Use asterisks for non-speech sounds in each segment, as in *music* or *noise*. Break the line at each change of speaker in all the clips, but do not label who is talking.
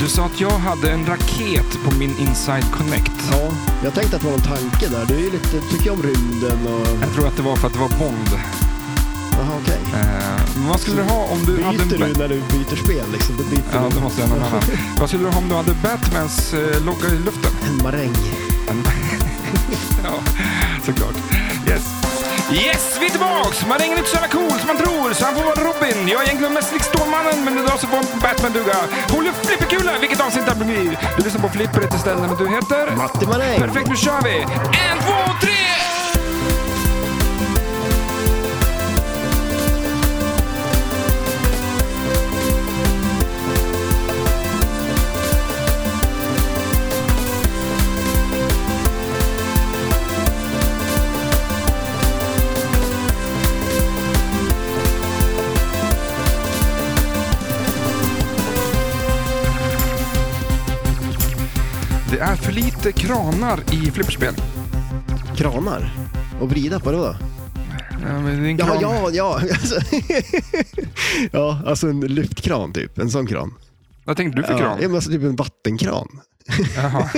Du sa att jag hade en raket på min Inside Connect.
Ja, jag tänkte att det var någon tanke där. Du är ju lite, du tycker ju om rymden och...
Jag tror att det var för att det var Bond.
Jaha, okej.
Eh, men vad skulle du ha om du hade... en
Byter
ba-
du när du byter spel liksom? Då byter
Ja,
du.
det måste jag ha någon annan. Vad skulle du ha om du hade Batmans eh, logga i luften?
En maräng.
Ja, såklart. Yes. Yes, vi är tillbaks! Man ringer inte så jävla cool som man tror, så han får vara Robin. Jag är egentligen mest lik Stålmannen, men idag så får en Batman-duga. Håll upp flipperkula, vilket avsnitt det här blir. Du lyssnar på Flipper, heter stället, men du heter?
Matti Maräng.
Perfekt, nu kör vi! En, två, tre! Det är för lite kranar i flipperspel.
Kranar. Och vrida på det då?
Ja, Eh, men det är en
Ja,
kran.
ja, ja. *laughs* Alltså. ja, alltså en lyftkran typ. En sån kran.
Vad tänkte du för
Ja,
kran?
men alltså typ en vattenkran. *laughs*
Jaha.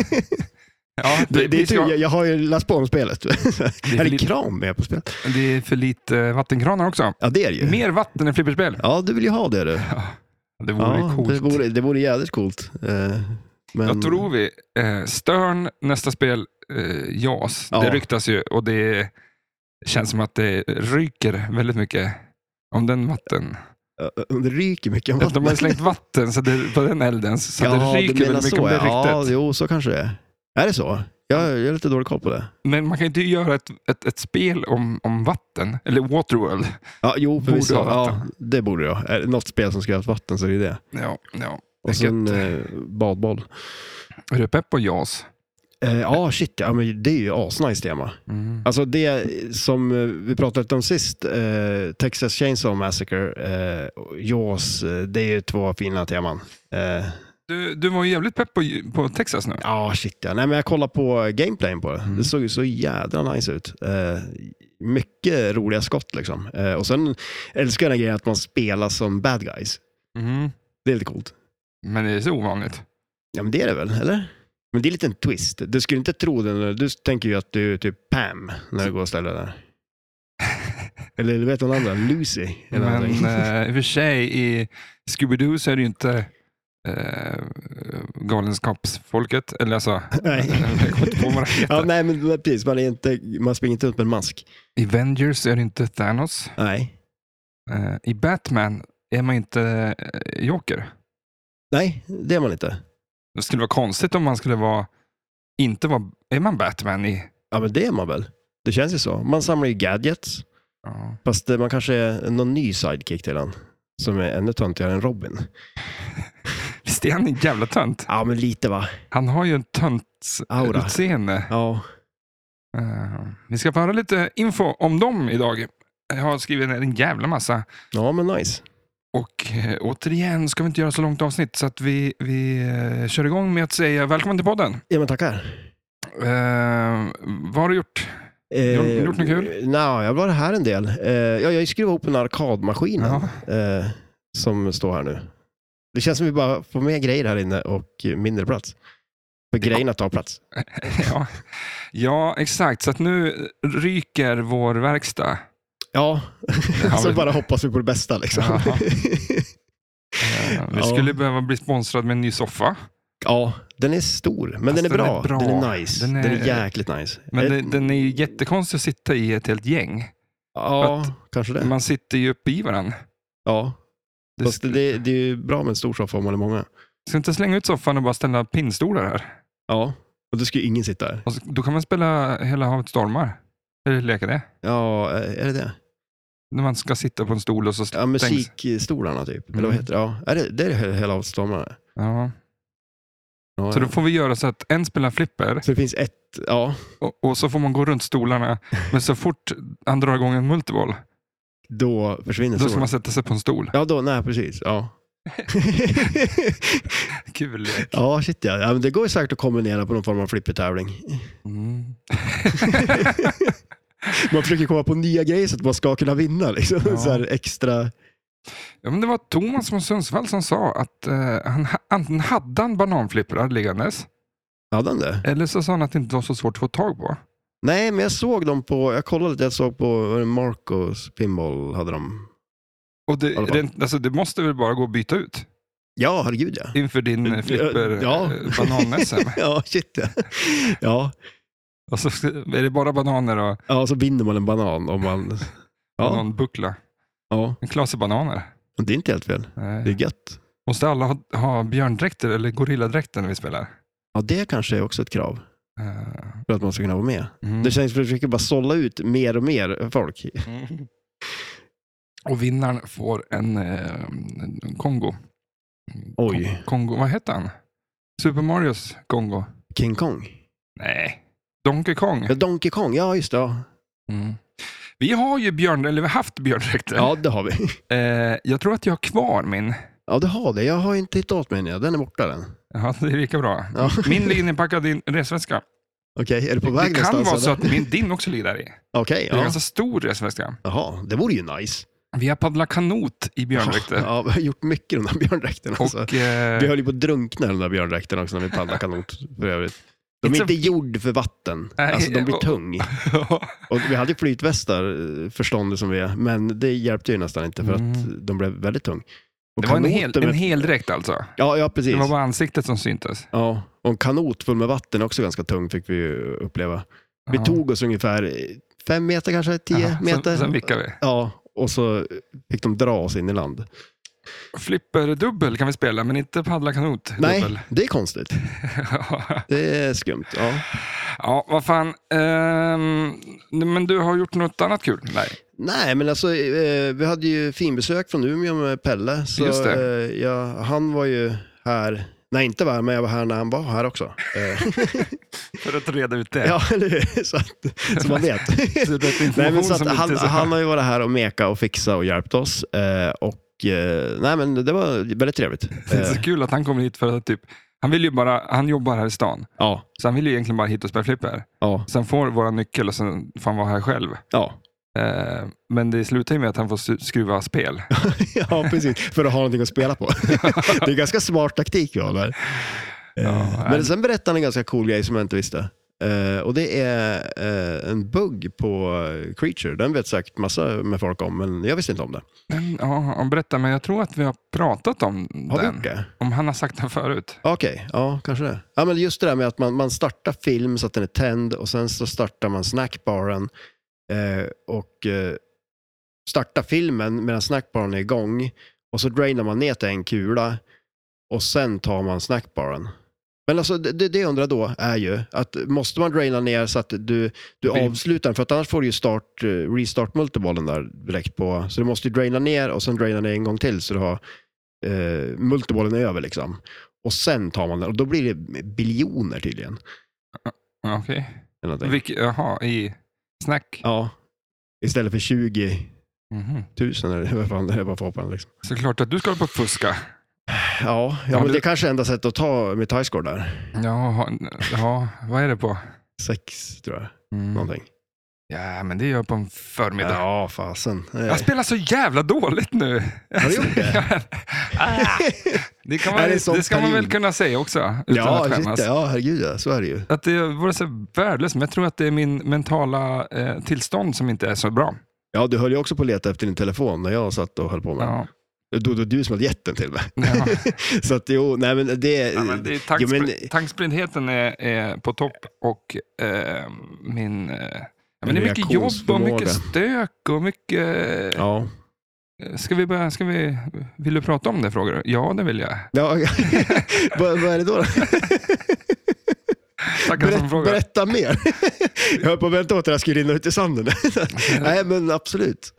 Ja,
Det, det är
vi
tur,
ska-
jag, jag har ju läst på om spelet. *laughs*
är
är det
lite-
kran med på spelet?
det är för lite eh, vattenkranar också.
Ja, det är det ju.
Mer vatten än flipperspel.
Ja, du vill ju ha det du.
Det vore ju
Ja,
coolt.
det, vore, det vore jävligt coolt. Eh, Men,
Då tror vi eh, Stern, nästa spel eh, JAS.
Ja.
Det ryktas ju och det känns som att det ryker väldigt mycket om den
*laughs*
vatten.
Eh, Det ryker mycket om
De har ju slängt vatten så det, på den elden, så
*laughs* Ja,
det
du
ryker
menar
väldigt mycket
så,
om det
ja.
ryktet.
Ja, jo, så kanske det är. Är det så? Jag, jag har lite dålig koll på det.
Men man kan ju inte göra ett, ett, ett spel om, om vatten, eller Waterworld.
Ja, jo,
Borde
förvisso.
ha
Ja,
vatten.
det borde jag. Är det Något spel som ska ha ett vatten så är det det.
Ja, ja.
Och sen eh, badboll.
Är du pepp på JAS?
Eh, Ja, shit. Ja, men det är ju asnice tema.
Mm.
Alltså det som eh, vi pratade om sist, eh, Texas Chainsaw Massacre, eh, och Jaws, eh, det är ju två fina teman. Eh,
Du, du var ju jävligt pepp på, på Texas nu.
Ja, shit ja. Nej, men jag kollade på gameplayen på det.
Mm.
Det såg ju så jädra nice ut. Eh, mycket roliga skott liksom. Eh, och sen älskar jag den grejen att man spelar som bad guys.
Mm.
Det är lite coolt.
Men det är så ovanligt.
Ja, men det är det väl, eller? Men det är en liten twist. Du skulle inte tro det. när- Du tänker ju att du är typ Pam när du går och
*laughs*
ställer dig där. Eller du vet någon annan, Lucy. Eller
Men
någonting.
eh, i och för sig, i Scooby-Doo så är det ju inte eh, galenskapsfolket. Eller alltså,
*laughs* nej.
*laughs* jag kommer inte på vad det heter.
ja, nej, men precis. Man, är inte, man springer inte ut med en mask.
I Avengers så är det inte Thanos.
Nej.
Eh, I Batman är man inte eh, Joker.
Nej, det är man inte.
Det skulle vara konstigt om man skulle vara, inte vara, är man Batman i...
Ja, men det är man väl. Det känns ju så. Man samlar ju gadgets.
Ja.
Fast eh, man kanske är någon ny sidekick till han. Som är ännu töntigare än Robin.
Visst är han en jävla tönt?
Ja, men lite va?
Han har ju en tönts
Aura.
utseende.
Ja.
Eh, vi ska få höra lite info om dem idag. Jag har skrivit ner en jävla massa.
Ja, men nice.
Och eh, återigen ska vi inte göra så långt avsnitt så att vi, vi eh, kör igång med att säga välkommen till podden.
Ja, men tackar.
Eh, vad har du gjort? Gjort- gjort något kul?
Nej, Eh, jag har varit här en del. Eh, ja, jag skruvar ihop en arkadmaskin
Ja. *laughs*
eh, som står här nu. Det känns som vi bara får mer grejer här inne och eh, mindre plats. För grejerna tar plats.
ja. ja, exakt. Så att nu ryker vår verkstad.
Ja, *laughs* så
men-
bara hoppas vi på det bästa liksom.
Jaha. Eh, vi
Ja.
skulle behöva bli sponsrad med en ny soffa.
Ja, den är stor, men
Fast
den, är
den är
bra.
bra.
Den är nice.
Den
Den
är-
är, jäkligt nice.
Men
Eh,
det, den är ju jättekonstig att sitta i ett helt gäng.
ja, kanske det.
Man sitter ju uppe i varandra.
Ja,
Det
fast
sk-
det, det är ju bra med en stor soffa om man är många.
Ska inte slänga ut soffan och bara ställa pinnstolar här?
Ja, och då ska ju ingen sitta där.
Och så, då kan man spela Hela havet stormar. Eller leka det.
Ja, eh, är det det?
När man ska sitta på en stol och så
Ja,
stängs-
musikstolarna typ. Eller vad
Mm.
heter det? Ja, är det, det är he- hela avståndarna.
Ja.
Ja,
Så
ja.
då får vi göra så att en spelar flipper
så det finns ett, ja,
och, och så får man gå runt stolarna. Men så fort han drar igång en multiboll,
då försvinner
då ska
stolarna.
man sätta sig på en
*laughs*
stol.
Ja, då, nej precis. Ja.
*laughs*
*laughs*
Kul.
ja, shit ja. ja men det går ju säkert att kombinera på någon form av flippertävling.
Mm.
Man försöker komma på nya grejer *laughs* så att man ska kunna vinna. Liksom.
Ja.
Så här extra
Ja, men det var Thomas från Sundsvall som sa att eh, han, ha- antingen hade han bananflipprar liggandes,
Hade han det?
eller så sa han att det inte var så svårt att få tag på.
Nej, men jag såg dem på, jag kollade lite, jag såg på var det Marcos pinball hade de.
Och det,
Ja, det var-
rent, alltså, det måste väl bara gå att byta ut
Ja, herregud ja. *laughs*
inför din eh, flipper
Ja.
eh, banan-SM.
*laughs* Ja, shit ja. Ja,
Och så är det bara bananer och
ja så binder man en banan om man... Ja,
bananbuckla.
ja.
En klase bananer.
Och det är inte helt fel.
Nej.
Det är gött.
Måste alla ha, ha björndräkter eller gorilladräkter när vi spelar?
Ja, det kanske är också ett krav
Eh,
för att man ska kunna vara med.
mm.
Det känns som att vi försöker bara sålla ut mer och mer folk.
Mm. *laughs* Och vinnaren får en, eh, en Kongo.
Oj.
Kongo, vad hette han? Super Marios Kongo?
King Kong.
Nej. Donkey Kong.
Ja, Donkey Kong, ja just det. Ja,
Mm. Vi har ju björn, eller vi har haft björndräkter.
ja det har vi. *laughs*
Eh, jag tror att jag har kvar min.
Ja, det har det. Jag har inte hittat åt mig än. ja. Den är borta den.
Ja, det är lika bra.
Ja.
Min ligger inpackad i en resväska.
Okej, är du på väg
Det kan
någonstans?
vara
eller?
så att min, din också ligger där i.
Okej,
Det är en
ja.
ganska stor resväska.
Jaha, det vore ju nice.
Vi har paddlat kanot i björndräkter.
Ja, vi har gjort mycket i de där björndräkterna. Alltså.
Och, eh,
Vi höll ju på att drunkna i de där björndräkterna också när vi paddlade kanot för övrigt. De
It's
är
a-
inte gjord för vatten.
Nej,
Alltså de
*laughs*
blir
och-
tung. Och vi hade ju flytvästar, eh, förstående som vi är, men det hjälpte ju nästan inte för att
Mm.
de blev väldigt tung. Och
det var en,
kanoter
hel,
med-
en heldräkt alltså.
Ja, ja
Det
precis.
var bara ansiktet som syntes.
Ja, och en kanot full med vatten är också ganska tung fick vi ju uppleva. Vi
Ja.
tog oss ungefär eh, fem meter kanske, tio
Ja,
meter.
Sen, sen vickade vi.
Ja, och så fick de dra oss in i land.
Flipperdubbel kan vi spela, men inte paddla kanot.
Nej,
dubbel. *laughs*
det är konstigt. Det är skumt. Ja.
ja, vad fan. Ehm, men du har gjort något annat kul? Nej.
Nej, men alltså eh, vi hade ju finbesök från Umeå med Pelle. Så,
Just det.
Eh, ja, han var ju här, nej inte var här, men jag var här när han var här också. Eh,
*laughs* För att reda ut *laughs* det.
ja, eller hur? Så, att, så man vet.
Så *laughs* det är
nej, men
Typ information
så att
som
han,
inte är så- *laughs*
han har ju varit här och meka och fixa och hjälpt oss. Eh, och eh, nej, men det var
*laughs*
väldigt trevligt.
Det är
Eh,
så kul att han kommer hit för att typ, han vill ju bara, han jobbar här i stan.
ja,
Så han vill ju egentligen bara hit och spela flipper.
ja,
Sen får våra nyckel och sen får han vara här själv.
ja.
Eh, men det slutar ju med att han får su- skruva
*laughs*
spel.
Ja, precis. För att ha någonting att spela på. *laughs* Det är ganska smart taktik vi har där.
Ja,
Men
nej.
sen berättade han en ganska cool grej som jag inte visste. Eh, och det är eh, en bugg på eh, Creature. Den vet säkert massa med folk om, men jag visste inte om det.
Men, ja, ja, berätta, men jag tror att vi har pratat om
Har vi
den.
gjort det?
Om han har sagt den förut.
Okej, ja, kanske det. Ja, men just det där med att man, man startar film så att den är tänd och sen så startar man snackbaren eh, och eh, startar filmen medan snackbaren är igång och så drainar man ner till en kula och sen tar man snackbaren. Men alltså det, det- det jag undrar då är ju att måste man draina ner så att du, du
Vi-
avslutar den? För att annars får du ju start, eh, restart multibollen där direkt på. Så du måste ju draina ner och sen draina ner en gång till så du har eh, multibollen är över liksom. Och sen tar man den och då blir det biljoner tydligen.
Ja, Okej.
Eller någonting.
Vilk- Jaha, i snack.
Ja, istället för 20
Mhm.
000 eller *laughs* vad fan det är bara för hoppan, liksom.
Såklart att du ska hålla på och fuska.
Ja, ja,
Ja,
men
du-
det är kanske är enda sättet att ta mitt highscore där.
Ja, n- ja vad är det på?
Sex tror jag,
Mm.
någonting.
Ja, men det gör jag på en förmiddag.
Ja, fasen. Eh,
Jag spelar så jävla dåligt
*laughs*
nu. *laughs*
Har du gjort det?
Ah, det, kan man,
Är det en
det,
sån
ska man
period?
väl kunna säga också. Utan att
ja, shit,
skämmas.
ja, herregud ja, så är det ju.
Att det vore så värdelöst, men jag tror att det är min mentala eh, tillstånd som inte är så bra.
Ja, du höll ju också på att leta efter din telefon när jag satt och höll på med den.
Ja.
Då, då du som hade gett den till mig. *laughs*
Ja.
så att jo, nej men det...
Ja, men det är
Jo, men-
tankspr- tankspriddheten är, är på topp och eh, min... Eh, ja, men det är mycket jobb och
Reaktionsförmåga.
mycket stök och mycket...
Ja.
Ska vi börja, ska vi, vill du prata om det frågar du? Ja, det vill jag.
ja. *laughs* vad, vad är det då? då?
Tackar som
Berätt,
frågar.
berätta mer. *laughs* jag höll på att vänta åt att det här skulle rinna ut i sanden. *laughs* nej, men absolut.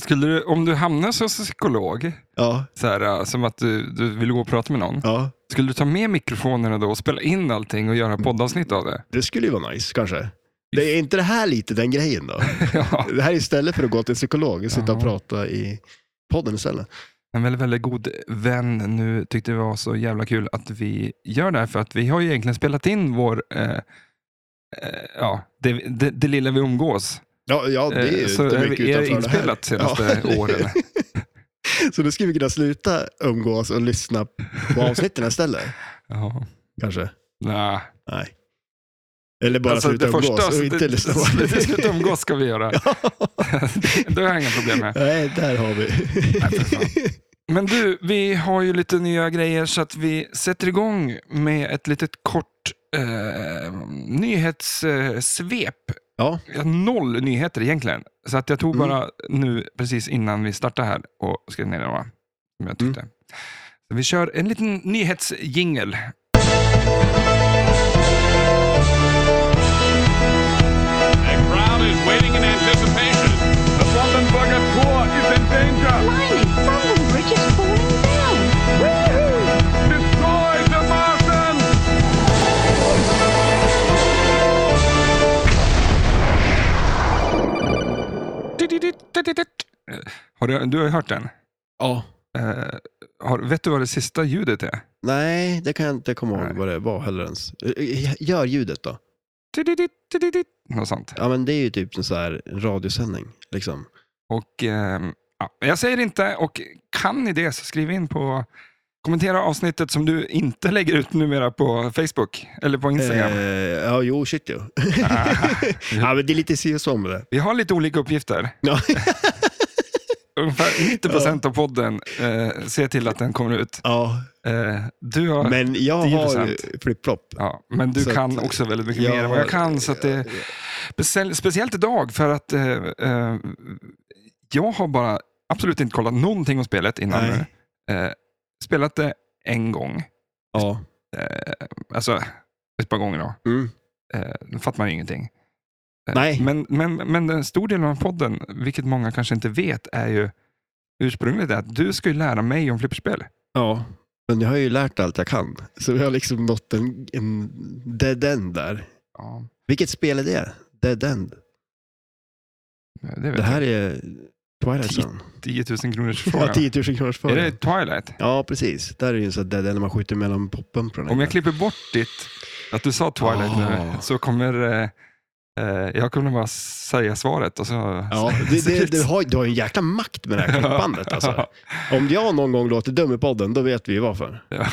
Skulle du, om du hamnar som psykolog,
Ja,
så här, eh, som att du, du vill gå och prata med någon,
ja.
skulle du ta med mikrofonerna då och spela in allting och göra poddavsnitt av det? *laughs*
Det skulle ju vara nice kanske. Det är inte det här lite den grejen då?
ja,
Det här är istället för att gå till en psykolog, sitta och
Jaha.
prata i podden istället.
en väldigt, väldigt god vän nu tyckte det var så jävla kul att vi gör det här för att vi har ju egentligen spelat in vår, eh, eh, ja, det, det, det lilla vi umgås.
Ja, ja det är
Eh,
ju
så
inte
är
mycket
vi- är
utanför det här. *laughs*
inspelat senaste
Ja.
åren.
Så nu skulle vi kunna sluta umgås och lyssna på avsnitten istället.
Ja.
Kanske.
Nej.
Nej. Eller bara
Alltså,
sluta
det
umgås
första,
och inte
det- alltså,
lyssna
*laughs*
på
det-
*laughs*
Sluta umgås ska vi göra. *laughs* det har jag inga problem med.
Nej, där har vi.
för fan. Men du, vi har ju lite nya grejer så att vi sätter igång med ett litet kort eh, nyhetssvep. Eh, svep.
ja,
Jag har Noll nyheter egentligen. Så att jag tog bara nu precis innan vi startade här och skrev ner några som jag tyckte. Så vi kör en liten nyhetsjingel.
The crowd is waiting in anticipation. The Brandenburger Tor is in danger.
Blimey, Brooklyn Bridge is falling down.
Destroy the Martians!
Har du, du har ju hört den.
ja.
Eh, har, vet du vad det sista ljudet är?
Nej, det kan jag inte komma ihåg
Nej.
vad det var heller ens. Gör ljudet då.
Något sånt.
Ja, men det är ju typ en så här radiosändning. Liksom.
Och, ehm, ja, jag säger inte, och kan ni det så skriv in på Kommentera avsnittet som du inte lägger ut numera på Facebook eller på Instagram. Ah.
Eh, ja, jo, shit jo. *laughs* ja, men det är lite si och så med det.
Vi har lite olika uppgifter.
Ja.
Ungefär 90 procent av podden eh, ser till att den kommer ut.
*laughs* ja,
Eh, du har, men,
men jag har
10%.
flip-flop.
ja, men du
Så
kan
att-
också väldigt mycket
Ja,
mer än vad jag kan. Så att det, speciell- speciellt idag för att eh, eh, jag har bara absolut inte kollat någonting om spelet innan
Nej.
nu. Eh, spelat det en gång.
Ja.
alltså ett par gånger då.
Mm.
Eh, då fattar man ju ingenting. Eh,
Nej.
Men, men, men en stor del av podden, vilket många kanske inte vet, är ju ursprungligt är att du ska ju lära mig om flipperspel.
ja. Men jag har ju lärt allt jag kan. Så jag har liksom nått en, en dead end där.
Ja,
Vilket spel är det? Dead end.
det, vet
Det här är Twilight
Ti-
Zone.
jag. 10 000 kronors fråga.
Ja, 10 000 kronors
är
fråga.
det Twilight?
Ja, precis. Där är det ju en sån där där när man skjuter mellan poppumprarna.
Om jag klipper bort ditt, att du sa Twilight nu,
Ah.
så kommer eh, eh, jag kommer bara säga svaret. Och så,
Ja, det, det, du, har, du har ju en jäkla makt med det här klippandet alltså. Om jag någon gång låter dum i podden, då vet vi
*laughs*
ju varför.
*laughs* Ja.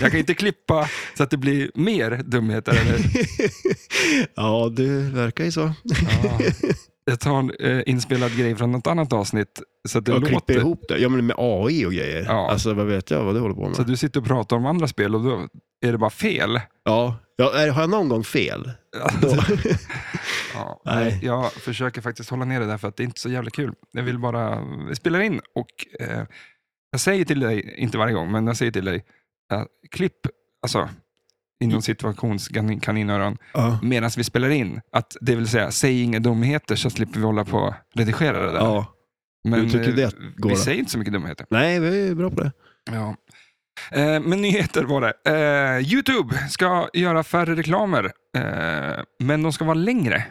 Jag kan inte klippa så att det blir mer dumheter.
*laughs*
Eller?
ja, det verkar ju så.
Ja. Jag tar en eh, inspelad grej från något annat avsnitt så att det
Jag klipper
låter.
ihop det. Ja, men med AI och grejer.
Ja.
Alltså, vad vet jag vad du håller på med?
Så att du sitter och pratar om andra spel och då är det bara fel.
Ja. ja är, har jag någon gång fel? Då.
*laughs* Ja,
Nej.
nej, jag försöker faktiskt hålla ner det där för att det är inte så jävla kul. Jag vill bara spela in och eh, jag säger till dig, inte varje gång, men jag säger till dig, eh, klipp, alltså inom situationskaninöron,
ja.
medan vi spelar in. Att, det vill säga, säg inga dumheter så slipper vi hålla på och redigera det där.
ja. hur tycker du
eh,
det går
vi
då?
säger inte så mycket dumheter.
Nej, vi är ju bra på det.
Ja. Eh, men nyheter var det. Eh, Youtube ska göra färre reklamer, eh, men de ska vara längre.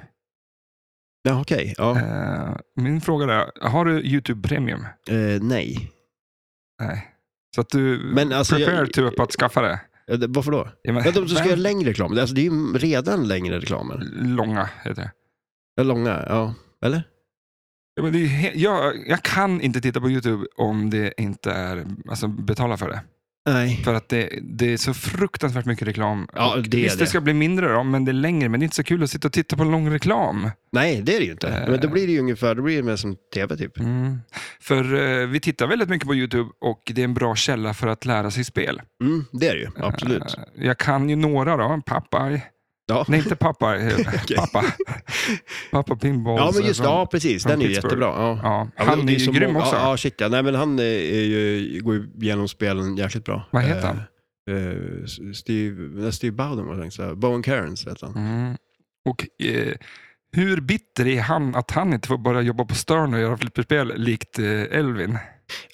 Ja, okej. Ja.
Eh, min fråga är, har du Youtube Premium?
Eh, nej.
Nej. Så att du
Men alltså,
prepare
jag-
to på att skaffa det.
Eh, det- Varför då?
Ja, men-
Ja, de som ska göra längre reklam. Alltså, det är ju redan längre reklamer.
Långa heter det.
Ja, Långa, ja. Eller?
Ja, men det är ju he- jag, jag kan inte titta på Youtube om det inte är alltså, betala för det.
Nej.
För att det, det är så fruktansvärt mycket reklam.
Ja,
Och
det är
Visst, det
det.
ska bli mindre då, men det är längre. Men det är inte så kul att sitta och titta på lång reklam.
Nej, det är det ju inte.
Eh.
Men då blir det ju ungefär, då blir det mer som tv typ.
Mm. För eh, vi tittar väldigt mycket på YouTube och det är en bra källa för att lära sig spel.
Mm, det är det ju, absolut.
Eh, jag kan ju några då. Popeye.
Ja,
Nej, inte pappa.
*laughs*
eh,
Okej.
pappa. Pappa Pinball.
ja men just det,
från-
ja precis.
från
Den är ju
Pittsburgh.
jättebra. Ja.
ja.
Ja, men
Han
det
är
så
ju grym
många-
också.
Ja, ja, shit ja. Nej, men han eh, är ju, går ju igenom spelen jäkligt bra.
Vad heter han?
Eh, eh, Steve, nej, Steve Bowden var det tänkte Bowen Cairns heter han.
Mm. Och eh, hur bitter är han att han inte får börja jobba på Stern och göra flipperspel likt eh, Elvin?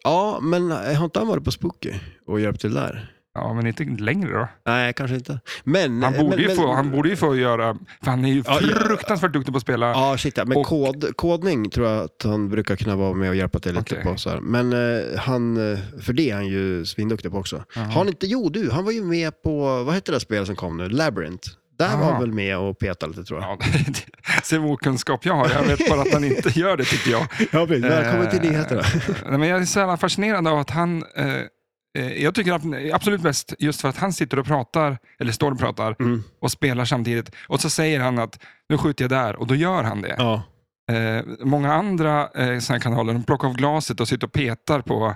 Ja, men eh, har inte han varit på Spooky och hjälpt till där?
Ja, men inte längre då.
Nej, kanske inte. Men...
Han
eh,
borde,
men,
ju,
men,
få, han borde ju få göra, för han är ju
Ja, ja.
fruktansvärt duktig på att spela.
Ja, shit ja. Men
Och-
kod, kodning tror jag att han brukar kunna vara med och hjälpa till lite
Okej.
på. Så här. Men eh, han, eh, för det är han ju svinduktig på också.
Jaha.
Har han inte, jo du, han var ju med på, vad hette det där spelet som kom nu? Labyrinth. Där var
Aha.
väl med och petade lite tror jag.
Ja, *laughs* se vad okunskap jag har. Jag vet bara att han inte gör det, tycker jag.
Ja, precis. Välkommen till
Eh,
nyheterna.
*laughs* Nej, men jag är så jävla fascinerad av att han... Eh, eh, jag tycker ab- absolut bäst just för att han sitter och pratar, eller står och pratar,
Mm.
och spelar samtidigt. Och så säger han att nu skjuter jag där, och då gör han det.
Ja.
Eh, många andra eh, såna här kanaler, de plockar av glaset och sitter och petar på,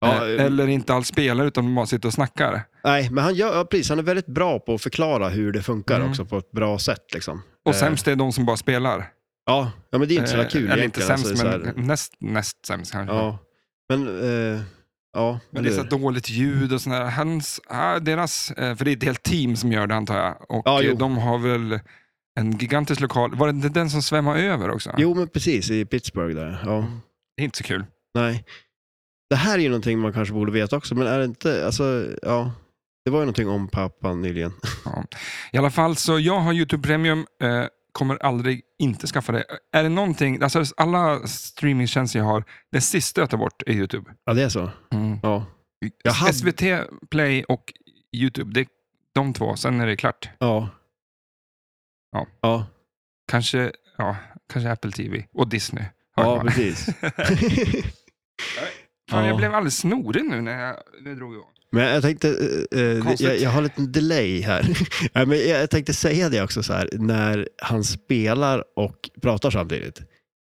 Ja,
eh,
eh,
eller inte alls spelar, utan de bara sitter och snackar.
Nej, men han, gör, ja, precis, han är väldigt bra på att förklara hur det funkar
Mm.
också på ett bra sätt. Liksom.
Och
Eh,
sämst är de som bara spelar.
Ja, ja, men det är inte så jävla
Eh,
kul
Eller inte
egentligen.
sämst,
alltså, det är så
men näst, näst sämst kanske.
här, ja. Men, eh, ja,
Men det är så
eller
här dåligt ljud och sådär. Hans, ah, deras, eh, för det är ett helt team som gör det antar jag. Och
Ja,
eh,
jo.
de har väl en gigantisk lokal. Var det inte den som svämmade över också?
hur? Jo, men precis, i Pittsburgh där. Ja.
Mm. Det är inte så kul.
Nej. Det här är ju någonting man kanske borde veta också, men är det inte, alltså, ja. Det var ju någonting om pappan nyligen.
I alla fall, så jag har YouTube Premium. Eh, kommer aldrig inte skaffa det. Är det någonting, alltså alla streamingtjänster jag har, det sista jag tar bort är YouTube.
Ja, det är så.
Mm.
Ja, Jag hade-
SVT Play och YouTube, det är de två. Sen är det klart.
ja.
Ja.
Ja,
Kanske, ja, kanske Apple TV och Disney.
ja
*laughs*
precis.
Fan,
Ja.
Jag blev alldeles snorig nu när jag nu drog igång. *laughs*
Men jag tänkte, eh, eh,
Konstigt.
jag, jag har en liten delay här. *laughs* Nej, men jag, jag tänkte säga det också så här, när han spelar och pratar samtidigt.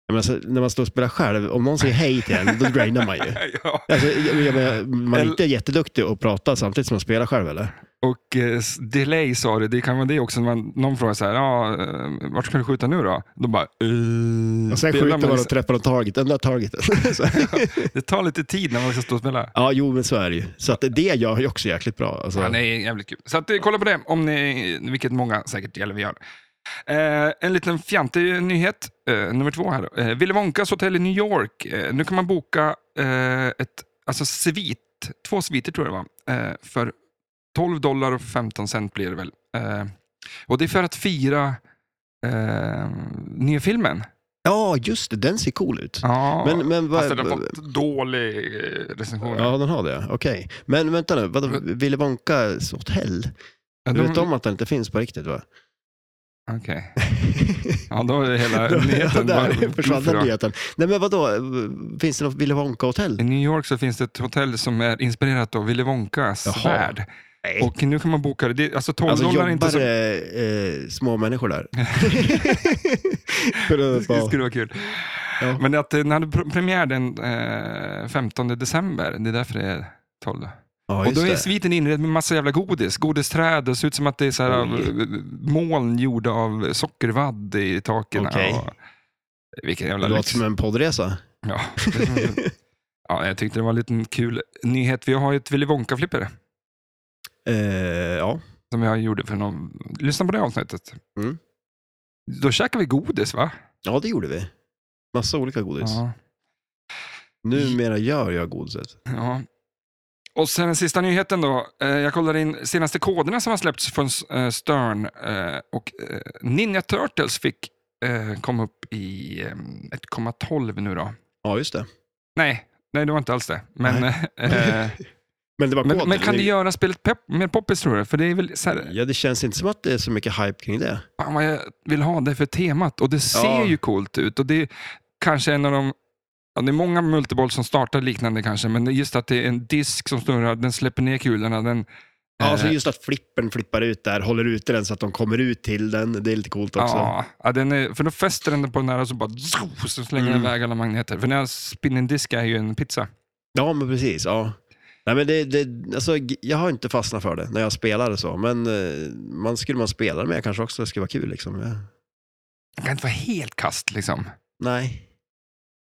Jag menar, så, när man står och spelar själv, om någon säger hej till en, då
*laughs*
grainar man ju.
ja.
Alltså, jag, jag menar, man är
Eller-
inte jätteduktig att prata samtidigt som man spelar själv eller?
Och eh, s- delay sa du, det kan vara det också. När man, någon frågar så här, ja, eh, vart ska du skjuta nu då? Då bara, uh,
Och sen skjuter man och träffar någon target, den där targeten. *laughs* Så här.
Det tar lite tid när man ska stå och spela.
ja, jo men så är det ju. Så att det gör jag ju också jäkligt bra. Alltså,
Ja, det är jävligt kul. Så att, eh, kolla på det, om ni, vilket många säkert gäller vi gör. Eh, en liten fjantig nyhet, eh, nummer två här. då. Eh, Willy Wonkas hotell i New York. Eh, nu kan man boka eh, ett, alltså svit, två sviter tror jag det var, eh, för 12 dollar och 15 cent blir det väl. Eh, och det är för att fira eh, nya filmen.
ja just det, den ser cool ut.
Ja,
Men, men vad...
fast den har fått dålig eh, recension.
Ja, den har det. Okej. Men vänta nu, vadå, Willy Wonkas hotell?
Ja,
Du
de-
vet om att den inte finns på riktigt va?
Okej. Ja, då är
*laughs*
hela nyheten
Ja, där
bara-
försvann
Bra.
den nyheten. Nej men vadå, finns det något Willy Wonka-hotell?
I New York så finns det ett hotell som är inspirerat av Willy Wonkas
Jaha.
värld.
Nej.
Och nu kan man boka det. det. Alltså 12
Alltså
dollar
jobbar
är inte så...
det eh, små
*laughs*
människor där? För
Det
att
skulle-
vara-
*laughs* det skulle vara kul.
Ja.
Men att eh, den hade pr- premiär den eh, 15 december. Det är därför det är 12.
ja,
och då
just
är
det.
sviten inredd med massa jävla godis. Godisträd. Det ser ut som att det är så här, av, eh,
Oj.
moln gjorda av sockervadd i taken.
Okej.
Och, vilken jävla
Det låter
lyx. Mm.
som en poddresa.
Ja. *laughs* ja, jag tyckte det var en liten kul nyhet. Vi har ju ett Willy Wonka-flipper.
*laughs* Eh, ja.
som jag gjorde för någon... Lyssna på det avsnittet.
Mm.
Då käkade vi godis, va?
ja, det gjorde vi. Massa olika godis.
Ja.
Numera gör jag godiset.
ja. Och sen den sista nyheten då. Eh, Jag kollade in senaste koderna som har släppts från eh, Stern. eh, Och eh, Ninja Turtles fick eh, kom upp i eh, 1,12 nu då.
Ja, just det.
Nej, nej det var inte alls det. Men,
*laughs*
eh,
Men det var
men,
koden.
men kan du göra spelet pep- mer poppis tror du? För det är väl så här,
Ja, det känns inte som att det är så mycket hype kring det.
fan vad jag vill ha det för temat. Och det ser
Ja.
ju coolt ut. Och det är kanske en av de... Ja, det är många multiboll som startar liknande kanske, men det är just att det är en disk som snurrar, den släpper ner kulorna. Den,
Ja, alltså
eh,
just att flippen flippar ut där, håller ute den så att de kommer ut till den. Det är lite coolt också.
ja, ja, den är, för då fäster den på den här och så bara zoo, så slänger den
Mm.
iväg alla magneter. För den här spinning-disk är ju en pizza.
Ja, men precis. Ja. Nej, men det, det, alltså, g- jag har inte fastnat för det när jag spelade så, men eh, man skulle man spela det med kanske också, det skulle vara kul. Liksom. Ja.
Den kan inte vara helt kast liksom.
Nej,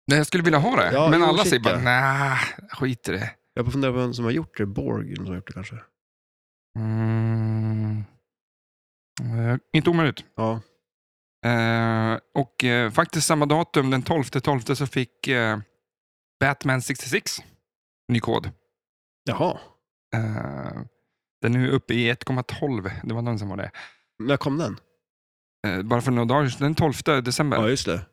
Nej, jag skulle vilja ha det,
Ja,
men
jo,
alla
shit,
säger bara
ja.
nej, skit i det.
jag får fundera på vem som har gjort det. Borg som har gjort det kanske.
Mm. Eh, inte omöjligt.
Ja,
Eh, och eh, faktiskt samma datum, den 12 12 så fick eh, Batman 66 ny kod.
jaha.
Eh, den är nu uppe i 1,12. Det var den som var det.
När kom den?
Eh, bara för några dagar sedan, den 12 december.
Ja, just det.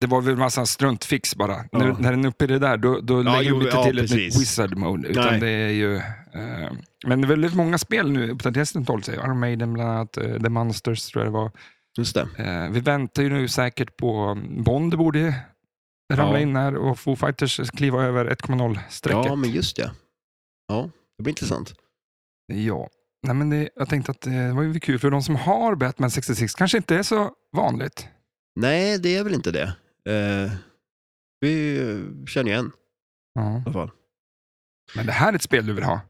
Det var väl massa struntfix bara.
Ja.
När, när den är uppe i det där, då, då lägger
jo,
du inte
ja,
till ett
precis.
nytt wizard mode. Utan
Nej.
det är ju Eh, Men det är väldigt många spel nu uppdateras den 12. Iron Maiden bland annat, eh, The Monsters tror jag det var.
Just det.
Eh, Vi väntar ju nu säkert på um, Bond borde ramla
Ja.
in här och Foo Fighters kliva över 1.0-strecket.
Ja, men just det. Ja, det blir intressant.
Ja. Nej, men det, jag tänkte att eh, det var ju kul för de som har Batman 66 kanske inte är så vanligt.
Nej, det är väl inte det. Eh, vi eh, känner igen i
Ja.
alla fall.
Men det här är ett spel du vill ha.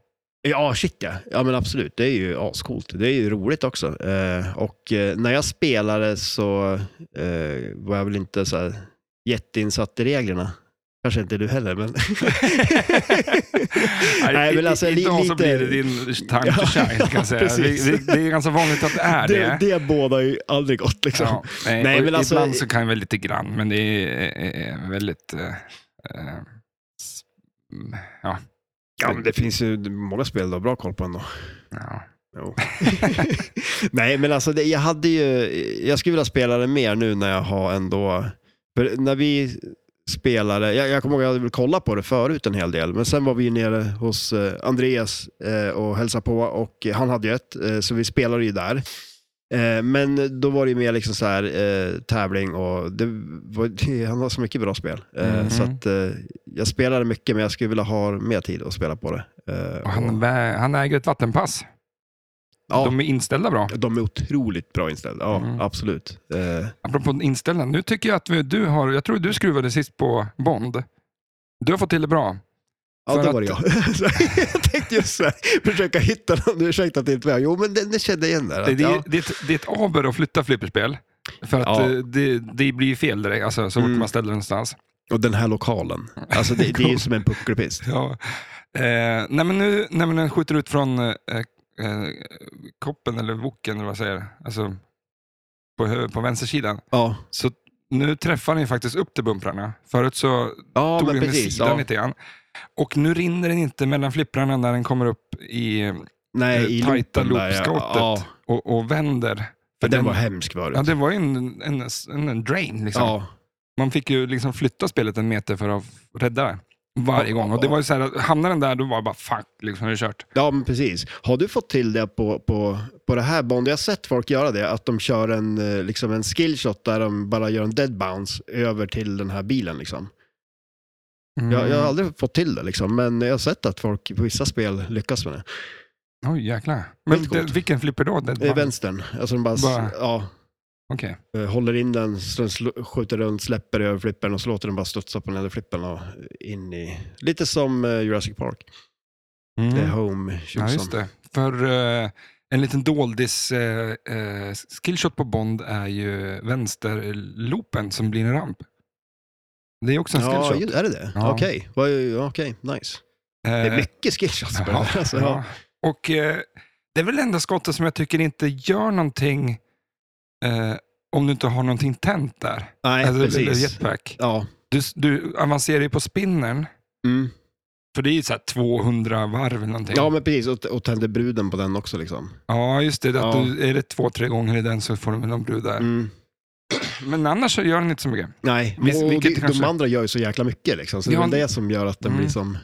Ja, shit ja. Ja, men absolut. Det är ju ascoolt. Det är ju roligt också. Eh, och eh, när jag spelade så eh, var jag väl inte så här jätteinsatt i reglerna. Kanske inte du
*laughs*
heller, men... *laughs* Nej, men alltså,
I- i- Idag
li-
så
lite-
blir det din time to
Ja,
shine kan
ja,
jag säga.
precis.
Det, det, det är ganska vanligt att det är det.
det, det bådar ju aldrig gott liksom.
Ja, nej,
Nej,
och
men alltså-
ibland så kan jag väl lite grann, men det är eh, väldigt... eh, eh, s- mm, ja,
Ja, men det finns ju många spel du har bra koll på ändå.
ja.
Jo. *laughs* Nej, men alltså det, jag hade ju, jag skulle vilja spela det mer nu när jag har ändå, för när vi spelade, jag, jag kommer ihåg att jag hade väl kollat på det förut en hel del, men sen var vi ju nere hos eh, Andreas eh, och hälsade på och han hade ju ett, eh, så vi spelade ju där. Eh, men då var det ju mer liksom så här, eh, tävling och det var, *laughs* han har så mycket bra spel. Eh,
Mhm.
Så att eh, jag spelade mycket men jag skulle vilja ha mer tid att spela på det. Eh,
Och han, vä- han äger ett vattenpass.
Ja.
De är inställda bra.
De är otroligt bra inställda, ja
Mm.
absolut. Eh,
Apropå inställda, nu tycker jag att vi, du har... Jag tror du skruvade sist på Bond. Du har fått till det bra.
ja, *laughs*
För
det
att-
var det jag. Så jag tänkte just så här, försöka hitta någon, ursäkta att det inte var jag. Jo, men den den kände jag igen där.
Det,
Att,
det, är-
ja,
det, är ett- det är ett aber att flytta flipperspel. För att
Ja.
eh, det, det blir ju fel direkt, alltså, så fort
Mm.
man ställer det någonstans.
och den här lokalen, alltså det, det är ju som en puckelpist.
Ja. Eh, nej, men nu när man skjuter ut från eh, eh, koppen eller woken, eller vad jag säger, alltså på, hö- på vänstersidan,
Ja,
så nu träffar den ju faktiskt upp till bumprarna. Förut så
ja
tog
men
den med
precis.
sidan
Ja.
lite grann. Och nu rinner den inte mellan flipprarna när den kommer upp i, eh,
Nej, i
tajta
loopen där, ja.
loopskottet
Ja,
och, och vänder. För
för den var hemsk förut.
ja, det var ju en, en, en, en drain. Liksom.
Ja,
Man fick ju liksom flytta spelet en meter för att rädda det. Varje gång. Och det var ju så här, att hamnade den där, då var det bara fuck, liksom, nu är det kört.
ja, men precis. Har du fått till det på, på, på det här bandet? Jag har sett folk göra det, att de kör en, eh, liksom en skillshot där de bara gör en dead bounce över till den här bilen. Liksom. Jag,
Mm.
jag har aldrig fått till det, liksom, men jag har sett att folk på vissa spel lyckas med det.
Oj, jäklar. Men
Väldigt
det,
coolt.
vilken flipper då? Det,
Eh, Vänstern, alltså de bara, s-
Bara-
Ja,
Okej.
eh, håller in den, så den sl- skjuter runt, släpper över flippen och så låter den bara studsa på den här flippen och in i... Lite som eh, Jurassic Park,
Mm.
The Home
Ja, just det. För eh, en liten doldis eh, eh, skillshot på Bond är ju vänsterloopen som blir en ramp. Det är också en
Ja,
skillshot.
ju- är det det?
Ja.
Okej, Vad- ja, okej, nice. Det är
Eh,
mycket skillshots på det
Ja,
här. *laughs* Alltså,
ja.
ja.
Och eh, det är väl det enda skottet som jag tycker inte gör någonting eh, om du inte har någonting tänt där.
Nej,
Alltså, eller
precis.
jetpack.
Ja.
Du, du avancerar ju på spinnern,
Mm.
för det är ju så här 200 varv eller någonting.
ja, men precis. Och, och tänder bruden på den också. Liksom.
Ja, just det. Att
Ja.
du, är det två, tre gånger i den så får du väl någon brud där.
Mm.
Men annars så gör den inte så mycket.
Nej,
Vis-
och
vilket
de,
kanske-
de andra gör ju så jäkla mycket. Liksom, så det
Ja,
är väl det som gör att den
mm.
blir som...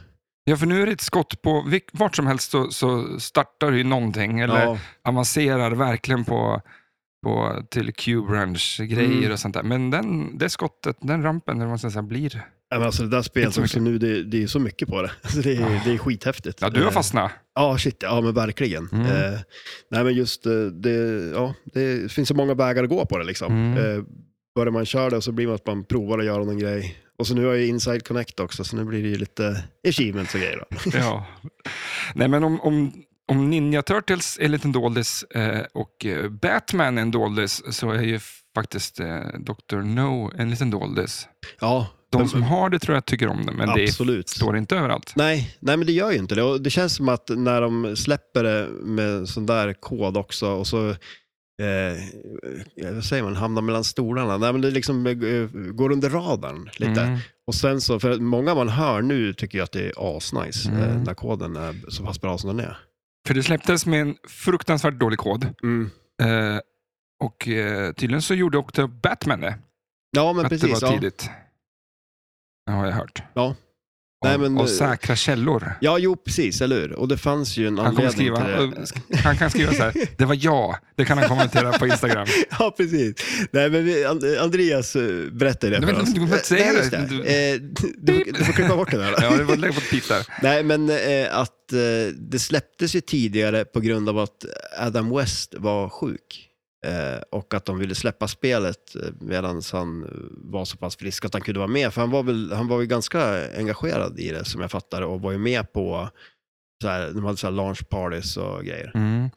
Ja, för nu är det ett skott på, vilk- vart som helst så, så startar du ju någonting eller
Ja.
avancerar verkligen på, på till Q-branch-grejer
Mm.
och sånt där. Men den, det skottet, den rampen, eller vad man ska säga, blir...
Ja, men alltså det där spelet
Inte så
också nu, det, det är så mycket på det. *laughs* Alltså det, är, det är skithäftigt.
Ja, du har
Eh,
fastnat.
Ja, shit. Ja, men verkligen.
Mm.
Eh, nej, men just eh, det, ja, det finns så många vägar att gå på det liksom.
Mm.
Eh, börjar man köra det så blir man att man provar att göra någon grej. Och så nu har jag ju Inside Connect också, så nu blir det ju lite achievements och grejer. Då.
*laughs* Ja. Nej, men om, om, om Ninja Turtles är en liten doldis eh, och eh, Batman är en doldis så är ju faktiskt eh, Dr. No en liten doldis.
Ja,
De
men-
som har det tror jag tycker om det, men det
absolut.
står inte överallt.
Nej, nej, men det gör ju inte det. Och det känns som att när de släpper det med sån där kod också och så, eh, ja, vad säger man, hamnar mellan stolarna. Nej, men det liksom eh, går under radarn lite.
Mm.
Och sen så, för att många man hör nu tycker ju att det är asnice
Mm.
eh, när koden är så pass bra som den är.
För det släpptes med en fruktansvärt dålig kod.
Mm.
Eh, och eh, tydligen så gjorde också Batman det.
Ja, men
att
precis.
det var
ja.
tidigt. Det har jag hört.
Ja. Nej, men,
av
eh,
säkra källor.
Ja, jo precis, eller hur? Och det fanns ju en
Han, kommer
anledning
skriva,
till det.
eh, sk- han kan skriva
*laughs*
så här, det var jag. Det kan han kommentera på Instagram.
Ja, precis. Nej, men vi, And- Andreas eh, berättade det
Nej,
för
men
oss.
du får inte säga
Nej, just
det.
det.
Du-
Eh, Du, du, får- du får klippa bort det där. då.
*laughs* Ja, det var lägg på ett pip där.
Nej, men eh, att eh, det släpptes ju tidigare på grund av att Adam West var sjuk. Eh, och att de ville släppa spelet medan han eh, var så pass frisk att han kunde vara med. För han var, väl, han var ju ganska engagerad i det som jag fattar och var ju med på så här, de hade så här launch parties och grejer.
Mm.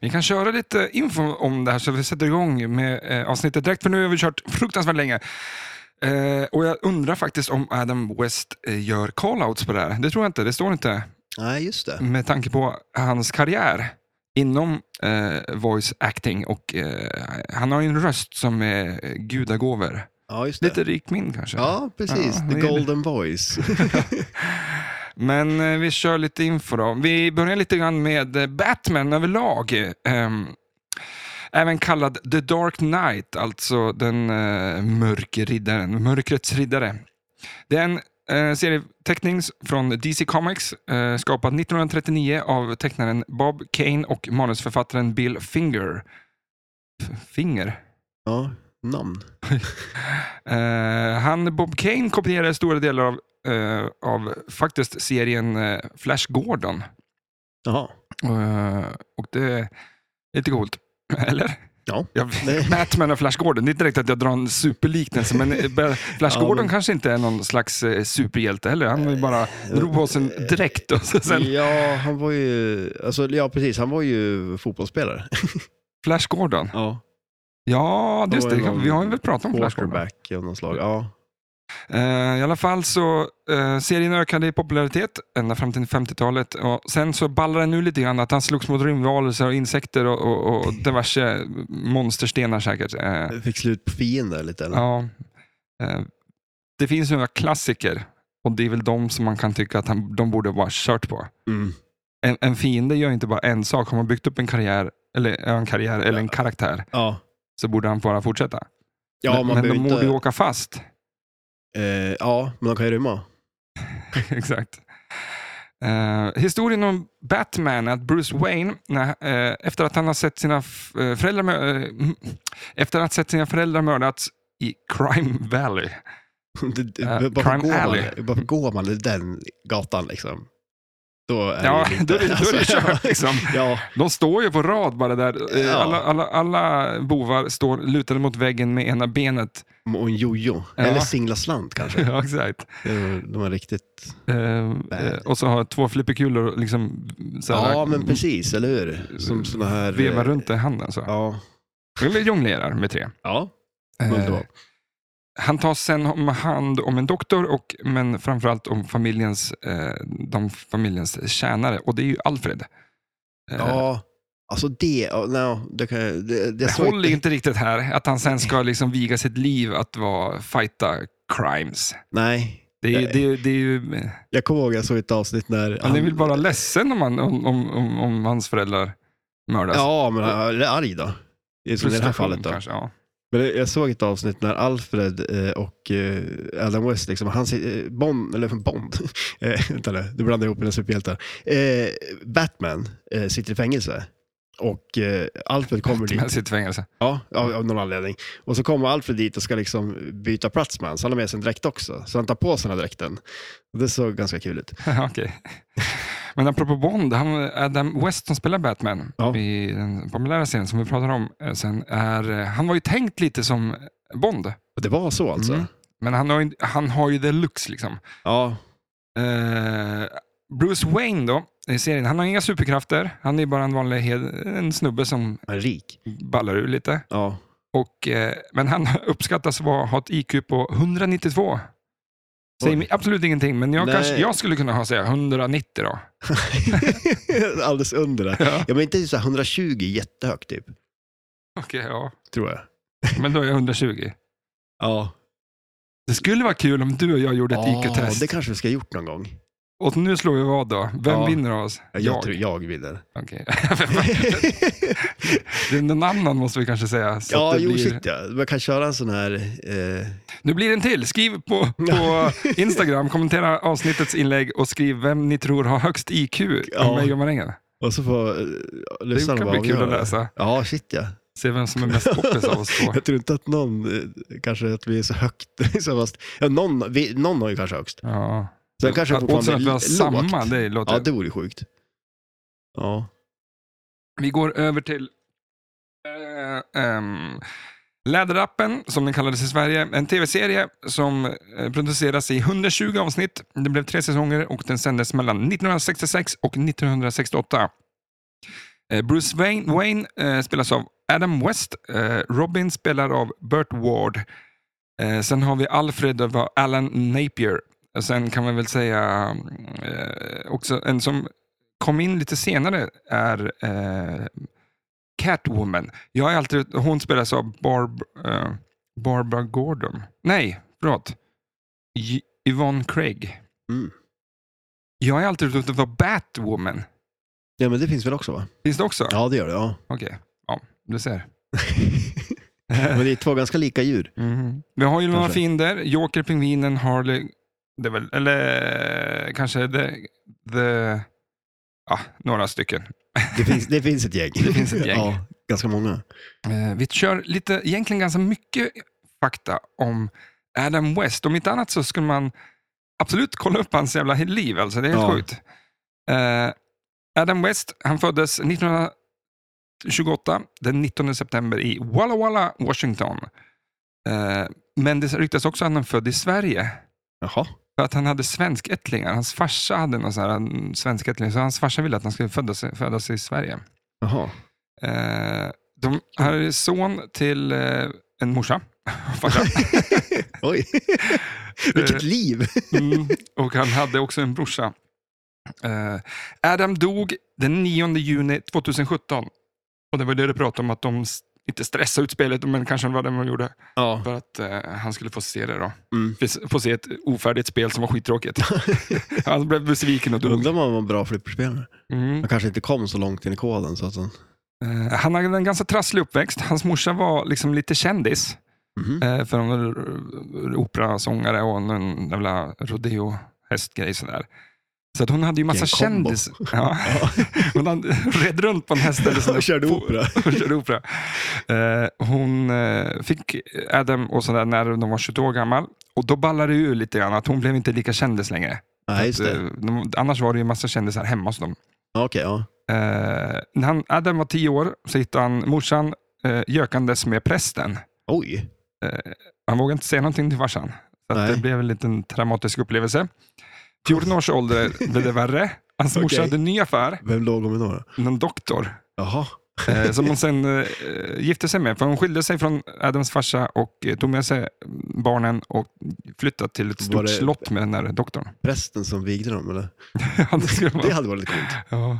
Vi kan köra lite info om det här så vi sätter igång med eh, avsnittet direkt, för nu har vi kört fruktansvärt länge. Eh, och jag undrar faktiskt om Adam West eh, gör call-outs på det här. Det tror jag inte, det står inte.
Nej, just det.
Med tanke på hans karriär inom eh, voice acting och eh, han har ju en röst som är gudagåvor.
Ja, just det.
Lite rikt min kanske.
Ja, precis.
Ja,
The
det är-
Golden Voice.
Men eh, vi kör lite info då. Vi börjar lite grann med eh, Batman överlag. Ehm, även kallad The Dark Knight, alltså den eh, mörke riddaren, mörkrets riddare. Det är en eh, serieteckning från DC Comics, eh, skapad 1939 av tecknaren Bob Kane och manusförfattaren Bill Finger. F- Finger?
Ja, namn.
Eh, han, Bob Kane kopierade stora delar av, eh, av faktiskt serien eh, Flash Gordon.
Jaha.
Eh, och det är lite coolt. *laughs* Eller?
Ja.
Jag,
Nej.
Batman och Flash Gordon. Det är inte direkt att jag drar en superliknelse, men eh,
*laughs*
Ba- Flash
Ja,
Gordon
men- Eh,
kanske inte är någon slags eh, superhjälte heller. Han vill bara drog på sig en dräkt och så sen
Ja, han var ju, alltså, ja, precis. Han var ju fotbollsspelare.
Flash Gordon.
Ja.
Ja,
Det
just
var
det.
ju någon
Vi har ju väl pratat om Flash Gordon.
Quarterback av något slag. Ja.
Eh, I alla fall så eh, serien ökade i popularitet ända fram till 50-talet. Och sen så ballade den nu lite grann att han slogs mot rymdvarelser och insekter och, och, och diverse monsterstenar säkert. Eh,
Fick slut på fiender lite. Eller?
ja. Eh, det finns några klassiker och det är väl de som man kan tycka att han, de borde vara kört på.
Mm.
En, en fiende gör inte bara en sak. Har man byggt upp en karriär eller, ja, en, karriär, eller en karaktär
ja.
så borde han bara fortsätta.
Ja,
men
man
men de
behöver
borde ju
inte...
åka fast. *laughs*
Eh, ja, men de kan ju rymma. *laughs*
Exakt. Eh, historien om Batman, är att Bruce Wayne, när, eh, efter att han har sett sina f- eh, föräldrar mö- eh, *laughs* mm, efter att sett sina föräldrar mördats i Crime Valley.
Det- det-
Eh,
Varför
Crime
går
Alley.
man- varför går man i den gatan liksom? Då är
Ja,
det ju lite-
då är det- då är det
alltså, *laughs*
kört, liksom.
Ja,
De står ju på rad bara där. Eh,
Ja.
Alla, alla, alla bovar står lutade mot väggen med ena
*laughs*
benet.
och en jojo.
Ja.
Eller singlaslant kanske.
ja, exakt.
Det är- De har riktigt...
Eh, eh, och så har två flipperkulor och liksom så här,
Ja, men precis, eller hur? Som såna här... eh,
vevar runt i handen. Så.
Ja.
Eller jonglerar med tre.
Ja,
Eh,
underbart.
Han tas sen om hand om en doktor, och, men framförallt om familjens, eh, de familjens tjänare. Och det är ju Alfred. Eh,
Ja, alltså det... ja, No, det kan jag... Det, det
det
såg
håller inte riktigt här, att han sen ska liksom viga sitt liv att vara, fighta crimes.
Nej.
Det är, ju-
Nej.
det är, ju- det är ju... eh,
Jag kommer ihåg jag såg ett avsnitt när...
Han är väl bara ledsen om, han, om, om, om, om hans föräldrar mördas.
Ja, men han är arg då. Det är Som i det här
Frustration
fallet då.
Kanske, ja.
Men det- jag såg ett avsnitt när Alfred eh, och eh, Adam West, liksom, han, sit- eh, Bond, eller Bond, *laughs* eh, vänta nu, du blandar ihop mina superhjältar. Eh, Batman eh, sitter i fängelse och eh, Alfred kommer dit.
Han sitter i fängelse. *laughs*
Ja, av, av någon anledning. Och så kommer Alfred dit och ska liksom byta plats med honom, så han har med sig en dräkt också. Så han tar på sig den här dräkten. Och det såg ganska kul ut.
Okej. Men apropå Bond, han, Adam West som spelar Batman
Ja.
i den populära serien som vi pratade om eh, sen, är, eh, han var ju tänkt lite som Bond.
Och det var så alltså?
Mm. Men han har, ju, han har ju the looks liksom.
Ja,
Eh, Bruce Wayne då, i serien, han har inga superkrafter. Han är bara en vanlig hed, en snubbe som
han är rik.
ballar ur lite.
Ja. *laughs*
Och, eh, men han *laughs* uppskattas vara, ha ett IQ på 192. Säger
Oj.
mig absolut ingenting, men jag,
Nej.
kanske, jag skulle kunna ha säga 190 då. *laughs*
Alldeles under det.
Ja.
Ja, men inte så här 120 jättehögt typ,
Okej, ja.
tror jag.
Men då är jag 120.
Ja. Ah,
Det skulle vara kul om du och jag gjorde ett
Ja,
IQ-test.
Det kanske vi ska ha gjort någon gång.
Och nu slår vi vad då? Vem
Ja.
vinner av oss?
Jag, jag tror jag
*laughs*
vinner.
Okej. Det är Någon annan måste vi kanske säga. Så att
ja,
det
jo,
blir...
shit ja. Man kan köra en sån här... Eh,
Nu blir det en till. Skriv på,
*laughs*
på Instagram, kommentera avsnittets inlägg och skriv vem ni tror har högst IQ av
Ja.
mig och Marängen.
och så får eh,
Det
lyssnarna
kan
bara
bli kul att
avgöra.
läsa.
Ja, shit ja.
Se vem som är mest poppis av oss
*laughs*
två.
Jag tror inte att någon, eh, kanske att vi är så högt. *laughs* så fast, ja, någon, vi, någon har ju kanske högst.
Ja.
Sen kanske
Att-
fortfarande
oddsen att vi har
lågt.
samma, det låter...
Ja, det vore sjukt. Ja.
Vi går över till eh, ehm, Läderappen, som den kallades i Sverige. En tv-serie som eh, produceras i 120 avsnitt. Det blev tre säsonger och den sändes mellan 1966 och 1968. Eh, Bruce Wayne, Wayne eh, spelas av Adam West. Eh, Robin spelar av Burt Ward. Eh, sen har vi Alfred av Alan Napier. Och Sen kan man väl säga eh, också en som kom in lite senare är eh, Catwoman. Jag är alltid, hon spelas av Barb, eh, Barbara Gordon. Nej, förlåt. Y- Yvonne Craig.
Mm.
Jag är alltid ute efter att vara Batwoman.
ja, men det finns väl också va?
Finns det också?
Ja, det gör det. Ja. *laughs*
Okej, ja, du ser.
men det är två ganska lika djur.
Mhm. Vi har ju några
Mm-hmm. Kanske.
fiender. Joker, pingvinen, Harley. Det är väl, eller kanske the, the, ja, några stycken.
Det finns, det finns ett gäng.
Det finns ett gäng.
Ja, ganska många.
Eh, vi kör lite, egentligen ganska mycket fakta om Adam West. Om inte annat så skulle man absolut kolla upp hans jävla liv. Alltså, det är helt
Ja.
sjukt. Eh, Adam West, han föddes 1928, den 19 september i Walla Walla, Washington. Eh, men det ryktas också att han är född i Sverige.
Jaha.
För att han hade svenskättlingar. Hans farsa hade någon sån här mm, svenskättling, så hans farsa ville att han skulle födas, födas i Sverige.
Jaha.
Eh, de här är son till eh, en morsa. *laughs* Farsa. *laughs*
Oj. Vilket liv.
mm, och han hade också en brorsa. Eh, Adam dog den 9 juni 2017. Och det var det du pratade om, att de s- inte stressade ut spelet, men kanske var det man gjorde.
Ja.
För att eh, han skulle få se det då.
Mm.
Få- Få se ett ofärdigt spel som var *laughs* skittråkigt. han blev besviken och dog.
Undrar om han var en bra flipperspelare.
Mm.
Han kanske inte kom så långt in i koden. Så att han...
Eh, Han hade en ganska trasslig uppväxt. Hans morsa var liksom lite kändis. *laughs*
Mhm.
Eh, För hon var r- operasångare och någon jävla rodeohästgrej sådär. Så att hon hade ju massa
Vilken kombo.
kändis. *laughs* Ja.
*laughs*
hon hade, *laughs* red runt på en häst. Eller sådär.
Och *laughs*
*laughs*
körde opera.
och körde opera. Eh, Hon eh, fick Adam och sådär när de var 20 år gammal. Och då ballade det ur lite grann att hon blev inte lika kändis längre.
Nej, just det.
Eh, de- Annars var det ju massa kändisar hemma hos dem.
Ja, Okej, ja.
Eh, när han, Adam var tio år så hittade han morsan eh, gökandes med prästen.
Oj.
Han vågade inte säga någonting till farsan. Så att
Nej.
det blev en liten traumatisk upplevelse. 14 års ålder blev det värre. Hans morsa
Okej.
hade en ny affär,
Vem låg om några?
någon doktor,
Jaha.
eh, som hon sen eh, gifte sig med. För hon skilde sig från Adams farsa och eh, tog med sig barnen och flyttade till ett
Var
stort
det-
slott med den där doktorn. *laughs*
Prästen som vigde dem, eller?
Ja, det, skulle
Det
vara,
hade varit coolt.
ja,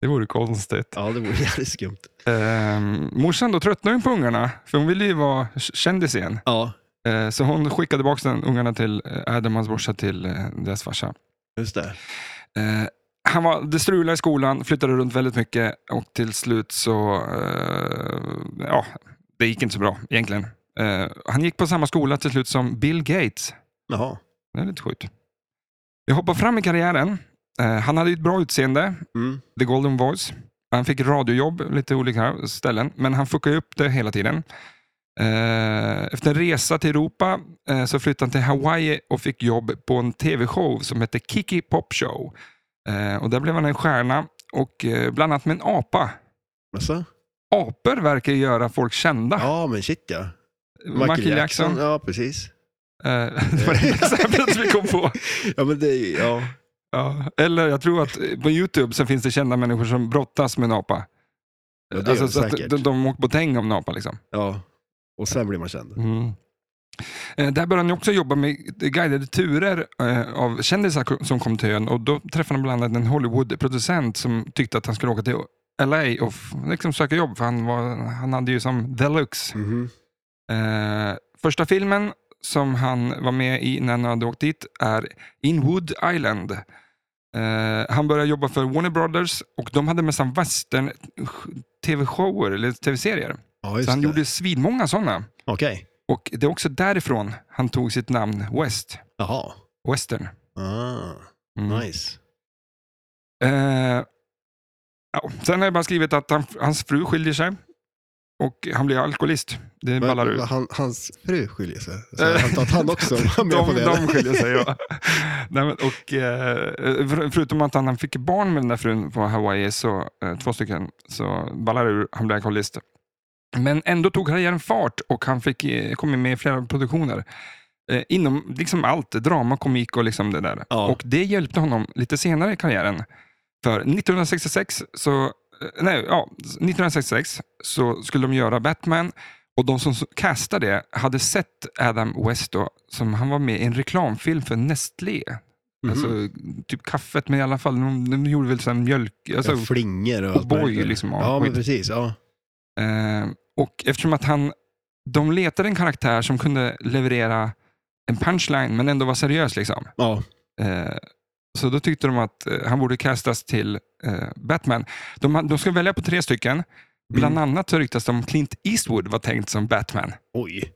det vore konstigt.
Ja, det vore jävligt skumt.
Eh, morsan då tröttnade ju på ungarna, för hon ville ju vara k- kändis igen.
Ja,
Eh, så hon skickade tillbaka den, ungarna till eh, Adam och hans brorsa till eh, deras farsa.
just det.
Eh, han var, det strulade i skolan, flyttade runt väldigt mycket och till slut så... Eh, ja, det gick inte så bra egentligen. Eh, han gick på samma skola till slut som Bill Gates.
Jaha.
Det är lite sjukt. Jag hoppar fram i karriären. Eh, han hade ju ett bra utseende,
Mm.
The Golden Voice. Han fick radiojobb, lite olika ställen, men han fuckade upp det hela tiden. Eh, Efter en resa till Europa eh, så flyttade han till Hawaii och fick jobb på en tv-show som hette Kiki Pop Show. Eh, Och där blev han en stjärna, och eh, bland annat med en apa.
Alltså?
Apor verkar ju göra folk kända. Eh,
Ja, men shit ja.
Michael Jackson.
Ja, precis.
eh, *laughs* Det var det enda exemplet vi kom på.
Ja, men det är ju, ja.
Ja. Eller jag tror att eh, på YouTube så finns det kända människor som brottas med en apa.
Ja, det gör
alltså,
det
så att
säkert.
de, de åker på täng om en apa. Liksom.
ja. Och sen blir man känd.
Mm. Eh, Där började han också jobba med guidade turer eh, av kändisar ko- som kom till ön. Och då träffade han bland annat en Hollywood-producent som tyckte att han skulle åka till LA och f- liksom söka jobb, för han, var, han hade ju som deluxe.
Mhm.
Eh, första filmen som han var med i när han hade åkt dit är In Wood Island. Eh, han började jobba för Warner Brothers och de hade nästan western tv-shower eller tv-serier.
Ja,
Så
just
han
det.
gjorde svinmånga sådana.
Okej.
Och det är också därifrån han tog sitt namn West,
Jaha.
Western.
Ah,
Mm.
nice.
Eh, ja. Sen har jag bara skrivit att han, hans fru skiljer sig och han blir alkoholist. Det ballar
Men,
ur.
han, hans fru skiljer sig. Så jag
*laughs*
antar att han också var med på
De,
det.
de
eller?
skiljer sig, ja. *laughs* Nej, men, och, eh, för- förutom att han, han fick barn med den där frun på Hawaii, så, eh, två stycken, så ballar det ur, han blev alkoholist. Men ändå tog karriären fart och han fick, eh, kom med i flera produktioner. Eh, inom liksom allt, drama, komik och liksom det där.
Ja.
Och det hjälpte honom lite senare i karriären. För 1966 så, eh, nej, ja, 1966 så skulle de göra Batman och de som s- castade det hade sett Adam West då, som han var med i en reklamfilm för Nestlé.
Mhm.
Alltså, typ kaffet, men i alla fall, de, de gjorde väl sån mjölk... Alltså,
Ja, flingor Mm. och
och
allt möjligt.
boy, liksom, ja,
Ja, men
skit.
precis. Ja.
Eh, och eftersom att han, de letade en karaktär som kunde leverera en punchline men ändå vara seriös. liksom.
ja.
Eh, så då tyckte de att eh, han borde castas till eh, Batman. De, de ska välja på tre
Mm.
stycken. Bland annat så ryktas det om Clint Eastwood var tänkt som Batman. *laughs*
Oj.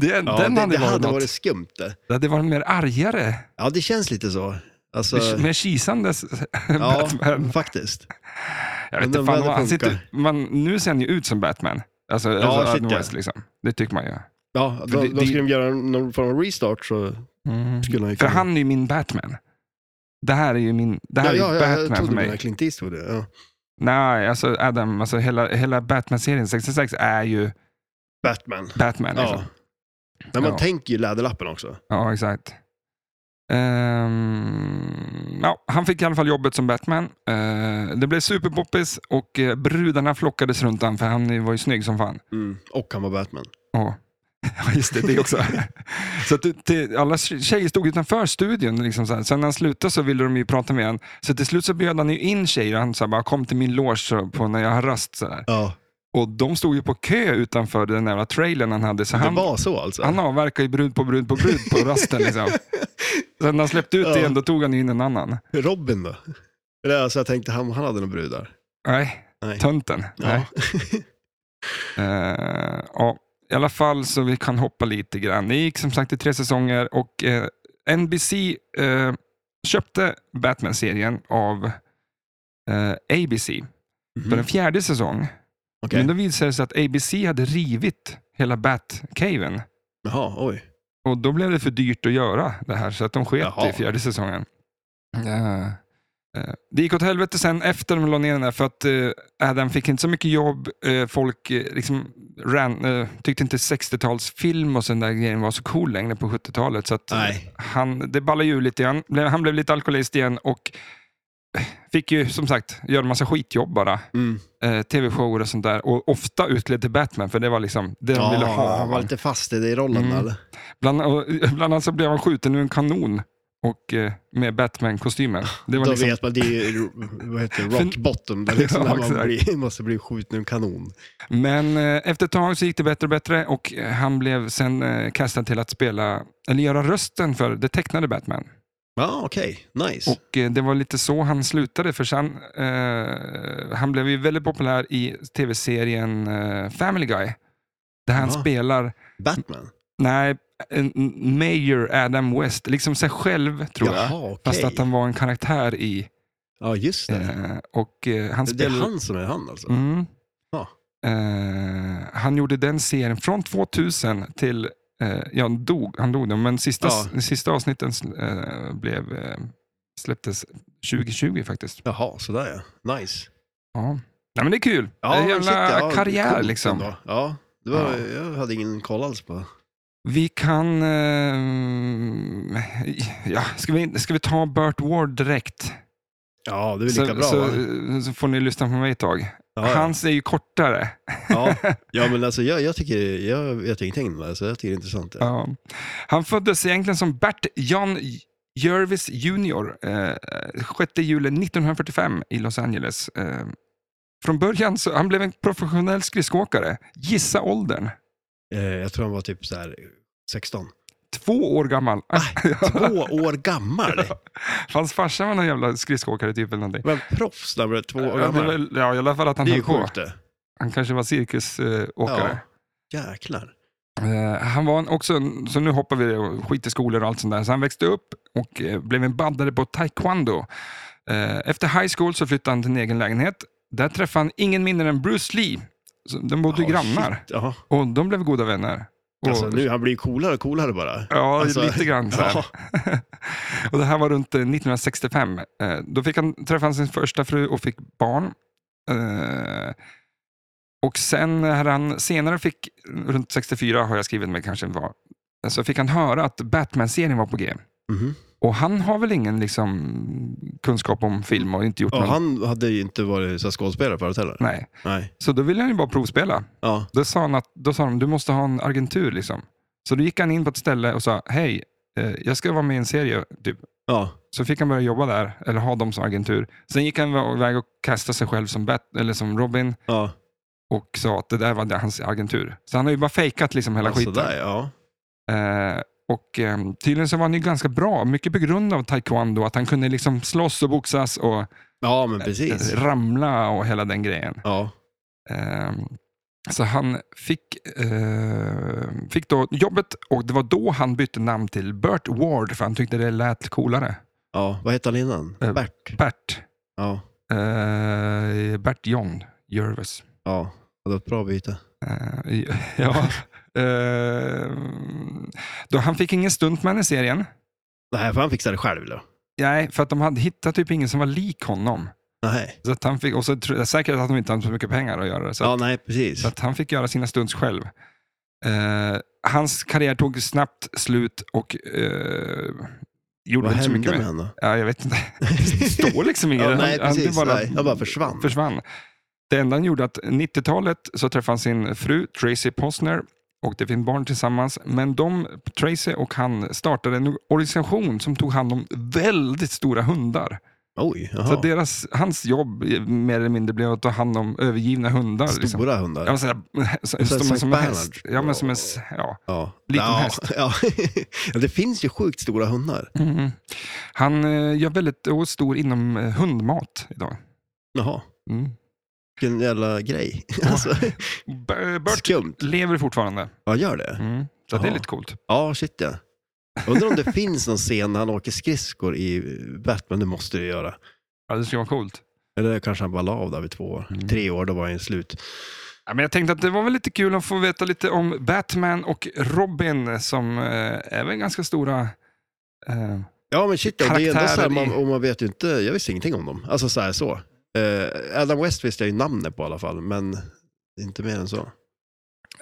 Den,
Ja,
den
det,
hade,
det
varit,
hade
något.
varit skumt det.
Det hade varit mer argare,
Ja, det känns lite så. Alltså,
mer kisandes *laughs*
ja,
Batman.
faktiskt.
Jag
men
vet inte,
den
fan,
hade
han sitter,
funkat.
man, nu ser han ju ut som Batman. Alltså, alltså
shit,
Adam
ja.
West, liksom. Det tycker man ju.
Ja,
För
då,
det-
då
det-
skulle de göra någon form av restart så
Mm.
skulle han ju
För
kunna-
han är ju min Batman. Det här är ju min, det här
ja,
är
ja,
ju
jag
Batman
trodde
för
du menade
mig.
Clint Eastwood. Ja.
Nej, alltså Adam, alltså hela, hela Batman-serien 66 är ju
Batman.
Batman. Liksom.
Ja. Nej, man
Ja.
tänker ju Läderlappen också.
Ja, exakt. Ehm, ja, han fick i alla fall jobbet som Batman. Eh, det blev superpoppis och eh, brudarna flockades runt honom för han var ju snygg som fan.
Mm. Och han var Batman.
Ja, Ja, *laughs* just det, det också. så att, det- det- alla tjejer stod utanför studion. Liksom så här. Sen när han slutade så ville de ju prata med honom. Så till slut så bjöd han ju in tjejer och han sa bara kom till min loge så- på när jag har rast. Så här.
Ja,
Och de stod ju på kö utanför den där trailern han hade. Så han,
det var så alltså.
han avverkade ju brud på brud på brud på rasten.
*laughs*
Liksom. Sen när han släppte ut
Ja.
igen, då tog han ju in en annan.
Robin då? Eller alltså jag tänkte han, han hade några brudar.
Nej,
Nej.
tönten. Nej.
Ja.
Eh, ja, I alla fall så vi kan hoppa lite grann. Det gick som sagt i tre säsonger och eh, NBC eh, köpte Batman-serien av eh, ABC för en
Mhm.
fjärde säsong.
Okej.
Men då visade det sig att ABC hade rivit hela Bat-caven.
Jaha, oj.
Och då blev det för dyrt att göra det här, så att de sket
Jaha.
i fjärde säsongen. Eh, eh, Det gick åt helvete sen efter de la ner den där, för att eh, Adam fick inte så mycket jobb. eh, Folk eh, liksom ran, eh, tyckte inte 60-talsfilm och sån där grejen var så cool längre på 70-talet. Så att eh,
Nej.
han, det ballade ju lite grann. Blev- Han blev lite alkoholist igen och eh, fick ju som sagt göra en massa skitjobb bara.
Mm.
Eh, Tv-shower och sånt där. Och ofta utklädd till Batman, för det var liksom det de ville ha. av
han var
honom.
lite fast i det i rollen
Mm.
eller?
Bland, och, *laughs* bland annat så blev han skjuten ur en kanon och, eh, med Batman-kostymen. Det var
Då
liksom,
vet man, det är ju vad heter det, rock
För-
bottom, där liksom
*laughs* Ja,
när man
exakt.
blir, *laughs* måste bli skjuten ur en kanon.
men eh, efter ett tag så gick det bättre och bättre och eh, han blev sen eh, kastad till att spela, eller göra rösten för det tecknade Batman.
Ja, okej. Nice.
Och eh, det var lite så han slutade för sen, eh, han blev ju väldigt populär i tv-serien eh, Family Guy. Där han
Ja.
spelar,
Batman?
nej, en- en Mayor Adam West, liksom sig själv tror jag.
Jaha, okej.
Fast att han var en karaktär i,
Ja, just det.
eh, och eh, han
det är
spelade...
han som är han alltså?
Mm.
Ja.
Eh, han gjorde den serien från 2000 till, eh, ja, han dog, han dog då, men sista,
Ja.
sista avsnitten eh, blev, eh, släpptes 2020 faktiskt.
Jaha, sådär ja. Nice.
Ja. Nej, men det är kul. det är en jävla
shit, ja,
karriär
coolt
liksom.
ändå. Ja, det var,
Ja.
jag hade ingen koll alls på.
Vi kan, eh, ja, ska vi, ska vi ta Burt Ward direkt?
Ja, det är väl lika
så,
bra
så,
va?
så får ni lyssna på mig ett tag. *laughs*
Ja, ja.
Hans är ju kortare.
Ja, ja men alltså jag, jag tycker, jag vet ingenting om det här, så jag tycker det är intressant. Ja.
Ja. Han föddes egentligen som Bert John Jervis Jr. Eh, 6 juli 1945 i Los Angeles. Eh, från början så han blev en professionell skridskoåkare. Gissa åldern.
Eh, Jag tror han var typ så här 16.
Två år gammal.
Ah. Två år gammal?
*laughs* Hans farsa var någon jävla skridskoåkare typ eller någonting.
Men proffs när man är två år
Ja, det är
gammal.
väl- ja, i alla fall att han
Det är ju
höll på.
sjukt det.
Han kanske var cirkusåkare.
Jäklar.
Eh, Han var en- också, en- så nu hoppar vi det och skit i skolor och allt sånt där. Så han växte upp och eh, blev en bandare på taekwondo. Eh, Efter high school så flyttade han till en egen lägenhet. Där träffade han ingen mindre än Bruce Lee. Så De bodde
Ja,
grannar
shit. Ja.
och de blev goda vänner. Och,
Alltså, nu, han blir ju coolare och coolare bara.
Ja,
alltså,
lite grann så här.
*laughs* ja.
*laughs* och det här var runt eh, 1965. Eh, Då fick han träffa sin första fru och fick barn. Eh, Och sen när han senare fick, runt 64 har jag skrivit mig kanske var, så fick han höra att Batman-serien var på G.
Mhm.
Och han har väl ingen liksom, kunskap om film och inte gjort
Ja,
någon...
han hade ju inte varit så här skådespelare förut heller.
Nej.
Nej.
Så då ville han ju bara provspela.
Ja.
Då sa, han att, då sa de, du måste ha en agentur liksom. Så då gick han in på ett ställe och sa, hej, eh, jag ska vara med i en serie. Typ.
Ja.
Så fick han börja jobba där, eller ha dem som agentur. Sen gick han iväg och kastade sig själv som, Bat, eller som Robin
Ja.
och sa att det där var hans agentur. Så han har ju bara fejkat liksom hela
Ja,
skiten.
sådär, Alltså, ja.
Eh, och eh, tydligen så var han ju ganska bra, mycket på grund av taekwondo, att han kunde liksom slåss och boxas och eh,
ja, men precis.
ramla och hela den grejen.
Ja.
Ehm, Så han fick, ehm, fick då jobbet och det var då han bytte namn till Bert Ward för han tyckte det lät coolare.
ja. Vad hette han innan?
Eh,
Bert.
Bert.
Ja.
Eh, Bert John Jervis.
Ja. Det var ett bra byte.
Eh, *laughs* ja. Ehm, då han fick ingen stuntman i serien.
Nej, för han fixade det själv då.
Nej, för att de hade hittat typ ingen som var lik honom.
Nej.
Så att han fick, och så tror jag säkert att de inte hade så mycket pengar att göra det. Så att
Ja, nej, precis.
Så att han fick göra sina stunts själv. Eh, hans karriär tog snabbt slut och eh, gjorde
Vad
inte så
hände
mycket
med
mer.
honom?
Ja, jag vet inte. *laughs* Det står liksom inget.
Ja, nej,
Han- han- det
precis. Nej, han bara försvann.
försvann. Det enda han gjorde att 90-talet så träffade han sin fru Tracy Posner och det finns barn tillsammans. Men de, Tracy och han startade en organisation som tog hand om väldigt stora hundar.
*laughs* Oj, jaha.
Så deras, hans jobb eh, mer eller mindre blev att ta hand om övergivna hundar.
Stora
liksom.
hundar.
Ja, men sådär, som,
här
som,
Saint
som en häst.
Bernard.
Ja, men som en, s- ja.
Ja.
Liten
ja,
häst.
*laughs* Ja. ja, det finns ju sjukt stora hundar.
Mhm. Han eh, gör väldigt och stor inom eh, hundmat idag.
Jaha,
Mm.
vilken jävla grej. *laughs* Alltså,
B- Bert
*laughs* skumt.
lever fortfarande.
Ja, gör det?
Mm. Så det är
Jaha.
lite coolt.
Ja, shit ja. Undrar om det finns någon scen när han åker skridskor i Batman, det måste det göra.
Ja, det skulle vara coolt.
Eller kanske han bara la av där vid två år.
Mm.
Tre år, då var han ju slut.
Ja, men jag tänkte att det var väl lite kul att få veta lite om Batman och Robin som eh, är väl ganska stora. Eh,
Ja, men shit, ja, det är ju ändå så här,
Karaktärer i-
man, och man vet ju inte, jag visste ingenting om dem. Alltså så här så. Eh, Adam West visste jag ju namnet på i alla fall, men inte mer än så.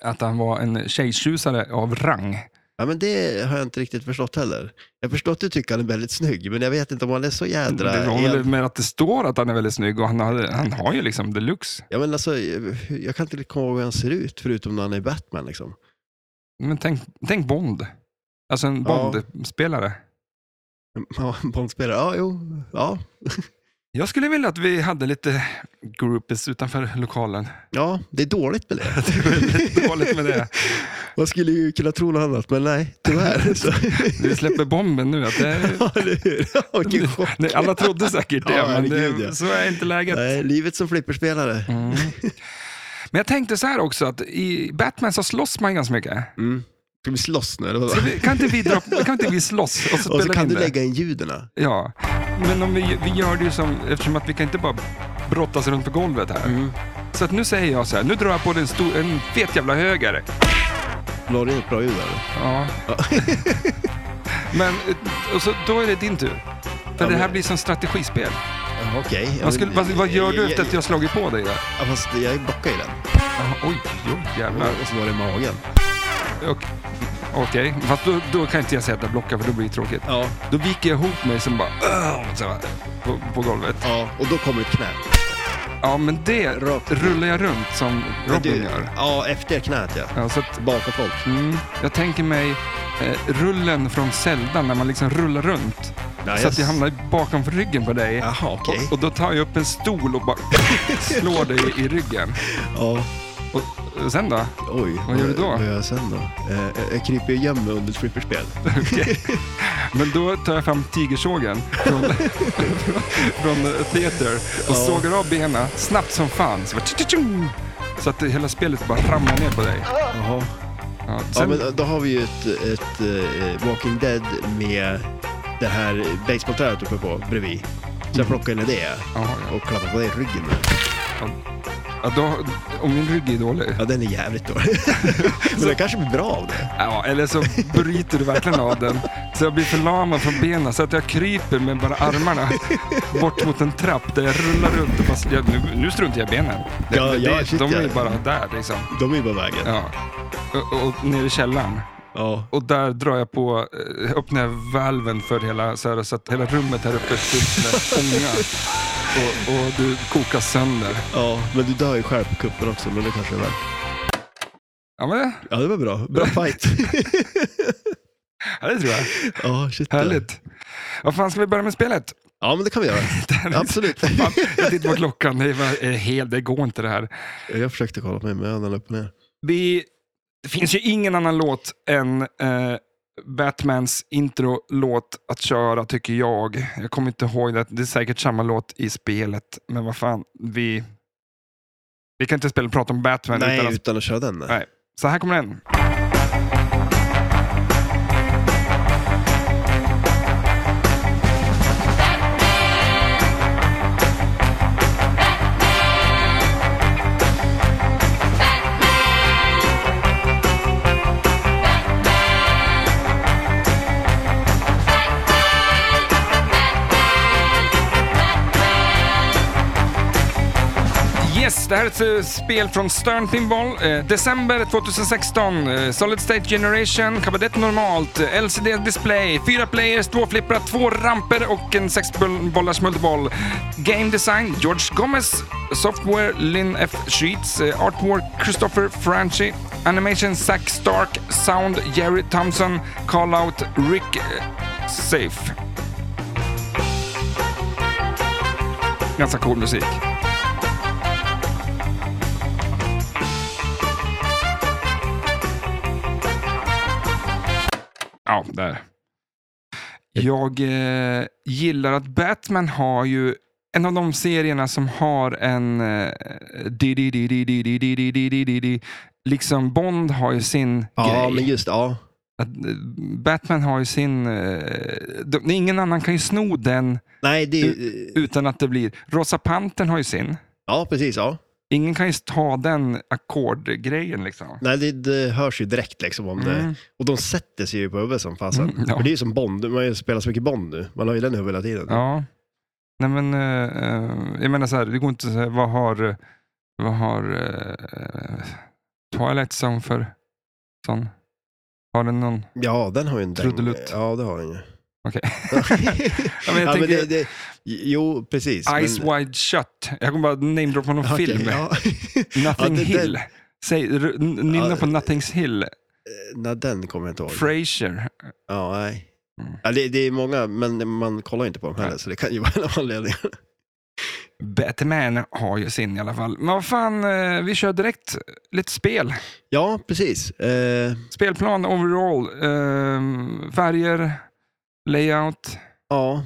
att han var en tjejtjusare av rang.
Ja, men det har jag inte riktigt förstått heller. Jag har förstått att du tycker han är väldigt snygg, men jag vet inte om han är så jädra...
Det var väl
el-
med att det står att han är väldigt snygg och han har, han har ju liksom deluxe.
Ja, men alltså, jag kan inte riktigt komma ihåg hur han ser ut, förutom när han är Batman. Liksom.
Men tänk, tänk Bond. Alltså en
Ja.
Bond-spelare.
Ja, *laughs* Bondspelare. Ja, jo. Ja.
Jag skulle vilja att vi hade lite groupies utanför lokalen. *laughs*
ja, det är dåligt med det.
Det är väldigt dåligt med det.
Man skulle ju kunna tro något annat, men nej,
*laughs*
tyvärr. Så. *laughs*
Vi släpper bomben nu. Att det är...
ja, eller hur? Ja, vilken chock.
*laughs* Nej, alla trodde säkert det,
Ja,
men
herregud, ja.
det, så är inte läget.
Nej, livet som flipperspelare.
Mm. Men jag tänkte så här också, att i Batman så slåss man ganska mycket.
Mm. Ska vi slåss nu eller vadå?
Så vi, kan, inte vi dra,
*laughs*
kan inte vi slåss och så spelar
Och
vi
så
in
kan du
det?
lägga in ljuden.
Ja, men om vi, vi gör det ju som, eftersom att vi kan inte bara brottas runt på golvet här.
Mm.
Så att nu säger jag så här, nu drar jag på en, stor, en fet jävla höger.
La du in ett bra ljud där?
Ja. *laughs* men, eh, och så, då är det din tur. För det här
men-
blir som strategispel.
Ja, Okej. Ja,
Vad, skulle,
men-
vad, vad gör du
jag-
efter att jag slagit på dig? Där?
Ja, fast jag bockade ju den.
Jaha, Oj, oj, jävlar.
Och så var det i magen.
Och- Okej, fast då, då kan inte jag säga att jag blockar för då blir det tråkigt.
Ja.
Då viker jag ihop mig som bara... "Åh", Så här, på, på golvet.
Ja, och då kommer ett knä.
Ja, men det
Rakt.
rullar jag runt som
Men
Robin
du-
gör.
Ja, efter knät ja.
Ja, så att,
Baka folk.
mm, jag tänker mig eh, rullen från Zelda när man liksom rullar runt.
Ja,
så
jag-
att jag hamnar bakom ryggen på dig.
Jaha, okej. *laughs*
Och, och då tar jag upp en stol och bara slår dig i ryggen.
Ja.
Och sen då?
Oj,
Vad gör du då?
Vad gör jag sen då? Eh, jag kryper igen mig under ett flipperspel.
Men då tar jag fram tigersågen från,
*laughs*
från eh, Theater och sågar av benen snabbt som fan. Så, bara, tju-tju-tju. så att det- hela spelet bara ramlar ner på dig.
Jaha.
Ja,
Ja,
sen,
men då har vi ju ett, ett eh, Walking Dead med det här basebollträdet uppe på bredvid. Så jag plockar ner det
Jaha, ja.
och klappar på det i ryggen.
ja, då, om min rygg är dålig,
Ja, den är jävligt dålig. *laughs* Men det kanske blir bra av det.
ja, eller så bryter du verkligen av den. Så jag blir förlamad från benen så att jag kryper med bara armarna bort mot en trapp där jag rullar runt och bara, ja, nu, nu struntar jag i benen. Det-
Ja,
det-
ja,
det-
shit,
de är ju
ja.
bara där liksom.
De är ju bara vägen.
Ja. Och, och, och ner i källaren.
Ja.
Och där drar jag på, eh, öppnar jag valven för hela, så, här, så att hela rummet här uppe är fyllt *laughs* med ånga. Och, och du kokas sönder.
ja, men du dör ju själv på kuppen också, men det kanske är värt.
Ja, men det,
Ja, det var bra. Bra fight. *laughs*
ja, det tror jag.
ja, shit. ja.
Härligt. Vad fan, ska vi börja med spelet? *laughs*
Ja, men det kan vi göra. Absolut.
Fan, jag tittar på klockan, det, var, eh, helt, det går inte det här.
jag försökte kolla på mig, men jag hade upp och ner.
Vi, det finns ju ingen annan låt än eh, Batmans intro-låt att köra, tycker jag. Jag kommer inte ihåg det. Det är säkert samma låt i spelet, men vad fan. Vi, vi kan inte spela och prata om Batman. utan
Nej,
att,
utan att köra den. Nej.
nej. Så här kommer den. Yes, det här är ett eh, spel från Stern Pinball. Eh, december 2016. Eh, Solid State Generation, kabinett normalt, eh, LCD display, fyra players, två flipprar, två ramper och en sex boll- bollars multiboll. Game design, George Gomez. Software, Lynn F. Sheets. Eh, artwork, Christopher Franchi. Animation, Zack Stark. Sound, Jerry Thompson. Callout, Rick eh, Safe. Ganska cool musik. Ja, där. Jag eh, gillar att Batman har ju en av de serierna som har en... Eh, di- di- di- di- di- di- di- di- di- di- di- di. liksom Bond har ju sin
Ja,
grej.
men just ja.
Att, eh, Batman har ju sin... Eh, de, ingen annan kan ju sno den
Nej, det är...
utan att det blir... Rosa Pantern har ju sin.
Ja, precis. Ja.
Ingen kan ju ta den ackordgrejen liksom.
Nej, det, det hörs ju direkt liksom om
Mm.
det. Och de sätter sig ju på huvudet som fasen.
Mm, ja.
För det är ju som Bond, man har ju spelat så mycket Bond nu. Man har ju den i huvudet hela tiden.
Ja. Nej men, eh, eh, jag menar så här, det går inte så här, vad har, eh, vad har eh, Twilight Zone för sån? Har den någon?
Ja, den har ju en däng.
Trudelutt.
Ja, det har den ju.
Okej. *laughs*
ja,
Ja, men jag
men
tänker,
det, det, jo, precis.
Eyes
men,
Wide Shut. Jag kommer bara namedroppa någon
Okej,
film.
Ja. *laughs*
Nothing
Ja, det-
Hill. Säg, r- n- nynna
Ja,
på Nothings Hill.
Nej, den kommer jag inte ihåg.
Frasier.
Ja, nej.
Mm.
Ja, det, det är många, men man kollar ju inte på dem heller,
Nej.
så det kan ju vara en av anledningarna.
Batman har ju sin i alla fall. Men vad fan, eh, vi kör direkt lite spel.
Ja, precis. Eh,
Spelplan overall. eh, färger, layout.
ja,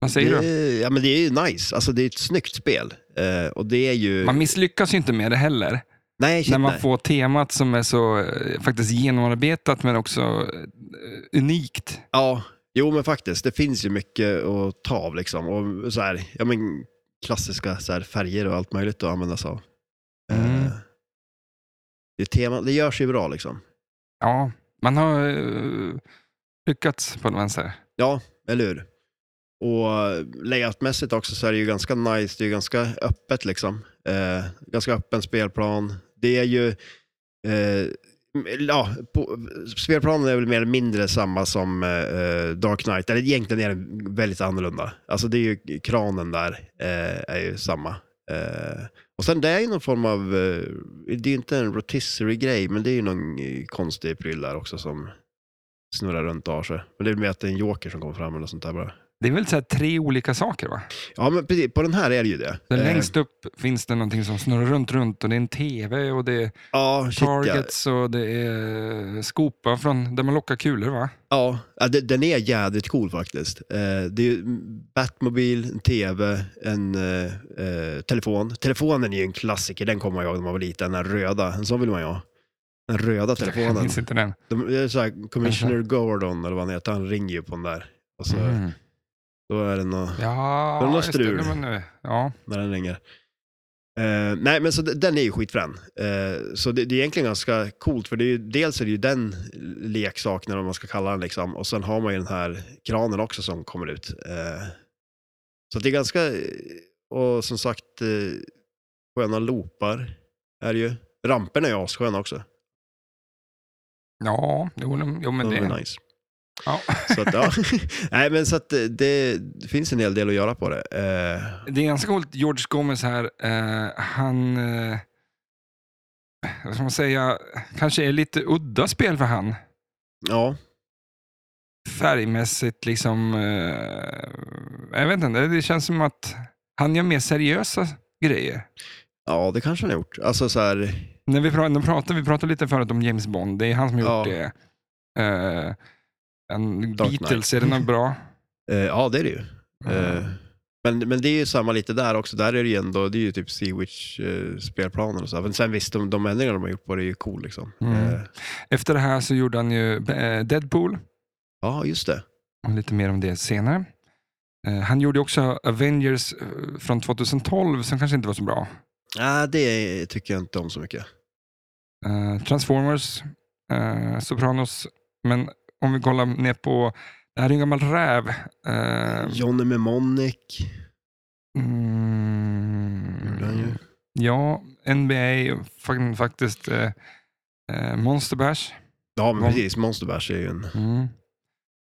Vad säger du?
det, ja, men det är ju nice. Alltså, det är ett snyggt spel. Eh, och det är ju...
Man misslyckas ju inte med det heller.
nej, shit,
när man
nej.
får temat som är så eh, faktiskt genomarbetat men också eh, unikt.
Ja, jo men faktiskt. Det finns ju mycket att ta av liksom. Och så här, ja men klassiska så här, färger och allt möjligt att använda sig av.
Mm.
Eh, Det, tema, det görs ju bra liksom.
Ja, man har eh, lyckats på något vänster.
Ja, eller hur? Och eh, layoutmässigt också så är det ju ganska nice. Det är ju ganska öppet liksom. Eh, ganska öppen spelplan. Det är ju... Eh, Ja, på, spelplanen är väl mer eller mindre samma som eh, Dark Knight. Eller egentligen är den väldigt annorlunda. Alltså det är ju kranen där eh, är ju samma. Eh, och sen det är ju någon form av, eh, det är ju inte en rotisserie-grej, men det är ju någon eh, konstig pryll där också som snurrar runt och har sig. Men det är väl mer att det är en joker som kommer fram eller något sånt där bara.
Det är väl så här tre olika saker va?
Ja, men precis. På den här är det ju det.
Där
Eh,
längst upp finns det någonting som snurrar runt, runt och det är en TV och det är
ja, shit, ja.
targets och det är eh, skopa från där man lockar kulor va?
Ja, ja det, den är jädrigt cool faktiskt. Eh, det är ju Batmobil, en TV, en eh, eh, telefon. Telefonen är ju en klassiker, den kommer jag ihåg när man var liten. Den röda, en sån vill man ju ha. Den röda
Jag *laughs*
telefonen.
minns inte den.
De, det är så här, Commissioner Gordon eller vad han heter, han ringer ju på den där. Och så,
Mm.
Då är det nå Var det
Ja,
något
just det.
strul?
Nej, men nu- Ja.
när den ringer. Eh, nej, men så d- den är ju skitfrän. Eh, så det, det är egentligen ganska coolt, för det är ju, dels är det ju den leksaken, eller vad man ska kalla den, liksom, och sen har man ju den här kranen också som kommer ut. Eh, så det är ganska, eh, och som sagt, eh, sköna loopar är det ju. Ramperna är ju assköna också.
Ja, jo, de- jo men
De
det...
är nice.
Ja.
*laughs* Så att, ja. nej, men så att eh, det, det finns en hel del att göra på det. Eh,
Det är ganska coolt, George Gomez här, eh, han, eh, vad ska man säga, kanske är lite udda spel för han.
ja.
Färgmässigt liksom, eh, jag vet inte, det känns som att han gör mer seriösa grejer.
ja, det kanske han har gjort. Alltså så här,
När vi, pra- när vi, pratade, vi pratade lite förut om James Bond, det är han som har gjort
Ja.
det. Eh, en
Dark
Beatles, är den något bra?
Eh, ja, det är det ju. *laughs* Eh, men, men det är ju samma lite där också. Där är det ju ändå, det är ju typ Sea Witch eh, spelplanen och så. Men sen visst, de, de ändringar de har gjort på det är ju cool liksom.
Mm.
Eh,
Efter det här så gjorde han ju eh, Deadpool.
ja, just det.
Och Lite mer om det senare. Eh, Han gjorde också Avengers eh, från 2012 som kanske inte var så bra.
Nej, det tycker jag inte om så mycket.
Eh, Transformers, eh, Sopranos. Men om vi kollar ner på, det här är en gammal räv. Eh,
Johnny Mnemonic gjorde han ju.
mm, ja, NBA, och fak- faktiskt eh, eh, Monster Bash.
Ja, men
Mon-
precis. Monster Bash är ju en...
Mm.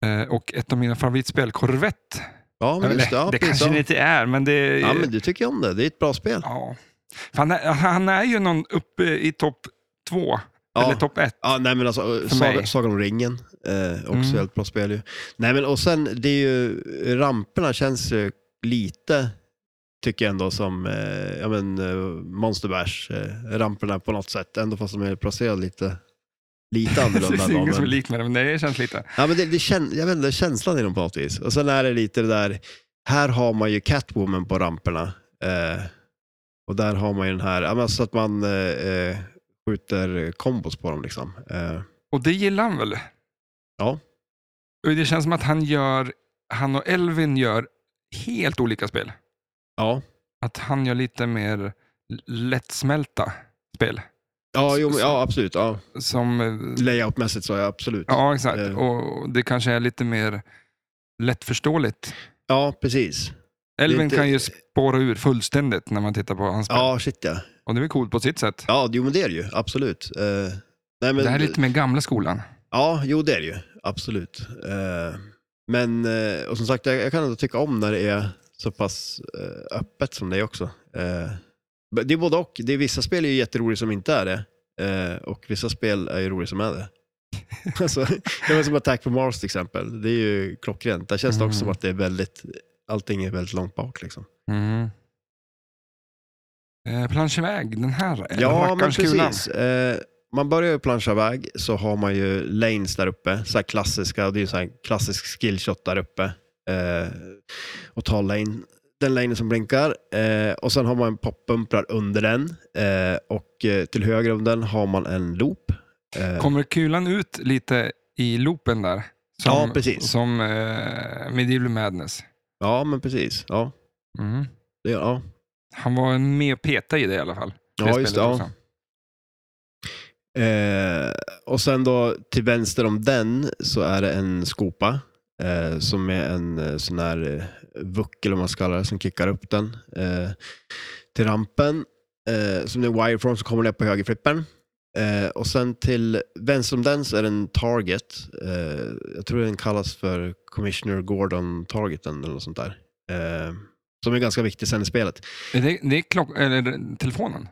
Eh, och ett av mina favoritspel, Corvette.
Ja, men
Eller,
just det. Ja,
det
precis,
kanske det
ja.
inte är, men det...
ja, men du tycker om det. Det är ett bra spel.
Ja. För han, är, han är ju någon uppe i topp två,
Ja.
eller topp ett.
Ja, nej men alltså, eh,
För
Saga,
mig.
Sagan om ringen, eh, också
Mm.
ett bra spel ju. Nej men och sen, det är ju, ramperna känns ju lite, tycker jag ändå, som eh, ja, men, eh, Monster Bash, eh, ramperna på något sätt, ändå fast de är placerade lite,
*laughs*
lite
Det
annorlunda.
är
ändå,
ingen som är
men,
lik med det, men det känns lite.
ja, men det, det kän, jag vet inte, känslan i dem på något vis. Och sen är det lite det där, här har man ju Catwoman på ramperna. Eh, och där har man ju den här, ja, men, så att man eh, eh, skjuter kombos på dem liksom. Eh,
Och det gillar han väl?
Ja.
Och det känns som att han gör, han och Elvin gör helt olika spel.
ja.
Att han gör lite mer lättsmälta spel.
Ja,
Så-
jo, men-
så-
ja absolut. Ja.
Som, eh,
Layoutmässigt så ja, absolut. Ja,
ja exakt,
Eh.
och det kanske är lite mer lättförståeligt.
precis.
Elvin
Lite-
kan ju spåra ur fullständigt när man tittar på hans spel.
Ja, shit ja.
Och det är väl coolt på sitt sätt.
Ja, jo men det är det ju, absolut. Eh, nej, men,
det här är lite mer gamla skolan.
Ja, jo det är det ju, absolut. Eh, men, eh, och som sagt, jag, jag kan ändå tycka om när det är så pass eh, öppet som det är också. Eh, men det är både och. Det är, vissa spel är ju jätteroliga som inte är det. Eh, och vissa spel är ju roliga som är det. *laughs* alltså, det var som Attack from Mars till exempel. Det är ju klockrent. Där känns det också
Mm.
som att det är väldigt, allting är väldigt långt bak liksom.
Mm. Eh, plansch iväg, den här eller
Ja, men
rackarns kulan.
precis. Eh, man börjar ju planscha iväg, så har man ju lanes där uppe. Så här klassiska, det är ju så här klassisk skillshot där uppe. Eh, och ta lane, den lanen som blinkar. Eh, och sen har man en poppumprar under den. Eh, och eh, till höger om den har man en loop. Eh,
Kommer kulan ut lite i loopen där? Som,
Ja, precis.
Som eh, Medieval Madness.
ja, men precis. Ja,
Mm.
det, ja.
Han var med och petade i det i alla fall.
ja
spelet
just det. Ja.
också.
Eh, och sen då till vänster om den så är det en skopa eh, som är en eh, sån här eh, vuck eller vad man ska kalla det som kickar upp den eh, till rampen. Eh, som det är wire från så kommer den upp på högerflippen. Eh, och sen till vänster om den så är det en target. Eh, jag tror den kallas för Commissioner Gordon targeten eller något sånt där. Eh, som är ganska viktig sen i spelet.
Är Det, det är klock, eller, telefonen?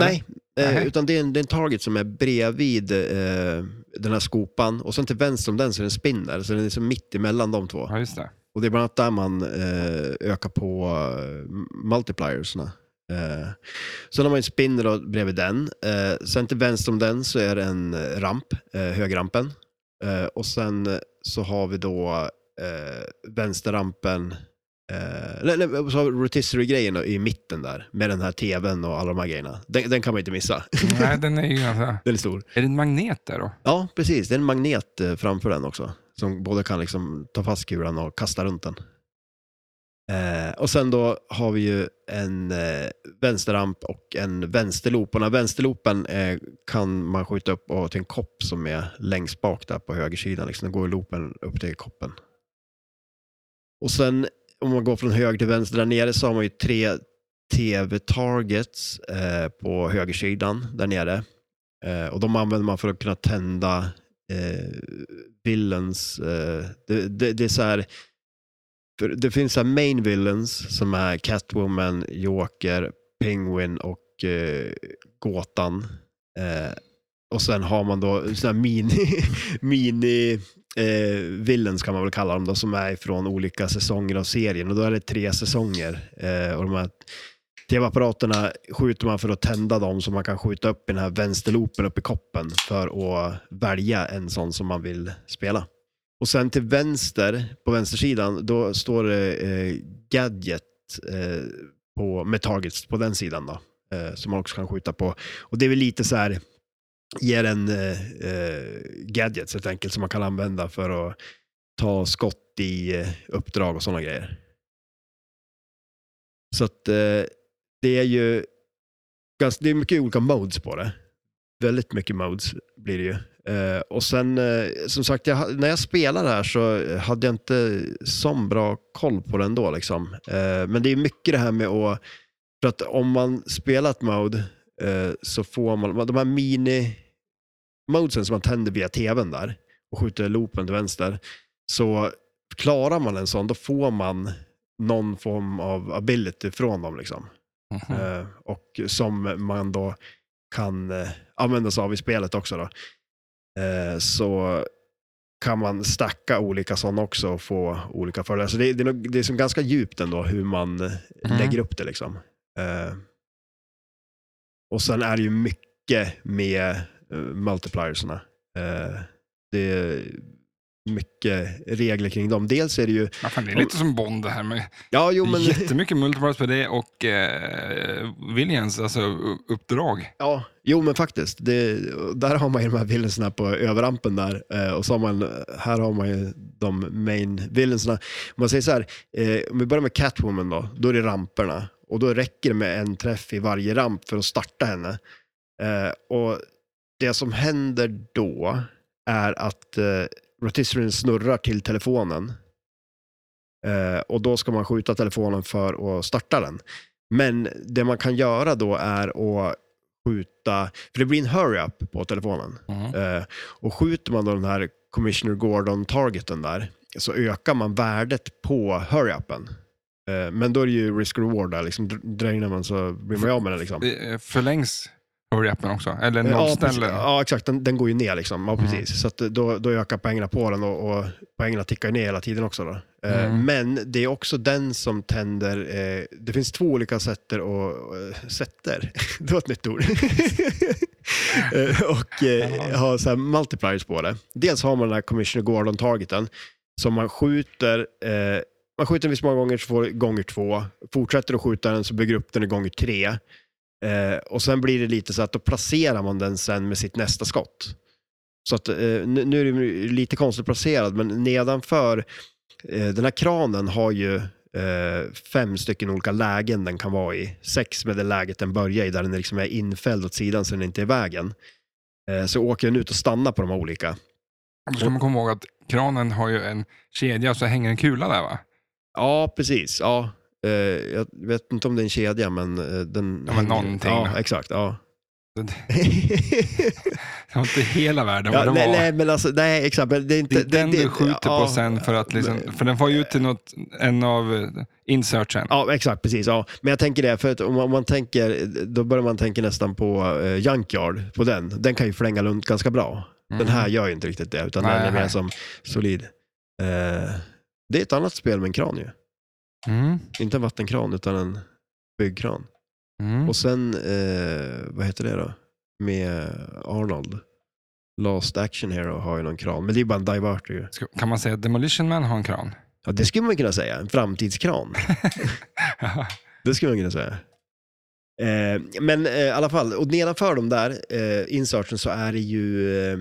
Eller?
Nej, eh,
Nej.
utan det är, en, det är en target som är bredvid eh, den här skopan och sen till vänster om den så är det en spinner, så den är liksom mitt emellan de två. *laughs*
Ja, just det.
Och det är bland annat där man eh, ökar på eh, multipliersna. Eh, sen har man en spinner då bredvid den. Eh, sen till vänster om den så är det en eh, ramp, eh, högrampen. Eh, och sen eh, så har vi då eh, vänsterrampen, eh, nej, nej, och så har vi rotisserie-grejen då i mitten där med den här tvn och alla de här grejerna. Den, den kan man inte missa, *laughs*
Nej, den är ju alltså- ganska...
den är stor.
Är det en magnet där då?
Ja, precis. Det är en magnet eh, framför den också. Som både kan liksom ta fast kulan och kasta runt den. Eh, och sen då har vi ju en eh, vänsterramp och en vänsterloop. Och den här vänsterloopen eh, kan man skjuta upp och till en kopp som är längst bak där på högersidan. Liksom. Då går loopen upp till koppen. Och sen om man går från höger till vänster där nere så har man ju tre tv-targets eh, på högersidan där nere. Eh, och de använder man för att kunna tända eh, villains. Eh, det, det, det är så här, för det finns så här main villains som är Catwoman, Joker, Penguin och eh, Gåtan. Eh, och sen har man då såna här mini, *laughs* mini eh, villains kan man väl kalla dem då, som är från olika säsonger av serien. Och då är det tre säsonger. Eh, och de här TV-apparaterna skjuter man för att tända dem så man kan skjuta upp i den här vänsterloopen upp i koppen för att välja en sån som man vill spela. Och sen till vänster, på vänstersidan, då står det eh, Gadget eh, på, med targets på den sidan då. Eh, som man också kan skjuta på. Och det är väl lite så här, ger en eh, eh, gadgets helt enkelt som man kan använda för att ta skott i eh, uppdrag och sådana grejer. Så att eh, det är ju ganska, det är mycket olika modes på det. Väldigt mycket modes blir det ju. Eh, och sen, eh, som sagt, jag, ha- när jag spelade här så hade jag inte så bra koll på det ändå. Liksom. Eh, men det är mycket det här med att, för att om man spelar ett mode eh, så får man, de här mini-modesen som man tänder via tvn där och skjuter loopen till vänster, så klarar man en sån, då får man någon form av ability från dem. Liksom.
Mhm.
Eh, och som man då kan eh, använda sig av i spelet också. Då. Eh, så kan man stacka olika sådana också och få olika fördelar. Så det, det, är, nog, det är som ganska djupt ändå hur man eh,
Mm.
lägger upp det. liksom. Eh, och sen är det ju mycket med eh, multipliersarna. Eh, det är mycket regler kring dem. Dels är det ju...
Ja, fan, det är lite som Bond det här med
Ja, jo,
*laughs*
men,
jättemycket multiplats på det och eh, Williams, alltså u- uppdrag.
Ja, jo men faktiskt. Det, där har man ju de här villensna på överrampen där. Eh, och så har man, här har man ju de main villensna. Om man säger så här, eh, om vi börjar med Catwoman då, då är det ramperna. Och då räcker det med en träff i varje ramp för att starta henne. Eh, och det som händer då är att eh, rotisserien snurrar till telefonen. Eh, och då ska man skjuta telefonen för att starta den. Men det man kan göra då är att skjuta, för det blir en hurry-up på telefonen.
Mhm.
Eh, och skjuter man då den här Commissioner Gordon-targeten där, så ökar man värdet på hurry-upen. Eh, men då är det ju risk-reward där, liksom dr- dränar man så blir man ju av med den liksom. Eh,
Det eh, förlängs hurry-upen också, eller
Ja, precis.
nollställer.
ja, exakt. Den, den går ju ner liksom. Ja, precis. Så att då, då ökar poängerna på den och, och poängerna tickar ju ner hela tiden också. Då. Eh,
Mm.
Men det är också den som tänder... Eh, det finns två olika sätter och... eh, Sätter? *laughs* Det var ett nytt ord. Eh, och eh, har så här multipliers på det. Dels har man den här Commissioner Gordon-targeten som man skjuter eh, man skjuter den visst många gånger så får gånger två. Fortsätter att skjuta den så bygger upp den i gånger tre. Eh, och sen blir det lite så att då placerar man den sen med sitt nästa skott. Så att eh, nu, nu är den ju lite konstigt placerad, men nedanför eh, den här kranen har ju eh, fem stycken olika lägen den kan vara i. Sex med det läget den börjar i, där den liksom är infälld åt sidan så den inte är i vägen. Eh, så åker den ut och stannar på de här olika.
Då ska man komma ihåg att kranen har ju en kedja och så hänger en kula där va?
Ja, precis. Ja. Eh, jag vet inte om det är en kedja, men eh, den...
Ja, men någonting.
Ja, exakt. Ja. *laughs*
Det var inte hela världen
ja,
vad det
nej,
var.
nej, men alltså, nej, exakt. Men det är inte...
Det är den
det-
du skjuter
ja,
på sen för att liksom, för den får ju ut till något, en av eh, insertsen.
Ja, exakt. Precis. Ja. Men jag tänker det, för att om man, om man tänker, då börjar man tänka nästan på eh, Junkyard, på den. Den kan ju flänga runt ganska bra. Den här gör ju inte riktigt det, utan
Mm. Nej,
den är mer
nej.
som solid. Eh, Det är ett annat spel med en kran ju.
Mm.
Inte en vattenkran utan en byggkran.
Mm.
Och sen, eh, vad heter det då? Med Arnold. Last Action Hero har ju någon kran, men det är ju bara en diverter ju.
Ska- Kan man säga att Demolition Man har en kran? *laughs*
Ja, det skulle man kunna säga, en framtidskran. Det skulle man kunna säga. Eh, men eh, i alla fall, och nedanför de där eh, inserten så är det ju eh,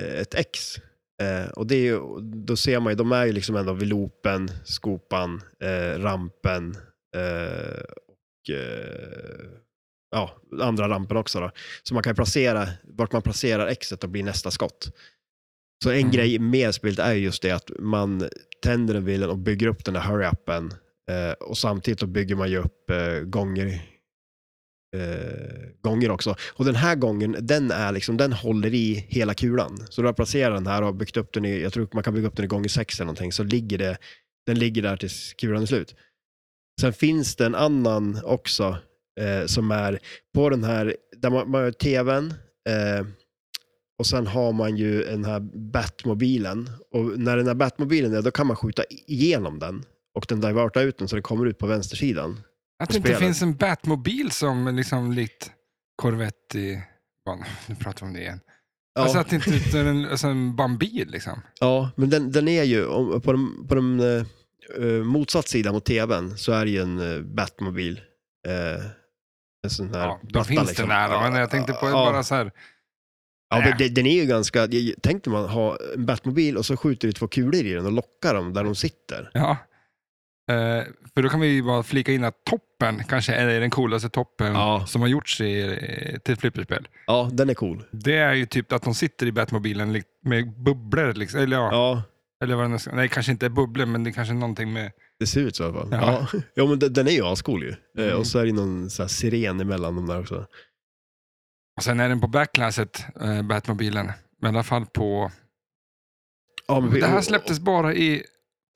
ett X. Eh, och det är ju, då ser man ju, de är ju liksom ändå vid loopen, skopan, eh, rampen eh, och eh, ja, andra rampen också. Då. Så man kan ju placera, vart man placerar Xet och blir nästa skott. Så en
Mm.
grej med spelet är ju just det att man tänder den bilen och bygger upp den där hurry-upen Eh, och samtidigt då bygger man ju upp eh, gånger, eh, gånger också. Och den här gången, den, är liksom, den håller i hela kulan. Så du har placerat den här och byggt upp den i, jag tror man kan bygga upp den i gånger sex eller någonting, så ligger det, den ligger där tills kulan är slut. Sen finns det en annan också eh, som är på den här, där man, man har tvn, eh, och sen har man ju den här Batmobilen. Och när den här Batmobilen är, då kan man skjuta igenom den och den divertar ut den så den kommer ut på vänstersidan.
Att
på
det inte
spelet.
finns en Batmobil som liksom likt Corvette i... Fan, Nu pratar vi om det igen.
Ja,
Alltså att det inte är en, alltså en bambil liksom.
ja men den, den är ju, om- på den, på den eh, eh, motsatt sidan mot tvn så är det ju en eh, Batmobil. Eh, en sån här
Ja, då
platta
finns
liksom.
den där, men jag tänkte på
ja,
bara så här.
Ja, men det- den är ju ganska, tänkte man ha en Batmobil och så skjuter du två kulor i den och lockar dem där de sitter.
Ja. Eh, för då kan vi ju bara flika in att toppen kanske är den coolaste toppen
Ja.
som har gjorts i, eh, till ett flipperspel.
Ja, den är cool.
Det är ju typ att de sitter i Batmobilen likt- med bubblor. Liksom. Eller, ja,
Ja,
eller vad det nu ska, nej, kanske inte bubblor, men det är kanske är någonting med...
Det ser ut så i alla fall.
Ja.
Ja. *laughs* Ja. men den, den är ju ascool ju. Eh,
Mm.
Och så är det ju någon så här siren emellan dem där också.
Och sen är den på backlasset, eh, Batmobilen. Men I alla fall på...
Ja, men,
Det här släpptes bara i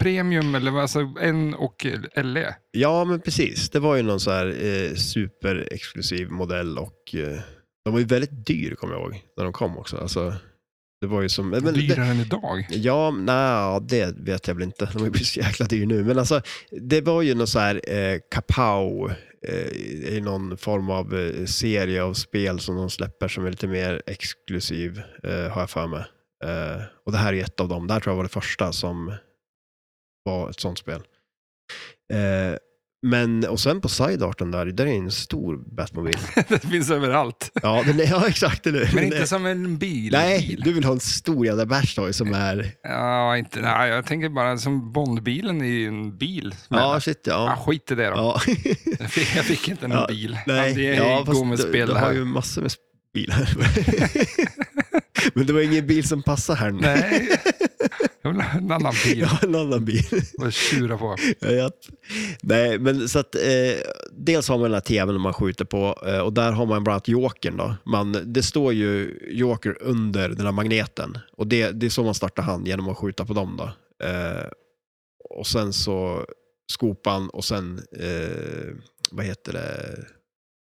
premium, eller vad, alltså N och E. LE.
Ja, men precis. Det var ju någon så här eh, superexklusiv modell och eh, de var ju väldigt dyr kommer jag ihåg när de kom också. Alltså, det var ju som... eh, Men, det,
Dyrare än
*laughs*
idag.
ja, nej, det vet jag väl inte. De är ju så jäkla dyr nu. Men alltså, det var ju någon så här eh, kapow eh, i någon form av eh, serie av spel som de släpper som är lite mer exklusiv, eh, har jag för mig. Eh, och det här är ett av dem. Det här tror jag var det första som var ett sånt spel. Eh, men, och sen på sidearten där, där är en stor
*laughs*
Batmobil.
det finns överallt.
Ja, den är, ja exakt. Eller?
*laughs* Men
hur? Den
inte
är,
som en bil.
nej, du vill ha en stor jävla Bashtoy som är...
Ja, inte, nej, jag tänker bara som Bondbilen är ju en bil. Men,
Ja, shit
ah,
ja.
skit i det då.
ja.
*laughs* Jag, fick, jag fick inte någon
Ja,
bil.
*laughs* Nej,
Ja, Alltså, det är
ja,
gå
fast
med
du-
spel
du
det
har
här.
ju massor med sp- bilar. *laughs* Men det var ingen bil som passade här
*laughs*
nu.
Nej, jag vill ha en annan bil
Jag har en annan bil.
att tjura på.
Ja, ja. Nej, men så att, eh, dels har man den här tvn man skjuter på eh, och där har man bland annat jokern. Då. Man, det står ju joker under den här magneten och det, det är så man startar hand genom att skjuta på dem. Då. Eh, och sen så skopan och sen, eh, vad heter det,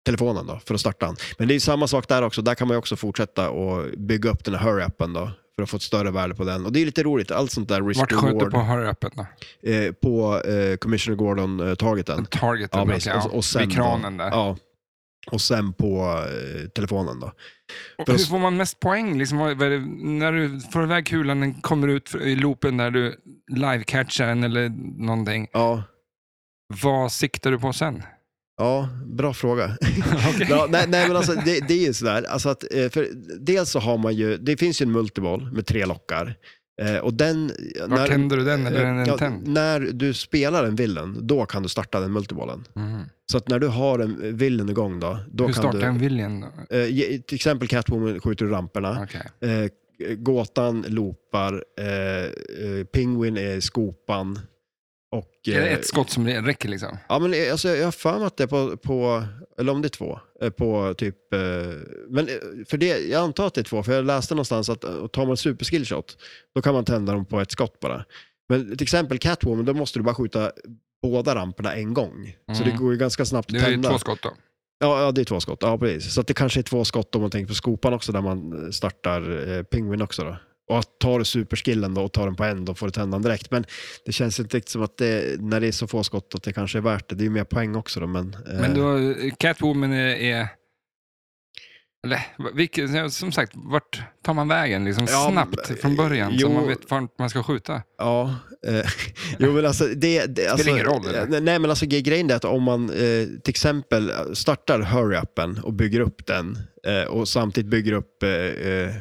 telefonen då, för att starta den. Men det är ju samma sak där också, där kan man ju också fortsätta och bygga upp den här hurry-appen då, för att få ett större värde på den. Och det är lite roligt, allt sånt där
Vart sköt du
risk-reward
på höröppet då?
eh, på eh, Commissioner Gordon-targeten.
Target
Ja,
eller något,
precis.
ja,
Och- och sen
vid kranen där.
ja. Och sen på eh, telefonen då.
Och
för
hur
oss-
får man mest poäng? Liksom, vad, vad är det, när du får iväg kulan, den kommer ut för- i loopen där du live-catchar den eller någonting.
Ja,
Vad siktar du på sen? *laughs*
ja bra fråga.
Okej.
*laughs* ja, nej, nej, men alltså det, det är ju sådär. Alltså att, eh, för dels så har man ju, det finns ju en multiball med tre lockar. Eh, och den... eh,
Var tänder du den eller är den
ja,
tänd?
när du spelar en villen, då kan du starta den multibollen.
Mm.
Så att när du har en villen igång då, då
Hur
kan du...
startar en William då?
Eh, ge- till exempel Catwoman skjuter ur ramperna.
Okej.
Eh, gåtan loopar, eh, eh, Penguin är i skopan. Och,
Är det
eh,
ett skott som räcker liksom?
Ja, men, eh, alltså, jag har för mig att det är på, på, eller om det är två, eh, på typ, eh, men eh, för det, jag antar att det är två, för jag läste någonstans att eh, tar man super skill shot, då kan man tända dem på ett skott bara. Men till exempel Catwoman, då måste du bara skjuta båda ramperna en gång. Så det
Mm.
går ju ganska snabbt
Det
att
är ju
tända.
två skott då.
Ja, ja, det är två eh, skott. Ja, precis. Så att det kanske är två skott om man tänker på skopan också, där man startar eh, pingvin också. Då. Och att tar du superskillen då och tar den på en, då får du tändan direkt. Men det känns inte riktigt som att det, när det är så få skott, att det kanske är värt det. Det är ju mer poäng också då, men... eh,
Men då, eh, Catwoman är... är eller, vilket, som sagt, vart tar man vägen liksom,
Ja,
snabbt från början? så
jo.
man vet vart man ska skjuta.
Ja, eh, *laughs* jo men alltså det... det alltså,
ingen roll, eller?
eh, Nej men alltså gre- grejen är att om man eh, till exempel eh, startar hurry-upen och bygger upp den eh, och samtidigt bygger upp eh, eh,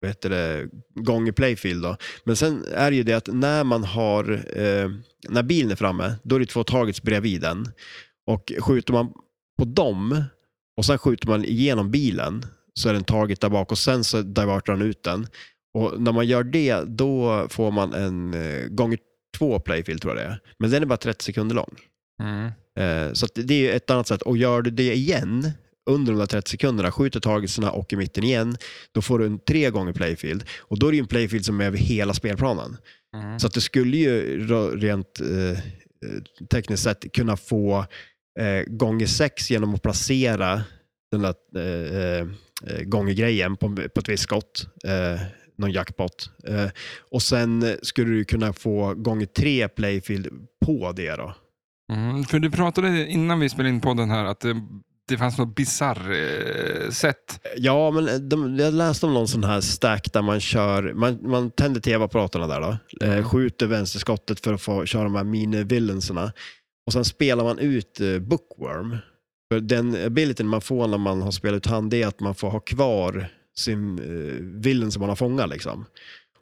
vad heter det, gång i playfield då. Men sen är det ju det att när man har, eh, när bilen är framme, då är det två targets bredvid den. Och skjuter man på dem och sen skjuter man igenom bilen så är det en target där bak och sen så divertar han ut den. Och när man gör det, då får man en eh, gånger två playfield tror jag det är. Men den är bara 30 sekunder lång.
Mm.
Eh, så att det är ju ett annat sätt. Och gör du det igen under de där 30 sekunderna, skjuter tagelserna och i mitten igen, då får du en tre gånger playfield. Och då är det ju en playfield som är över hela spelplanen.
Mm.
Så att du skulle ju ra- rent eh, eh, tekniskt sett kunna få eh, gånger sex genom att placera den där eh, eh, gångergrejen på, på ett visst skott. Eh, någon jackpot. Eh, och sen eh, skulle du kunna få gånger tre playfield på det då.
Mm. För du pratade innan vi spelade in podden här att det, det fanns något bisarr eh, sätt.
Ja, men eh, de, jag läste om någon sån här stack där man kör, man, man tänder tv-apparaterna där då, eh, skjuter vänsterskottet för att få köra de här mini-villainsarna och sen spelar man ut eh, bookworm. För den abilityn man får när man har spelat ut hand det är att man får ha kvar sin eh, villain som man har fångat liksom.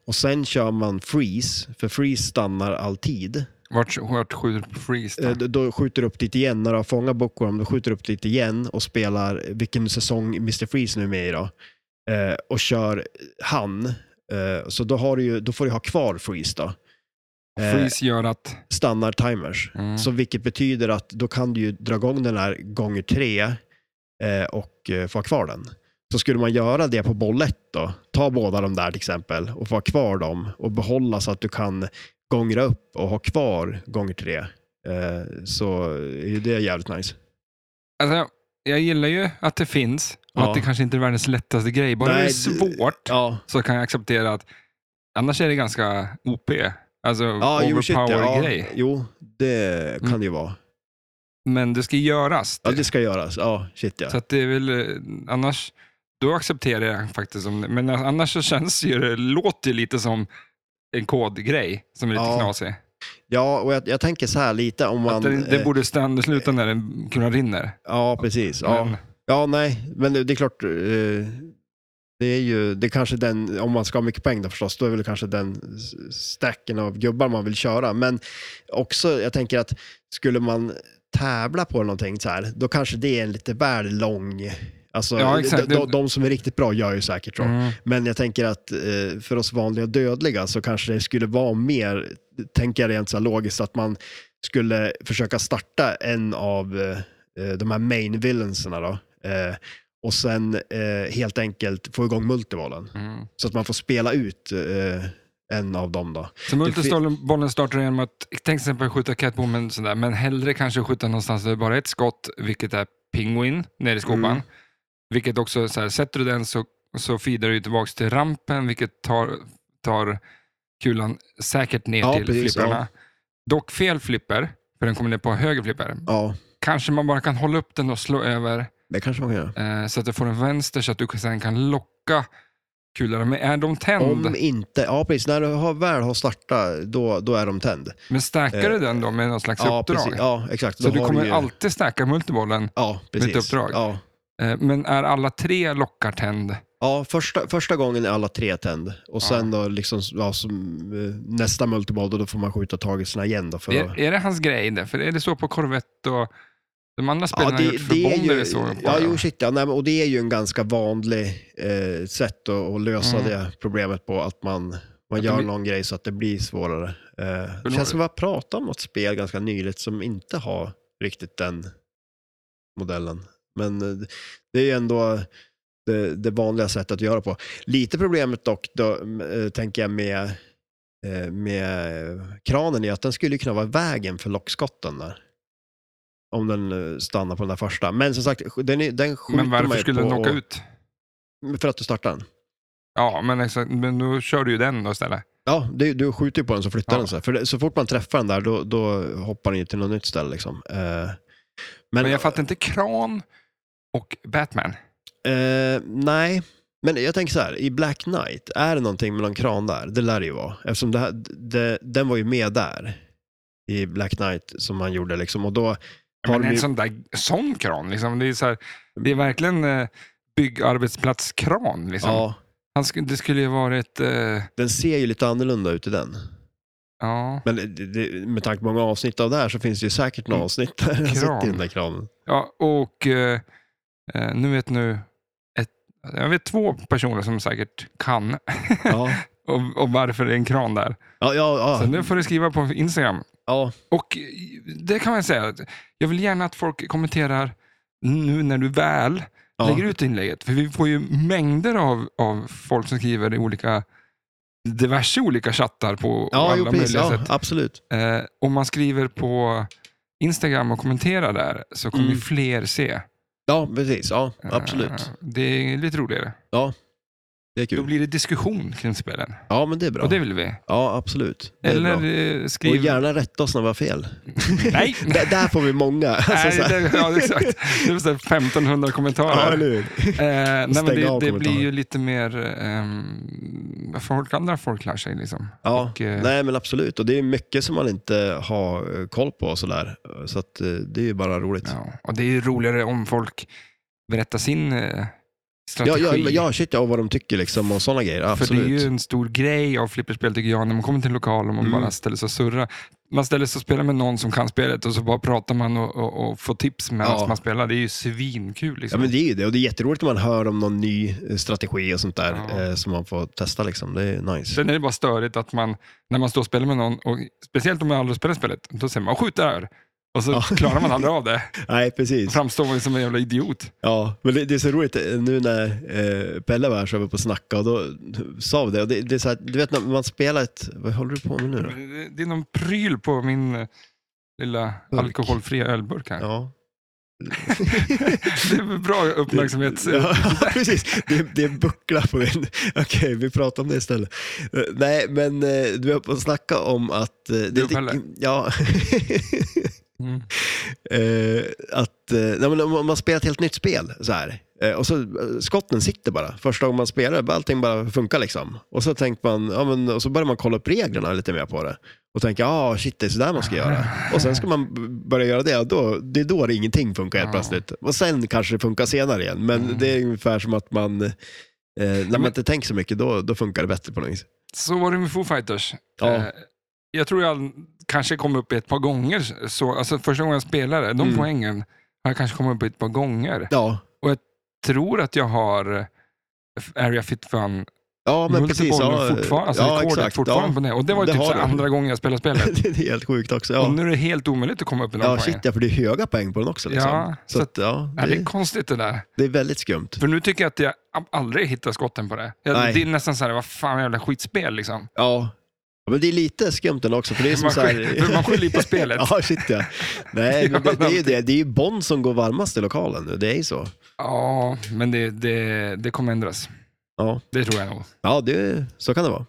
Och sen kör man freeze, för freeze stannar alltid.
Vart, vart skjuter Freeze?
Eh,
där?
då- Då skjuter du upp dit igen när du har fångat Bookworm. Då skjuter du upp dit igen och spelar vilken säsong Mr. Freeze nu är med i då. Eh, och kör han. Eh, så då, har du ju, då får du ha kvar Freeze då. Eh,
Freeze gör att...
Stannar timers.
Mm.
Så vilket betyder att då kan du ju dra igång den här gånger tre eh, och eh, få ha kvar den. Så skulle man göra det på boll ett då, ta båda de där till exempel och få ha kvar dem och behålla så att du kan gångra upp och ha kvar gånger tre. Eh, så är ju det jävligt nice.
Alltså, jag gillar ju att det finns och
Ja.
att det kanske inte är världens lättaste grej. Bara
Nej,
det är
det-
svårt
Ja,
så kan jag acceptera att annars är det ganska OP. Alltså
ja jo, shit, ja,
overpower-grej.
jo det
Mm.
kan det ju vara.
Men det ska göras.
Ja, det ska göras. Ja, shit ja.
Så att det är väl eh, annars, då accepterar jag faktiskt om det. Men annars så känns ju det, låter ju lite som en kodgrej som är lite
Ja,
knasig.
Ja, och jag, jag tänker så här lite om man...
Att det, det
eh,
borde stanna, sluta när den kulan rinner.
Ja, precis. Ja.
Men,
Ja, nej, men det det är klart. eh, Det är ju, det är kanske den, om man ska ha mycket poäng då förstås, då är väl kanske den s- stacken av gubbar man vill köra. Men också, jag tänker att skulle man tävla på någonting så här, då kanske det är en lite väl lång... Alltså,
Ja, exakt.
de, de, de som är riktigt bra gör ju säkert så.
mm.
Men jag tänker att eh, för oss vanliga dödliga så kanske det skulle vara mer, tänker jag rent så här logiskt, att man skulle försöka starta en av eh, eh, de här main villainsarna då. Eh, och sen eh, helt enkelt få igång multivalen.
Mm.
Så att man får spela ut eh, en av dem då.
Så multibollen startar genom att tänk till exempel skjuta Catwoman sådär, men hellre kanske skjuta någonstans där det bara är ett skott, vilket är Penguin nere i skopan.
Mm.
Vilket också, så här, sätter du den så, så feedar du ju tillbaka till rampen, vilket tar, tar kulan säkert ner
Ja,
till
precis,
flipprarna. Dock fel flipper, för den kommer ner på höger flipper.
Ja,
Kanske man bara kan hålla upp den och slå över
det kanske man kan göra.
eh, så att du får en vänster så att du sen kan locka kulan. Men är de tänd?
Om inte, ja precis, när du har, väl har startat, då, då är de tänd.
Men stackar du den då med någon slags
Eh, Ja,
uppdrag?
precis. Ja, exakt.
Så
Då
du
har
kommer
ju-
alltid stacka multibollen,
Ja, precis.
uppdrag.
Ja,
eh, men är alla tre lockar tänd?
Ja, första, första gången är alla tre tänd. Och
Ja.
sen då liksom, ja, som, eh, nästa multiball, då, då får man skjuta tagelserna igen. Då för att,
Är, är det hans grej? Där? För är det så på Corvette och de andra
ja,
spelarna har gjort för bomber är så? bara?
ja, jo, shit, ja, nej, men- och det är ju en ganska vanlig eh, sätt att, att lösa
Mm.
det problemet på. Att man, man
Att
gör
det blir-
någon grej så att det blir svårare. Eh,
För
det
några-
känns som att vi har pratat om något spel ganska nyligt som inte har riktigt den modellen. Men eh, det är ju ändå det, det vanliga sättet att göra på. Lite problemet dock, då, eh, tänker jag, med, eh, med eh, kranen är att den skulle ju kunna vara i vägen för lockskotten där. Om den eh, stannar på den där första. Men som sagt, den, är- den skjuter
men
man
varför
ju
skulle
på
den åka
och-
ut?
För att du startar den.
Ja, men, exakt, men då kör du ju den då istället.
Ja, det, du skjuter ju på den så flyttar
Ja.
den sig. För det, så fort man träffar den där, då, då hoppar den ju till något nytt ställe. Liksom. Eh, men,
Men jag fattar inte Kran och Batman.
Eh, nej, men jag tänker så här. I Black Knight, är det någonting med någon kran där? Det lär det ju vara. Eftersom det här, det, den var ju med där i Black Knight som han gjorde. Liksom. Och då har
Men
de
en
ju,
sån där sån kran, liksom. det, är så här, det är verkligen eh, byggarbetsplatskran. Liksom.
ja,
Han skulle, det skulle ju varit... Eh,
den ser ju lite annorlunda ut i den.
ja.
Men det, det, med tanke på många avsnitt av det här så finns det ju säkert några avsnitt där han sitter i den där kranen.
ja, och eh, eh, nu vet nu... Ett, jag vet två personer som säkert kan
Ja,
och, och varför det är en kran där.
ja, ja.
Så
ja,
nu får du skriva på Instagram.
ja.
Och eh, det kan man säga, att jag vill gärna att folk kommenterar nu när du väl
Ja.
lägger ut inlägget. För vi får ju mängder av, av folk som skriver i olika, diverse olika chattar på
Ja,
alla
jo, precis.
möjliga
Ja,
sätt.
absolut.
Eh, om man skriver på Instagram och kommenterar där så kommer
Mm.
ju fler se.
Ja, precis. Ja,
Eh,
absolut.
det är lite roligare.
Det är
Då
kul.
blir det diskussion kring spelen.
Ja, men det är bra.
Och det vill vi.
Ja, absolut. Det är
Eller
bra.
eh,
Och
skriv...
gärna rätta oss när vi har fel. *laughs*
Nej!
Där, där får vi många. Alltså,
*laughs* Nej,
så här.
det, ja, exakt. Det var så här 1500
*laughs* Ja,
kommentarer.
eller hur?
Eh, nej, men
Stäng av
det, det blir
kommentarer.
ju lite mer ehm, vad folk, andra folk lär sig. Liksom.
Ja,
Och, eh,
nej men absolut. Och det är mycket som man inte har eh, koll på och sådär. Så att eh, det är ju bara roligt.
ja, och det är ju roligare om folk berättar sin eh,
Ja,
strategi.
ja, ja shit ja, och vad de tycker liksom och sådana grejer.
För det är
Absolut.
ju en stor grej av flipperspel tycker jag, när man kommer till en lokal och man
Mm.
bara ställer sig och surrar. Man ställer sig och spelar med någon som kan spelet och så bara pratar man och, och, och får tips medan
Ja.
man spelar. Det är ju svinkul.
Ja
Liksom.
men det är ju det. Och det är jätteroligt när man hör om någon ny eh, strategi och sånt där
Ja.
eh, som man får testa liksom. Det är nice.
Sen är det bara störigt att man, när man står och spelar med någon, och speciellt om man aldrig spelat spelet, då säger man skjut där. Och så
Ja.
klarar man aldrig av
*laughs*
det.
Nej
Då
precis.
framstår man ju som en jävla idiot.
Ja, men det, det är så roligt eh, nu när eh, Pelle var här så var vi på och snacka och då sa vi det. Och det, det är så här, du vet när man spelar ett, vad håller du på med nu då?
Det- Det är någon pryl på min eh, lilla
Burk.
alkoholfria ölburk här.
Ja.
*laughs* Det är bra uppmärksamhet.
Ja, *laughs* precis. Det är, det är en buckla på min. Okej, vi pratar om det istället. Eh, Nej, men eh, du höll på att snacka om att... eh,
Du och
lite-
Pelle.
Ja. *laughs*
Mm.
Eh, att, eh, nej, men om om man spelar ett helt nytt spel så här. eh, Och så eh, skotten sitter bara. Första gången man spelar, bara- allting bara funkar liksom. Och så tänker man, ja, men, och så börjar man kolla upp reglerna lite mer på det. Och tänker, ja ah, shit det är sådär man ska göra. Och sen ska man b- börja göra det, och då, det är då det ingenting funkar helt
Ja.
plötsligt. Och sen kanske det funkar senare igen. Men
Mm.
det är ungefär som att man, eh, när man
men-
inte tänker så mycket, då, då funkar det bättre på något vis.
Så var det med Foo Fighters.
Ja.
Eh, Jag tror jag kanske kom upp ett par gånger. Så, alltså första gången jag spelade, de
Mm.
poängen har jag kanske kommit upp ett par gånger.
Ja,
Tror att jag har Area Fit Fun
ja men
multiple
precis. Ja,
fortfarande, alltså
ja,
rekordet
exakt,
fortfarande
ja.
på det. Och det var ju
Det
typ
har
så här
du.
andra gången jag spelade spelet.
*laughs* det är helt sjukt också.
Och
Ja.
nu är det helt omöjligt att komma upp i någon
Ja,
poäng.
shit ja, för det är höga poäng på den också. Liksom.
Ja,
så
så
att, ja,
Ja, det
det,
är konstigt det där.
det är väldigt skumt.
För nu tycker jag att jag ab- aldrig hittar skotten på det.
Nej.
Jag, det är nästan så här, vad fan jävla skitspel liksom.
Ja. Ja, Men det är lite skumt den också, för det är som
Man
så här...
skyller- man skyller ju på spelet.
*laughs* ja, shit ja.
*laughs*
Nej, men det, det är ju det. Det är ju Bond som går varmast i lokalen nu, det är ju så.
Ja, men det, det, det kommer ändras.
Ja,
Det tror jag nog. *laughs*
ja det, så kan det vara.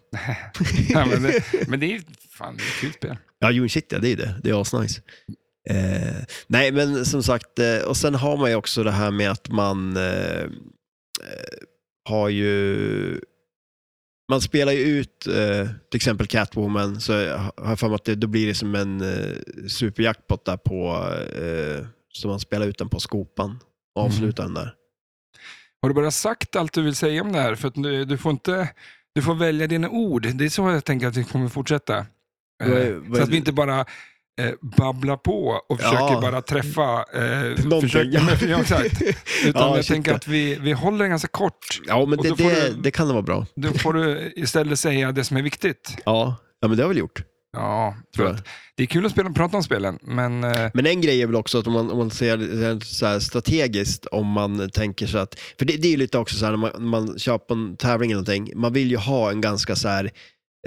Ja, men, det, men det är ju fan det är ett kul spel.
Ja, jo, shit ja, det är ju det. Det är asnice. Eh, nej, men som sagt, eh, och sen har man ju också det här med att man eh, eh, har ju... Man spelar ju ut eh, till exempel Catwoman, så har jag för mig att det, då blir det som en eh, superjackpot där på... Eh, så man spelar ut den på skopan och
Mm.
avslutar den där.
Har du bara sagt allt du vill säga om det här? För att du, du får inte... Du får välja dina ord. Det är så jag tänker att vi kommer fortsätta. Eh,
Vad är- vad
så
är
att vi
det?
inte bara eh, babblar på och försöker
Ja.
bara träffa... Eh,
Någonting.
försöker, ja, men- *laughs* ja, exakt. Utan
Ja,
jag
shit,
tänker
ja.
att vi, vi håller den ganska kort.
*laughs* Ja, men
Och
det,
då får
det,
du-
det kan det vara bra.
Då får du istället säga det som är viktigt.
Ja, ja men det har jag väl gjort.
Ja,
Tror
tror
jag.
att. Det är kul att spela, prata om spelen, men eh,
Men en grej är väl också att om man, om man ser så här strategiskt, om man tänker så att, för det, det är ju lite också så här när man, när man kör på en tävling eller någonting, man vill ju ha en ganska så här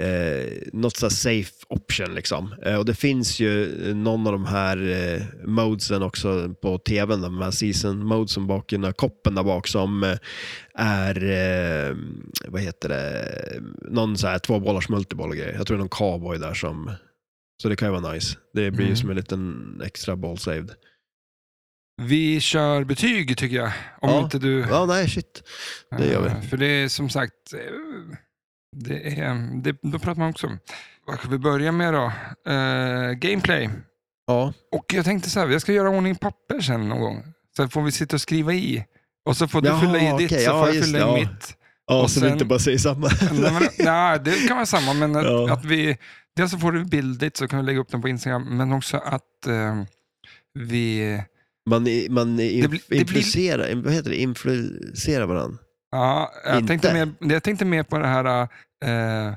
eh, något så här safe option liksom. Eh, och det finns ju någon av de här eh, modesen också på tvn, de här season modesen bak i den här koppen där bak som eh, är, eh, vad heter det, någon så här tvåbollars multiboll och grejer. Jag tror det är någon cowboy där som, så det kan ju vara nice. Det blir ju
Mm.
som en liten extra
*laughs*
ball saved.
Vi kör betyg tycker jag. Om
Ja.
inte du...
Ja, nej shit. det gör vi.
Eh, För det är som sagt, eh, det är, det, då pratar man också om. Vad ska vi börja med då? Eh, gameplay.
Ja,
Och jag tänkte så här, jag ska göra ordning papper sen någon gång. Sen får vi sitta och skriva i. Och så får du
Jaha,
fylla i ditt,
okej.
så
Ja,
får jag
just
fylla i
det, ja.
mitt.
ja
Och
så
sen-
vi inte bara säger samma.
Nej, *laughs*
*laughs*
men, nej, det kan vara samma, men att,
Ja.
att vi... Dels så får du bildigt så kan vi lägga upp den på Instagram, men också att eh, vi...
Man, i- man
Det blir-
inf-
det blir-
influerar, vad heter det, influencerar varandra.
Ja, jag
Inte.
tänkte, mer, jag tänkte mer på det här, eh,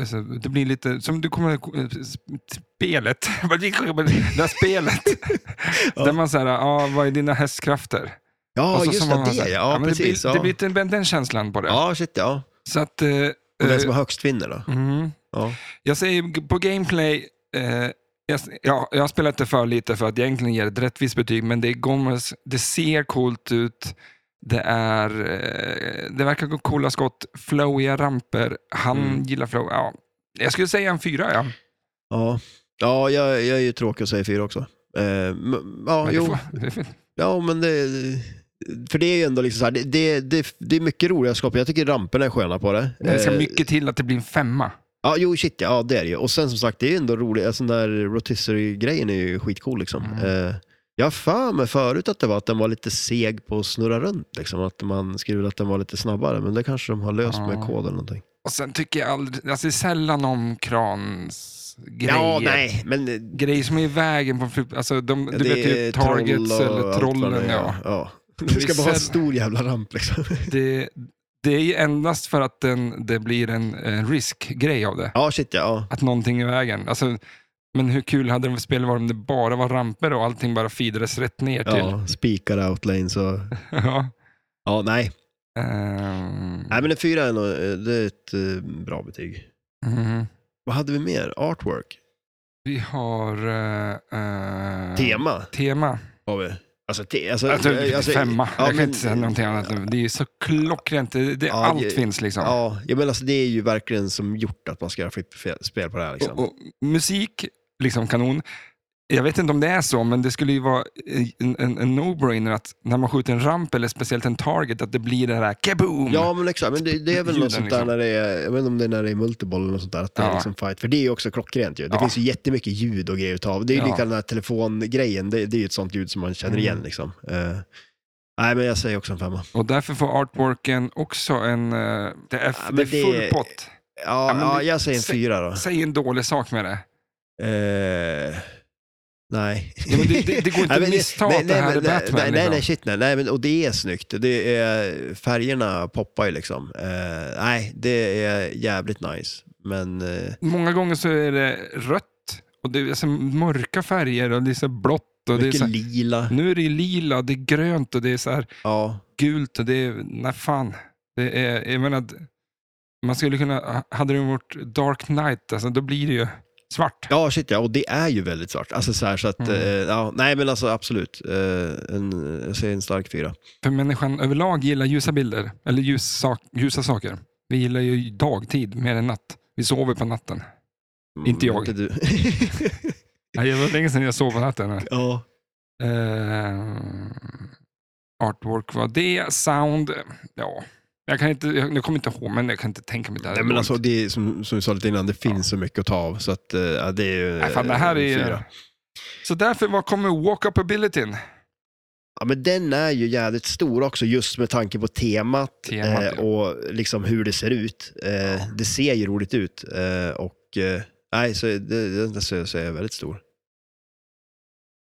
alltså, det blir lite, som du kommer eh, spelet, *laughs* det här spelet,
*laughs* Ja.
där man säger, ja, vad är dina hästkrafter?
Ja,
Och så
just
som
det,
man
det
så
ja.
här,
ja
men
precis.
Det blir, det
ja.
blir lite den, den känslan på det.
ja, shit ja.
Så att, eh,
Och den som
eh,
har högst vinner då.
mm,
Ja.
jag säger g- på gameplay, eh, jag, s- ja, jag har spelat det för lite för att jag egentligen ger ett rättvist betyg, men det, kommer, s- det ser coolt ut. Det, är, eh, det verkar gå coola skott, flowiga ramper. Han
Mm.
gillar flow. Ja. Jag skulle säga en fyra. Ja.
Ja, ja jag, jag är ju tråkig och säger fyra också. Eh, m- ja,
Men det
jo.
får- det får-
ja, men det... För det är ju ändå liksom så här, det, det, det, det är mycket roliga skott. Jag tycker ramperna är sköna på det.
men det ska
Eh,
mycket till att det blir en femma.
Ja, jo, shit ja, ja, det är det ju. Och sen som sagt, det är ju ändå roligt. Alltså, den där rotisserie-grejen är ju skitcool liksom.
Mm.
Eh, jag har för mig förut att det var att den var lite seg på att snurra runt. Liksom. Att man skrev att den var lite snabbare, men det kanske de har löst med
Ja.
kod eller någonting.
Och sen tycker jag aldrig, alltså det är sällan om krans grejer.
Ja, nej, men eh,
Grejer som är i vägen på flyg- alltså de,
Ja,
du
det
vet
är
ju targets
troll och
eller
allt vad det
trollen.
är,
Ja.
ja.
Men
Du ska
vi
bara ha en
ser-
stor jävla
*laughs*
ramp liksom.
Det, det är ju endast för att den, det blir en, en risk-grej av det.
Ja, shit ja.
Att någonting är i vägen. Alltså, men hur kul hade det spelet varit om det bara var ramper och allting bara feedades rätt ner
ja.
till? *laughs*
ja spikar outlanes och...
Ja.
Ja, nej.
Ehm,
Nej, men en fyra är nog, eh, det är ett eh, bra betyg.
mhm.
Vad hade vi mer? Artwork?
Vi har... eh, eh,
Tema
Tema.
har vi. Alltså, te, alltså,
Alltså,
eh, alltså,
femma.
Ja,
jag kan
men-
inte säga någonting annat. Det är ju så klockrent. Det, det,
Ja,
allt
det-
finns liksom.
Ja, jag menar alltså, det är ju verkligen som gjort att man ska göra flipperspel på det här. Liksom.
Och, och, musik, liksom kanon. Jag vet inte om det är så, men det skulle ju vara en, en, en no-brainer att när man skjuter en ramp eller speciellt en target, att det blir det där kaboom.
Ja, men exakt. Men det, det är väl
Ljuden,
något sånt där
liksom.
när det är, jag vet inte om det är när det är multiboll eller något sånt där, att det
Ja.
är liksom fight. För det är ju också klockrent ju. Det
Ja.
finns ju jättemycket ljud och grejer utav. Det är ju
Ja.
lika den här telefongrejen, det, det är ju ett sånt ljud som man känner igen
Mm.
liksom. Eh, nej, men jag säger också en femma.
Och därför får artworken också en... eh, Det är,
Ja, men
det är
det-
full pott.
Ja,
Ja,
ja,
men det-
jag säger en
se-
fyra då.
Säg en dålig sak med det.
Eh, nej.
Ja, men det- det- det går inte
*laughs* Nej, men
att missta att det här
men-
är Batman,
Nej, nej, nej,
liksom.
shit nej. nej men, och det är snyggt. Det är, färgerna poppar ju liksom. Eh, nej, det är jävligt nice. Men eh,
Många gånger så är det rött, och det är så mörka färger och det är så blått. Och det är
mycket
så här,
lila.
nu är det ju lila, det är grönt och det är så här
Ja.
gult och det är, nej fan. Det är, jag menar, d- man skulle kunna, hade det varit Dark Knight, alltså, då blir det ju svart.
ja, shit ja. Och det är ju väldigt svart. Alltså så här så att,
Mm.
eh, ja, nej men alltså absolut. Eh, en, jag säger en stark fyra.
För människan överlag gillar ljusa bilder, eller ljus sak, ljusa saker. Vi gillar ju dagtid mer än natt. Vi sover på natten.
Mm,
Inte jag.
du. *laughs*
Nej, det var länge sedan jag sov på natten. här.
ja.
Eh, artwork var det, sound, ja. Jag, kan inte, jag, jag kommer inte ihåg, men jag kan inte tänka mig det här.
Nej, men alltså det är, som, som vi sa lite innan, det finns så mycket att ta av. Så att, eh, ja, det är ju eh,
nej, fan, det här är
en
ju...
fyra.
Så därför, vad kommer walk-up-abilityn?
Ja, men den är ju jävligt stor också just med tanke på temat,
Temat,
eh,
ja.
och liksom hur det ser ut. Eh, Det ser ju roligt ut eh, och eh, nej, så det, det, det så, så är jag väldigt stor.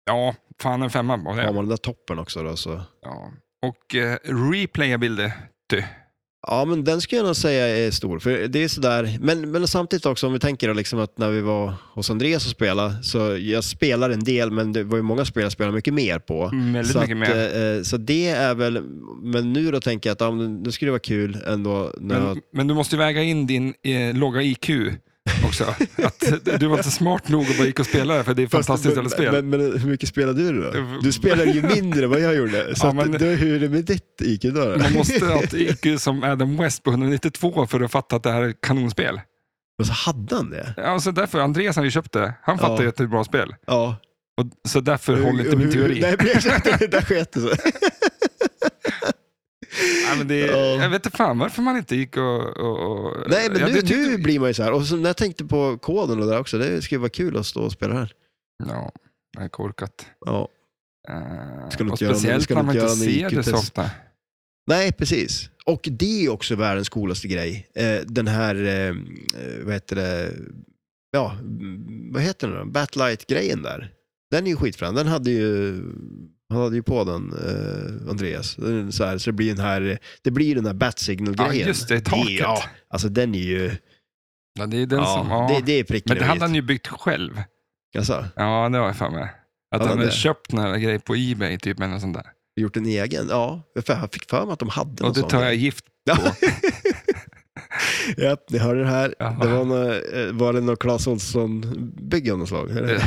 Ja, fan en femma på det.
Har man den där toppen också då så.
Ja. Och eh, replayability.
Ja, men den skulle jag nog säga är stor, för det är sådär, men, men samtidigt också om vi tänker då liksom att när vi var hos Andreas och spelade, så jag spelar en del, men det var ju många spel jag spelade mycket mer på.
Mm, Väldigt
så
mycket
att,
mer.
eh, Så det är väl, men nu då tänker jag att ja, men det skulle vara kul ändå när jag
Men, men du måste ju väga in din eh, låga IQ
*laughs*
också. Att du var inte smart nog och bara gick och spelade för det är
Fast-
fantastiskt
men-
jävla spel.
Men, men hur mycket spelade du då?
Eh,
Du spelade ju mindre än vad jag gjorde.
*laughs*
Så
Ja,
att
men-
då, hur är det med ditt IQ då? då?
Man måste ha ett IQ som Adam West på 192 för att fatta att det här är ett kanonspel.
*laughs* Och så hade han det.
Alltså därför, Andreas har ju köpt det. Han fattar
Ja.
ju att det är ett bra spel.
Ja.
Och, så därför håller inte
Hur-
min
hur-
teori.
Nej, men exakt. *laughs* Det där sket det sig.
Nej, men det,
Ja.
Jag vet inte fan varför man inte gick och... och, och
Nej, men
Ja,
nu,
det tyckte-
nu blir man ju så här. Och så, när jag tänkte på koden och det där också, det skulle vara kul att stå och spela här.
Ja, det är korkat.
Ja.
Eh,
Ska du
och
inte göra-
speciellt
ska du
när man
inte
inte
göra en
ser det så
IQ-test?
ofta.
Nej, precis. Och det är också världens coolaste grej. Eh, den här, eh, eh, vad heter det, ja, mm, vad heter den då? Batlight-grejen där. Den är ju skitfrän. Den hade ju, han hade ju på den, eh, Andreas. Den är Så, här, så det blir den här, det blir den här Bat-signal-grejen.
Ja, just det, taket.
Ja, alltså den är ju,
Ja, det är den
ja,
som... Ja.
Det, det är pricken
men det
över
hade
i.
han ju byggt själv.
Alltså,
Ja, det var jag fan med. Att
Ja,
han hade
det.
köpt några grejer på Ebay, typ, eller något sånt där.
gjort en egen, ja. För jag fick för mig att de hade
Och
någon
det
sån
tar
grej.
jag
*laughs*
gift
Ja. Japp, ni hörde det här.
Jaha.
Det var, nå- eh, var det någon Clas Ohlson-bygge av något slag? eller?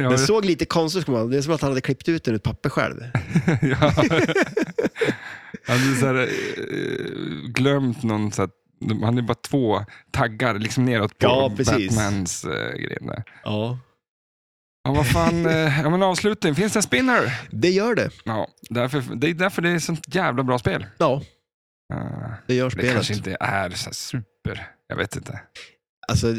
Ja,
Det såg lite konstigt ut, det är som att han hade klippt ut den ur ett papper själv.
*laughs* ja. Han hade så här, eh, glömt någon, så att, de hade bara två taggar liksom neråt på
Ja, precis.
Batmans eh, grej där.
Ja.
Ja, vad fan. Eh,
*laughs*
ja, men avslutning. Finns det en spinner?
Det gör det.
Ja, därför, det är därför det är sånt jävla bra spel.
Ja,
Eh,
det gör
det
spelet.
kanske inte är så här super. Jag vet inte.
Alltså, eh,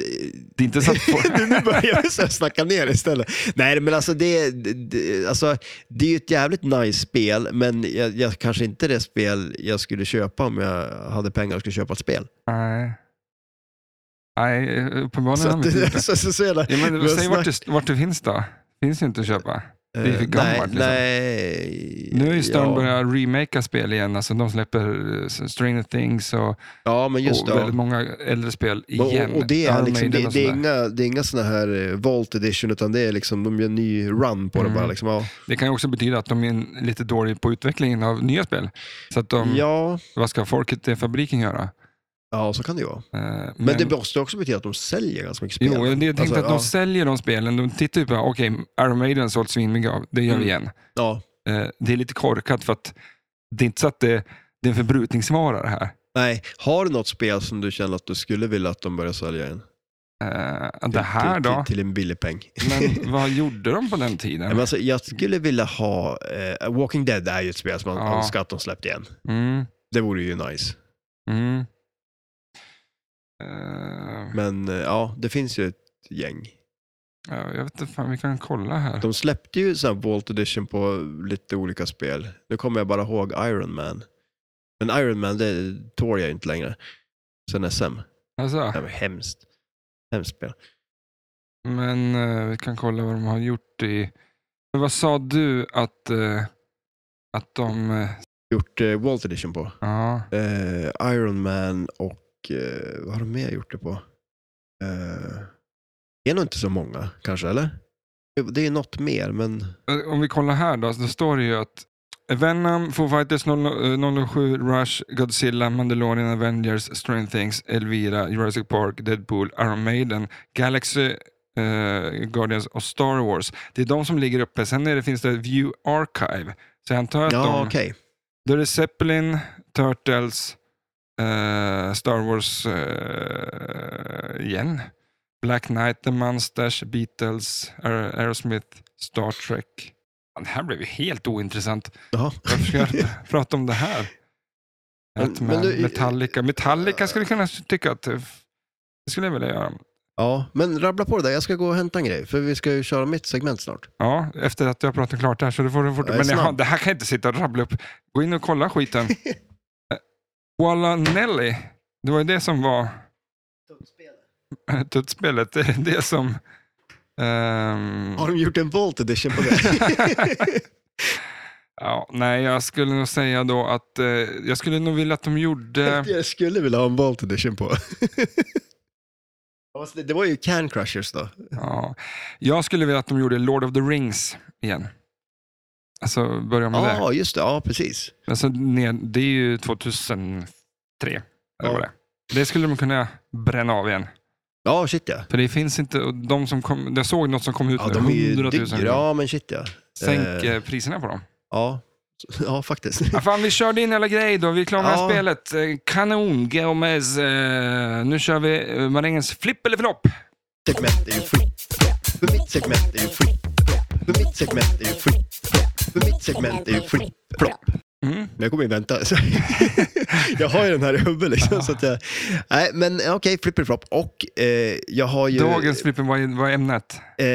Det är inte så *laughs* att...
nu börjar vi så här snacka ner istället. Nej, men alltså det, det, alltså det är ju ett jävligt nice spel, men jag, jag, kanske inte det spel jag skulle köpa om jag hade pengar och skulle köpa ett spel.
Nej. Nej, uppenbarligen
Så,
har
att,
vi inte gjort det.
så, så, så är *laughs* det.
Ja, men
vi har
säg vart det, vart det finns då. Finns ju inte att köpa. Det är för
Eh,
gammalt.
nej,
liksom.
nej.
Nu har ju Stern
ja.
börjat remaka spel igen. Alltså, de släpper eh, Stranger Things och,
Ja, men just
och
det. ja.
väldigt många äldre spel igen.
Och, och det, är
Iron
liksom,
Maiden
det,
och
det, är
sådär.
inga, det är inga såna här eh, Vault Edition, utan det är liksom, de gör en ny run på
Mm.
det bara. Liksom. Ja.
det kan ju också betyda att de är en- lite dåliga på utvecklingen av nya spel. Så att de,
ja,
vad ska folket i fabriken göra? Eh,
ja, så kan det ju vara.
men,
Men, det måste också betyda att de säljer ganska mycket spel.
Jo, jag tänkte
Alltså,
att de
ja.
säljer de spelen. De tittar ju på, okej, Iron Maiden har sålt svinmycket av. Det gör vi
Mm.
igen.
Ja,
Eh, det är lite korkat för att det är inte så att det, det är en förbrukningsvara det här.
nej. Har du något spel som du känner att du skulle vilja att de börjar sälja igen?
Eh, det här
till,
då?
Till, till en billig peng.
*laughs*
*laughs*
Men vad gjorde de på den
Men
tiden?
alltså, jag skulle vilja ha, eh, Walking Dead är ju ett spel som man
Ja.
önskar att de släppte igen.
Mm,
Det vore ju nice.
mm. Eh,
Men eh, ja, det finns ju ett gäng.
ja, jag vet inte, fan, vi kan kolla här.
De släppte ju sån här Vault Edition på lite olika spel. Nu kommer jag bara ihåg Iron Man. Men Iron Man, det tål jag ju inte längre. Sen SM.
Alltså,
Det var hemskt. Hemskt spel.
men eh, vi kan kolla vad de har gjort i... Men Vad sa du att, eh, att de... eh,
Gjort eh, Vault Edition på.
Ja,
Eh, Iron Man och eh, vad har de mer gjort det på? Eh, det är nog inte så många kanske, eller? Jo, Det är något mer, men
Eh, Om vi kollar här då, då står det ju att Venom, Foo Fighters eh, 00- 007, Rush, Godzilla, Mandalorian, Avengers, Stranger Things, Elvira, Jurassic Park, Deadpool, Iron Maiden, Galaxy, eh, Guardians och Star Wars. Det är de som ligger uppe. Sen är det, finns det View Archive. Så jag antar att
ja,
de...
okej.
Då är det Zeppelin, Turtles, eh, Star Wars eh, igen. Black Knight, The Munsters, Beatles, Aer- Aerosmith, Star Trek. Fan, Det här blev ju helt ointressant.
Jaha.
Varför ska
*laughs*
jag prata om det här?
Men-
Ant-Man,
men du-
Metallica. Metallica skulle jag kunna tycka att... eh, Det skulle jag vilja göra.
Ja, men rabbla på det där. Jag ska gå och hämta en grej, för vi ska ju köra mitt segment snart.
Ja, efter att jag har pratat klart här så det får du fort.
Jag är
Men jag, har-
snabb.
det här kan jag inte sitta och rabbla upp. Gå in och kolla
*laughs*
skiten. Eh, Walla Nelly, det var ju det som var *laughs* tuttspelet. Det är det som... ehm,
Har de gjort en Vault Edition på det? *laughs*
ja, nej, jag skulle nog säga då att eh, jag skulle nog vilja att de gjorde...
Jag skulle vilja ha en Vault Edition på. Ja, fast det- det var ju Can Crushers då.
Ja, jag skulle vilja att de gjorde Lord of the Rings igen. Alltså börja med det.
Ja, just det. Ja, precis.
Alltså, ned- det är ju 2003. Eller
Ja.
vad det, är. det skulle de kunna bränna av igen.
Ja, shit ja.
För det finns inte, och de som kom, jag såg något som kom ut
Ja,
med
de är ju
100 000
dyra. Ja, men shit ja.
Sänk
Eh.
eh, priserna på dem.
Ja, *laughs*
*laughs*
ja faktiskt.
Ja, fan, vi körde in alla grejer då. Vi är klara med
Ja.
ja. spelet. Eh, Kanon, Gomez. Eh, nu kör vi eh, marängens flipp eller flopp.
segment är ju fritt. För mitt segment är ju fritt. För mitt segment är ju fritt. För mitt segment är ju fritt. Plopp.
Mm.
Men jag kommer ju vänta. Så *laughs* jag har ju den här i huvudet liksom. Så att jag, nej, men eh, okej, okay, flipperflopp. Och eh, jag har ju...
Dagens flippen var, var ämnet.
Eh,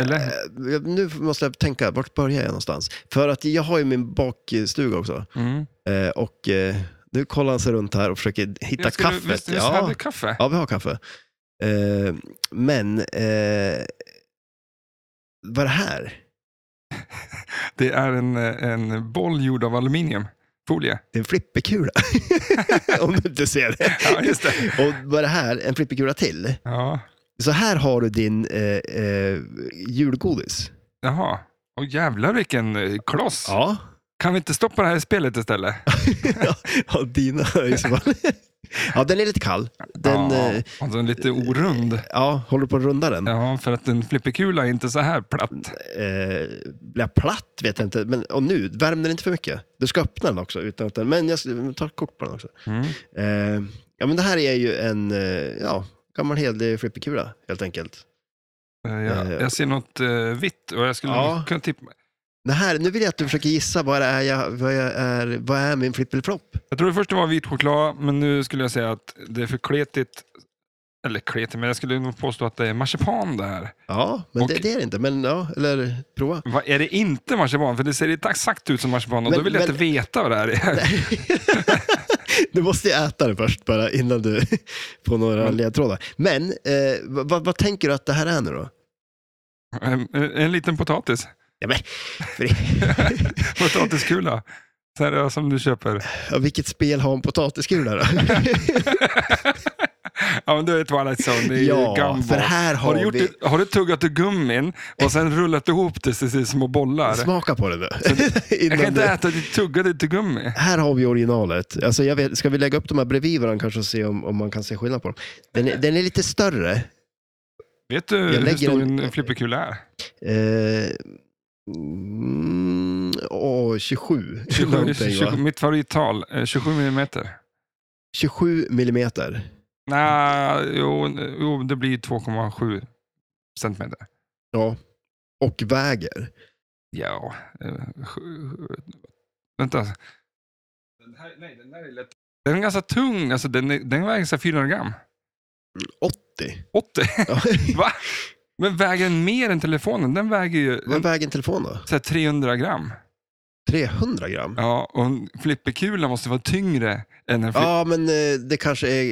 Eller?
eh, Nu måste jag tänka, vart börjar jag någonstans? För att jag har ju min bakstuga också.
Mm.
Eh, och eh, nu kollar han sig runt här och försöker hitta
Jag skulle-
kaffet.
Visst, visst
ja.
hade vi kaffe?
ja, vi har kaffe. Eh, men, eh, vad är det här?
Det är en, eh, en boll gjord av
*laughs*
aluminiumfolie.
Det är en flipperkula. Om du inte ser det.
Ja, just det.
Och vad är det här? En flipperkula till?
Ja.
Så här har du din eh, eh, julgodis.
Jaha. Åh jävlar vilken eh, kloss.
Ja.
Kan vi inte stoppa det här spelet istället?
ja, dina i så fall. Ja, den är lite kall. Den,
ja. Och
eh,
den är Alltså, lite orund.
ja, håller på att runda den.
Ja, för att en flipperkula är inte så här platt.
Eh, blir jag platt vet jag inte. Men, och nu, värm den inte för mycket. Du ska öppna den också. Utan att den, men jag ska ta ett kort på den också.
Mm.
Eh, ja, men det här är ju en eh, ja, gammal hederlig flipperkula helt enkelt.
Eh, Jag,
Eh,
jag ser något eh, vitt och jag skulle
Ja.
nog kunna tippa.
Det här, nu vill jag att du försöker gissa vad det är, jag, vad jag är, vad är min flippelflopp?
Jag trodde först det var vit choklad, men nu skulle jag säga att det är för kletigt. Eller kletigt, men jag skulle nog påstå att det är marsipan det här.
Ja, men det,
Och-
det är det inte. Men ja, eller prova.
Va, är det inte marsipan? För det ser inte exakt ut som marsipan och
Men-
då vill jag
men-
inte veta vad det här är.
*laughs* Du måste ju äta det först bara innan du *laughs* får några
Men-
ledtrådar. Men eh, vad, vad- vad tänker du att det här är nu då?
En, en liten potatis.
Ja, men, för,
Potatiskula. Så här, som du köper.
*laughs* ja, vilket spel har en potatiskula då?
Ja, men du är Twilight Zone. *laughs* Det är
*laughs* Ja,
gumball.
för här har
har du, gjort
vi-
det, har du tuggat ur gummin och sen rullat ihop det till- till små bollar?
Smaka på det nu.
Jag
*laughs* Innan
kan inte
du-
äta ditt tuggade till gummi.
Här har vi originalet. Alltså jag vet, ska vi lägga upp de här bredvid varandra kanske och se om, om man kan se skillnad på dem? Den är, den är lite större.
Vet du
lägger
hur stor
en-
en
*laughs*
flipperkula är?
Eh, mm, åh, 27.
27,
Någonting,
20,
va?
mitt favorittal, eh, 27 millimeter.
27 millimeter.
Nej, jo, jo, det blir 2,7 centimeter.
Ja. Och väger.
Ja, eh, sju- sju- vänta. Den här, nej, den här är lätt. Den är ganska tung, alltså den, är- den väger så här 400 gram.
80.
80,
Ja.
va? Men väger den mer än telefonen? Den väger ju
Vad
en,
väger en telefon då?
så här 300 gram.
300 gram?
Ja, och en flipperkula måste vara tyngre än en
Ja, men eh, det kanske är...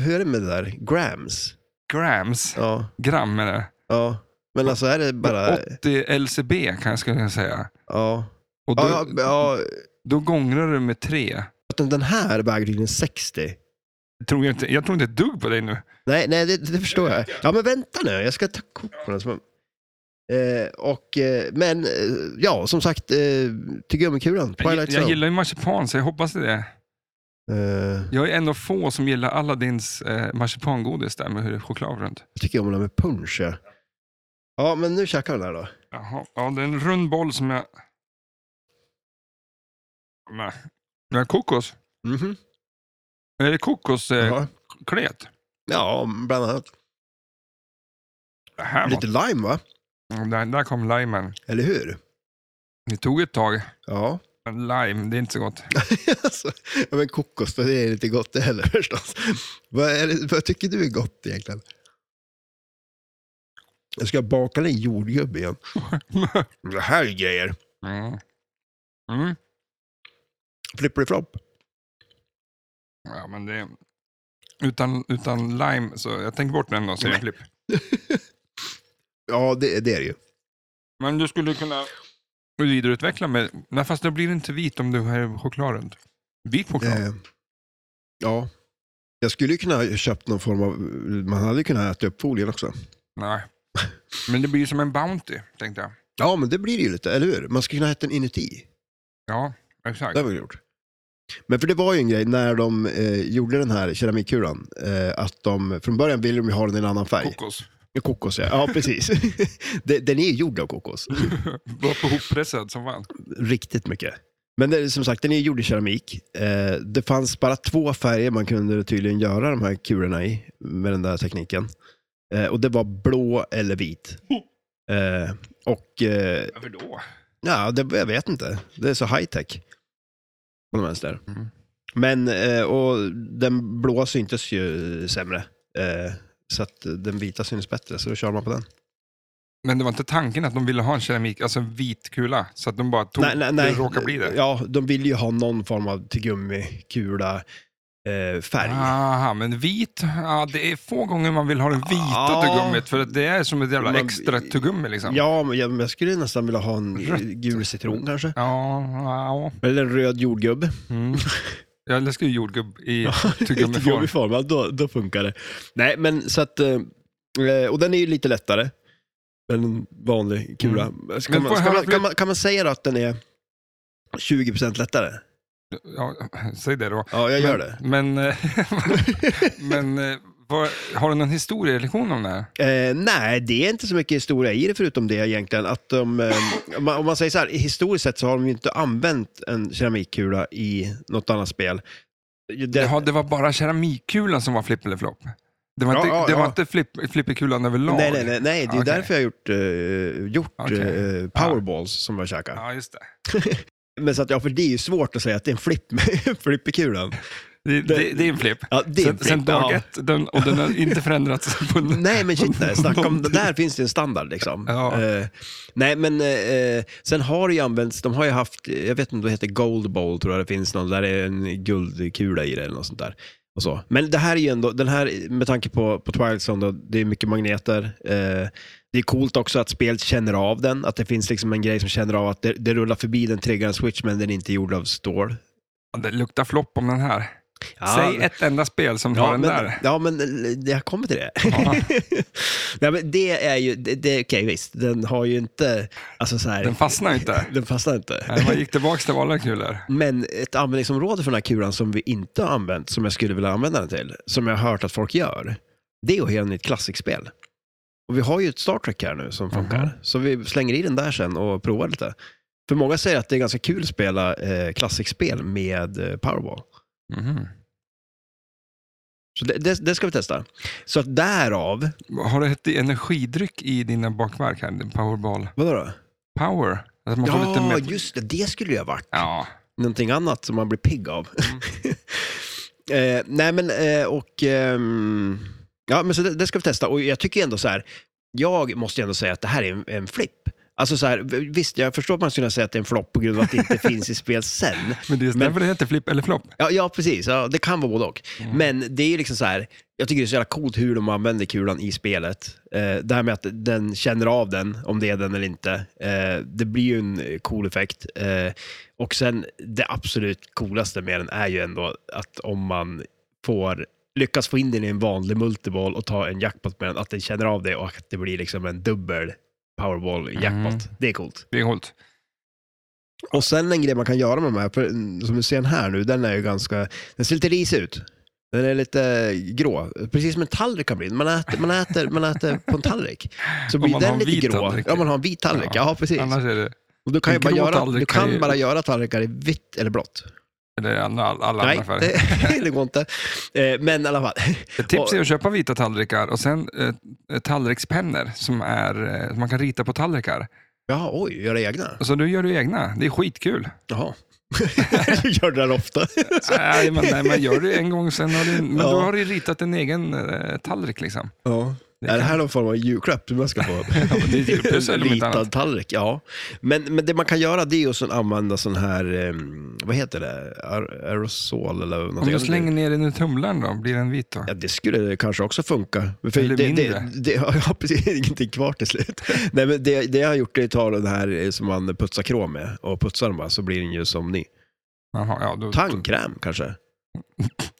Hur är det med det där? Grams?
flippergrams.
Ja.
Gram menar jag.
ja. Men alltså är det bara...
80 LCB kan jag skulle jag säga.
Ja.
Och då,
Ja, ja,
då gångrar du med tre.
ja. Den här väger tydligen 60.
Jag tror jag inte, jag tror inte ett dugg på dig nu.
Nej, nej det, det förstår jag. Ja, men vänta nu. Jag ska ta kort på den. som- Eh, och, eh, men eh, ja, som sagt, eh, tyggummi-kulan.
Jag,
Twilight
jag
Zone.
gillar ju marsipan, så jag hoppas det.
Eh,
Jag är en av få som gillar Aladdins eh, marsipangodis där med choklad runt.
jag tycker om den här med punsch. Ja. ja, men nu käkar vi den här då.
Jaha, ja, det är en rund boll som jag... Nej. Det är kokos.
Mhm.
Är det kokosklet? Eh,
Jaha.
klet?
Mm-hmm. Ja, bland annat.
det här var...
Lite lime, va?
Mm, Där, där kom limen.
Eller hur?
Det tog ett tag.
Ja. *laughs*
Men lime, det är inte så *laughs* gott.
alltså, ja, men kokos, för det är inte gott det heller *laughs* förstås. Vad, är det, vad tycker du är gott egentligen? Jag ska baka en
*laughs*
jordgubbe igen. Det här är grejer.
Mm. Mm.
Flipperiflopp.
Ja, men det... Utan, utan lime, så jag tänker bort den då, säger Flipp.
Ja, det, det är det ju.
Men du skulle kunna vidareutveckla med... Nej, fast då blir det inte vit om du har choklad runt. Vit choklad?
Eh, ja. Jag skulle ju kunna ha köpt någon form av... Man hade ju kunnat äta upp folien också.
Nej. Men det blir som en Bounty, tänkte jag.
Ja, men det blir det ju lite, eller hur? Man skulle kunna äta den inuti.
Ja,
Det
exakt.
har vi gjort. Men för det var ju en grej när de eh, gjorde den här keramikkulan. Eh, att de, från början ville de ju ha den i en annan färg.
Kokos.
Kokos ja, ja precis. *laughs* De- den är gjord av kokos.
Var på hoppressad som fan.
Riktigt mycket. Men det, är som sagt, den är gjord i keramik. Eh, det fanns bara två färger man kunde tydligen göra de här kulorna i med den där tekniken. Eh, och det var blå eller vit. Eh, och eh,
Varför då?
Ja, det, jag vet inte. Det är så high tech. På de vänster.
Mm.
Men, eh, och den blåa syntes ju sämre. Eh, så att den vita syns bättre, så då kör man på den.
Men det var inte tanken att de ville ha en keramik, alltså en vit kula, så att de bara tog det råkade bli det?
Ja, de vill ju ha någon form av till gummikula eh, färg.
Aha, men vit, ja, det är få gånger man vill ha det vita
Ja.
tuggummit för att det är som ett jävla
Man-
extra tuggummi liksom.
Ja, men jag, men jag skulle nästan vilja ha en eh,
Rött.
gul citron kanske.
Ja, ja.
Eller en röd jordgubbe. *laughs*
Mm. Jag älskar ju jordgubb i
Inte
*laughs* tuggummiform.
gummiform, ja, då, då funkar det. Nej, men så att, eh, och den är ju lite lättare än en vanlig kula. Ska
Mm. Men
man,
får jag
ska man,
höra-
kan, man, kan man säga då att den är 20% lättare?
Ja, säg det då.
Ja, jag gör det.
Men, eh,
*laughs*
men eh, vad, har du någon historielektion om det här?
Eh, nej, det är inte så mycket historia i det förutom det egentligen. Att de, eh, om, man, om man säger så här, historiskt sett så har de ju inte använt en keramikkula i något annat spel. Det,
Jaha, det var bara keramikkulan som var flipp eller flopp? Det var
Ja,
inte,
ja,
det var
ja.
inte flipp, flipperkulan överlag?
nej, nej, nej, nej, det är
Okej.
därför jag har gjort, eh, gjort
Okej.
eh, powerballs som jag käkar.
Ja, just det.
Men så att, ja, för det är ju svårt att säga att det är en flipp *laughs* flipperkulan.
Det, det, det är en flipp.
Ja, det är
sen,
en flipp,
sen dag
ja.
ett, den, och den har inte förändrats. *laughs* På en,
Nej, men shit, nej, snacka om det. Där finns det en standard liksom.
Ja.
Eh, nej, men eh, sen har det ju använts, de har ju haft, eh, jag vet inte, det heter Gold Bowl tror jag det finns någon, där det är en guldkula i det eller något sånt där. Och så. Men det här är ju ändå, den här, med tanke på, på Twilight Zone, då, det är mycket magneter. Eh, det är coolt också att spelet känner av den, att det finns liksom en grej som känner av att det, det rullar förbi den triggaren switch, men den är inte gjord av stål.
Det luktar flopp om den här.
Ja,
Säg ett enda spel som har
Ja,
den
men,
där.
ja, men eh, jag kommer till det.
Ja.
*laughs* Nej, men det är ju, det, det, okej visst, den har ju inte, alltså så här,
Den
den,
fastnar ju inte.
*laughs* fastnar inte.
Nej, Man gick tillbaka till vanliga kulor.
Men ett användningsområde för den här kulan som vi inte har använt, som jag skulle vilja använda den till, som jag har hört att folk gör, det är att hela nytt klassikspel. Och vi har ju ett Star Trek här nu som funkar,
Mhm.
så vi slänger i den där sen och provar lite. För många säger att det är ganska kul att spela eh, klassikspel med eh, Powerball.
Mhm.
Så det, det, det ska vi testa. Så att därav,
Har du ett energidryck i dina bakverk här? Powerball
vadå då?
Power? Att man får
Ja,
lite mer...
just det. Det skulle ju ha varit
Ja,
någonting annat som man blir pigg av.
Mm.
*laughs* eh, nej, men eh, och... ehm, ja, men så det, det ska vi testa. Och jag tycker ändå så här, jag måste ju ändå säga att det här är en, en flipp. Alltså så här, v- visst, jag förstår att man skulle kunna säga att det är en flopp på grund av att det inte *laughs* finns i spel sen.
men det är därför det heter flipp eller flopp.
Ja, ja precis. Ja, det kan vara både och. Men det är ju liksom så här, jag tycker det är så jävla coolt hur de använder kulan i spelet. Eh, det här med att den känner av den, om det är den eller inte. Eh, det blir ju en eh, cool effekt. Eh, och sen det absolut coolaste med den är ju ändå att om man får lyckas få in den i en vanlig multiball och ta en jackpot med den, att den känner av det och att det blir liksom en dubbel powerball jackpot. Det är coolt.
Det är coolt.
Och sen en grej man kan göra med de här, för, som du ser den här nu, den är ju ganska, den ser lite risig ut. Den är lite grå, precis som en tallrik kan bli. Man äter, man äter, man äter på en tallrik. Så
Om
blir
man har
den
en
lite
vit
grå.
tallrik.
Ja, man har en vit tallrik. Ja,
Ja,
precis.
Annars är det,
och du kan, ju
en
bara
grå
göra, du
tallrik
kan
är ju-
bara göra tallrikar i vitt eller blått.
det är alla, alla
Nej,
andra färger.
*laughs* det, det går inte. Eh, Men i alla fall. *laughs*
Ett tips är att köpa vita tallrikar och sen eh, tallrikspennor som, är, eh, som man kan rita på tallrikar.
Ja, oj, göra egna?
Och Så då gör du egna. Det är skitkul. äh,
Jaha. *laughs* du gör det där ofta.
Nej, men, nej, man gör det en gång, sen har du, men
Ja.
då har du ritat en egen eh, tallrik. Liksom.
Ja.
Det
är det
kan-
här någon form av julklapp man ska få?
*laughs* Ja, men det är typ pussel om inte annat.
Ritad tallrik, ja. Men, men det man kan göra det är att sen använda sån här, ehm, vad heter det, Aer- aerosol eller någonting.
Om jag slänger ner den i tumlaren då, blir den vit då?
Ja, det skulle kanske också funka. För
Eller
det,
mindre.
det, det, ja, precis. Ingenting kvar
*laughs*
till slut. Nej, men det, det jag har gjort är att ta den här eh, som man putsar krom med och putsar den bara så blir den ju som ny.
Jaha, ja, då,
Tandkräm kanske?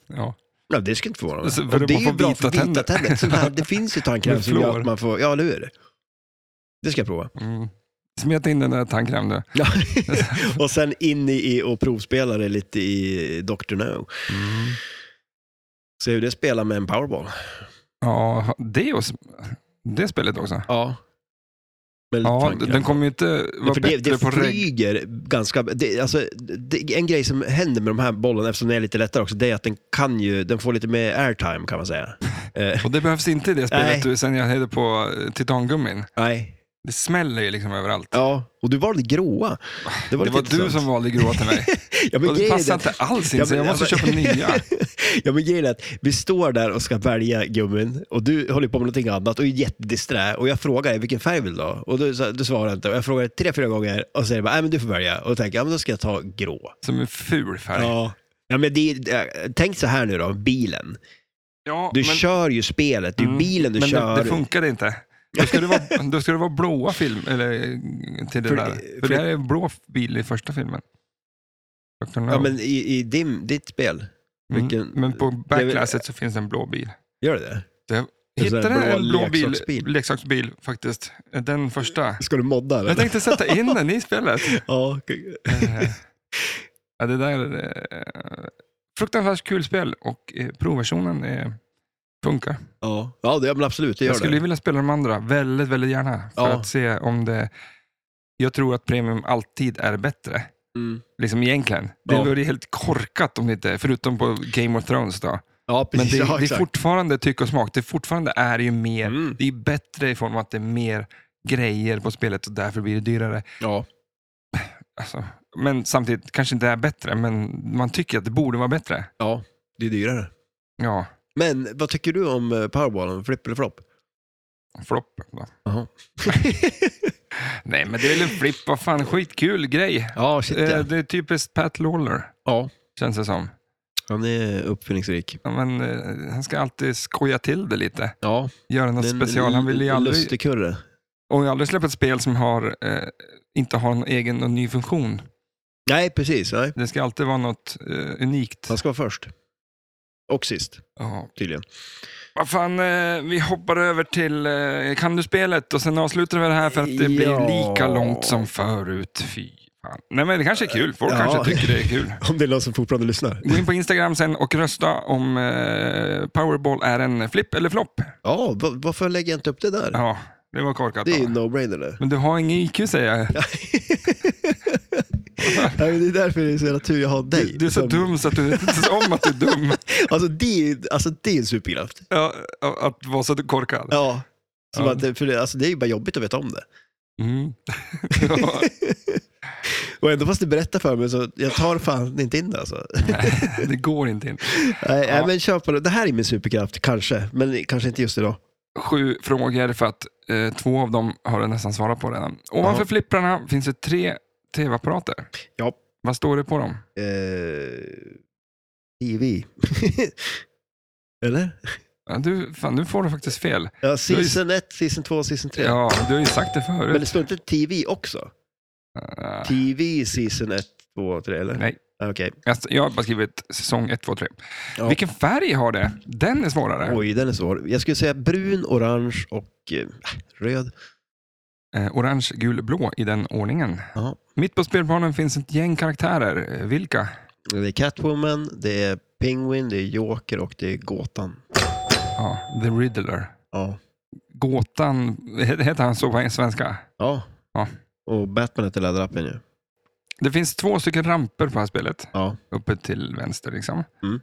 ja.
Ja, det skulle inte förvåna mig.
Så- för
Och
att
det är
man
ju
får
bra
vita
för vita
tänder. *laughs*
tänder. Sån här, det finns ju tandkräm
Med
som gör
fluor.
att man får, ja eller hur? Det ska jag prova.
Mm. Smet in den där tandkrämen du.
Ja. *laughs* och sen in i i och provspela det lite i Dr. No. Mm. Se hur det spelar med en powerball.
Ja, det, och, det spelet också.
Ja. Med lite
Ja,
tankar.
den kommer ju inte vara
för det,
bättre
det
på reg...
flyger ganska... Det, alltså, det, en grej som händer med de här bollen, eftersom den är lite lättare också, det är att den kan ju, den får lite mer airtime kan
*laughs*
man säga. Eh,
Och det behövs inte i det
Nej.
spelet du, sen jag hejde på eh, titangummin.
nej.
Det smäller ju liksom överallt.
Ja, och du valde gråa. Det var,
det
lite
var du
intressant.
som valde gråa
*laughs*
till mig.
Ja, men
och
grejen
det
är
passar
att-
inte alls in,
Ja,
så jag
men-
måste köpa nya.
*laughs* Ja, men grejen är att vi står där och ska välja gummin och du håller på med någonting annat och är jättedisträ och jag frågar dig vilken färg vill du ha? Och du, sa- du svarar inte och jag frågar dig tre, fyra gånger och säger bara, nej men du får välja och tänker, ja men då ska jag ta grå.
Som en ful färg. Ja,
Ja. Ja, men det, är- tänk så här nu då, bilen. Du
men,
kör ju spelet, det är ju
Mm,
bilen du
men
kör.
det, det funkade inte. Då ska det vara, *laughs* då ska det vara blåa film, eller, eh, till det
För-
där.
för-
För det här är en blå bil i första filmen. Dr. No.
ja, men i, i din, ditt spel,
Mm,
vilken-
men på
är väl-
backlasset så finns det en blå bil.
gör det det? En sån här
Hittade
blå
en blå bil,
leksaksbil.
leksaksbil faktiskt. Den första.
Ska du modda eller?
Jag tänkte sätta in den i spelet.
*laughs* Ja,
Eh, ja, det där är eh, fruktansvärt kul spel och eh, provversionen eh, funkar.
ja. ja det, ja, men absolut, det gör
Jag skulle
det.
ju vilja spela de andra väldigt, väldigt gärna. För
Ja.
att se om det... Jag tror att premium alltid är bättre.
Mm.
Liksom egentligen. Det
Ja.
vore ju helt korkat om det inte, förutom på Game of Thrones då.
Ja, *laughs*
Men
precis.
det,
ja,
det är
exakt.
fortfarande tycke och smak. Det är fortfarande är ju mer,
Mm.
det är bättre i form av att det är mer grejer på spelet och därför blir det dyrare.
Ja.
Alltså, men samtidigt kanske inte är bättre, men man tycker att det borde vara bättre.
ja, det är dyrare.
Ja,
Men vad tycker du om eh, powerballen, flipp
*laughs*
eller flopp?
flopp. då.
Jaha.
Nej, men det är väl en flipp. Vad fan, skitkul grej.
ja, shit
Eh,
ja.
Det är typiskt Pat Lawler,
ja.
känns det som.
Han är uppfinningsrik.
Ja, Men, eh, han ska alltid skoja till det lite.
Ja,
Göra
det
något
är en
special. Han vill ju
l-
aldrig,
lustig kurre.
och jag har aldrig släppa ett spel som har, eh, inte har någon egen och ny funktion.
Nej, precis. Nej.
Det ska alltid vara något eh, unikt.
Han ska vara först. Och sist,
Ja.
tydligen. *laughs*
Vad fan, eh, vi hoppar över till eh, Kan du spelet och sen avslutar vi det här för att det
Ja.
blir lika långt som förut. Fy fan. Nej men det kanske är kul. Folk
Eh, Ja.
kanske tycker det är kul.
Om det är någon som fortfarande lyssnar.
Gå in på Instagram sen och rösta om eh, Powerball är en flipp eller flopp.
Ja, va- varför lägger jag inte upp det där?
Ja, det var korkat.
Det är ju
va? *laughs*
no-brainer det.
Men du har ingen IQ säger jag.
Nej, men det är därför det är så jävla tur jag har dig.
Du, du är så
Som-
dum så att du vet inte ens om att du är
*laughs*
dum.
Alltså det, är- alltså det är en superkraft.
Ja, att vara så korkad.
Ja. Som
Ja.
Att, det- för det, alltså, det är ju bara jobbigt att veta om det.
Mm. *laughs* ja.
Och ändå fast du berättar för mig så jag tar fan inte in det alltså.
Nej, det går inte in.
Nej,
Ja.
nej, men kör på det. Det här är min superkraft, kanske. Men kanske inte just idag.
sju frågor för att eh, två av dem har du nästan svarat på redan. Ovanför
Jaha.
flipprarna finns det tre tv-apparater.
Ja.
Vad står det på dem?
Eh, TV. *laughs* Eller?
Ja, Du, fan, nu får du faktiskt fel.
Ja, season 1, season 2, season 3.
Ja, du har ju sagt det
Men det
förut.
står inte TV också?
Ah,
TV season 1, 2, 3 eller?
Nej,
Ah, Okej.
jag, jag har bara skrivit säsong 1, 2, 3.
Ja.
Vilken färg har det? Den är svårare.
Oj, den är svår. Jag skulle säga brun, orange och eh, röd.
Eh, orange, gul, blå i den ordningen.
Ja.
Mitt på spelplanen finns ett gäng karaktärer. Eh, Vilka?
Det är Catwoman, det är Penguin, det är Joker och det är Gåtan.
Ja, The Riddler.
Ja.
Gåtan, heter han så på svenska?
Ja.
Ja.
Och Batman heter Läderlappen ju.
Det finns två stycken ramper på det här spelet.
Ja.
uppe till vänster. Liksom.
Mm.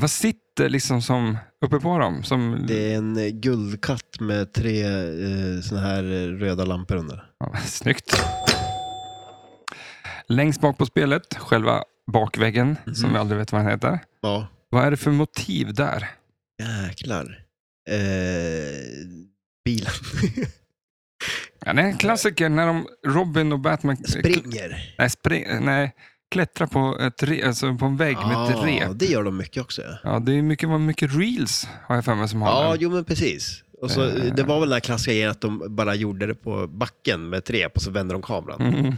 Vad sitter liksom som uppe på dem? Som,
Det är en eh, guldkatt med tre eh, såna här eh, röda lampor under.
ja, *laughs* snyggt. Längst bak på spelet, själva bakväggen,
Mm-hmm.
som vi aldrig vet vad den heter.
Ja.
Vad är det för motiv där?
Jäklar. Eh,
*laughs*
bilen. *laughs*
Ja, det är en klassiker när de, Robin och Batman
Springer.
nej, spring, nej, klättrar på, ett re, alltså på en vägg med ett
Ja,
rep.
Ah, det gör de mycket också. Ja,
Ja, det är mycket, vad mycket reels har jag för mig som har
ja
den.
jo men precis. Och så,
Eh.
Det var väl den här klassiska grejen att de bara gjorde det på backen med ett rep och så vände de kameran.
Mm.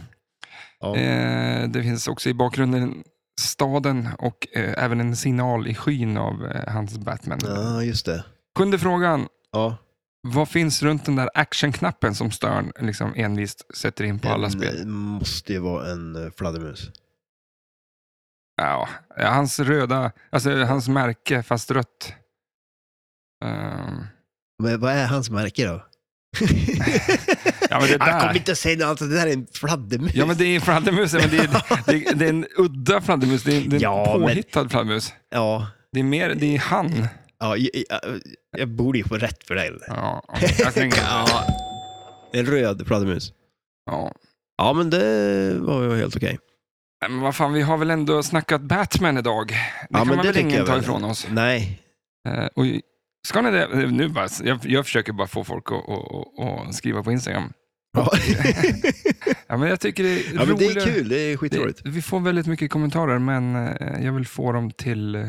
*laughs*
Ja.
Eh, det finns också i bakgrunden staden och eh, även en signal i skyn av eh, hans Batman.
ja, just det.
Sjunde frågan.
Ja.
Vad finns runt den där actionknappen som Stern liksom envist sätter in på alla
En,
spel?
eh, måste ju vara en eh, fladdermus.
Ja, hans röda, alltså hans märke fast rött. Ehm,
Men vad är hans
*laughs*
märke då?
ja,
*laughs*
men det
Jag kommer
där.
inte att säga något annat, det där är en fladdermus.
Ja, men det är en fladdermus. ja, Men
*laughs*
det, är, det, är, det är en udda fladdermus. Det är, det är en
Ja, men-
påhittad fladdermus.
ja,
Det är mer, det är han.
ja, jag, jag, jag borde ju få rätt för det. eller?
Ja, jag
*laughs*
tänker, ja.
En röd fladdermus.
ja.
Ja, men det var ju helt okej.
Nej, Men vad fan, vi har väl ändå snackat Batman idag? Det kan
men
man
det
väl
tycker
ingen
jag
ta
väl.
ifrån oss?
Nej,
Eh, och, ska ni det? Eh, Nu bara, jag, jag försöker bara få folk att, att, att, att skriva på Instagram. *laughs*
Ja.
Ja, men jag tycker det är
ja, men det är
roligare-
kul. Det är skitroligt.
Det, vi får väldigt mycket kommentarer, men eh, jag vill få dem till eh,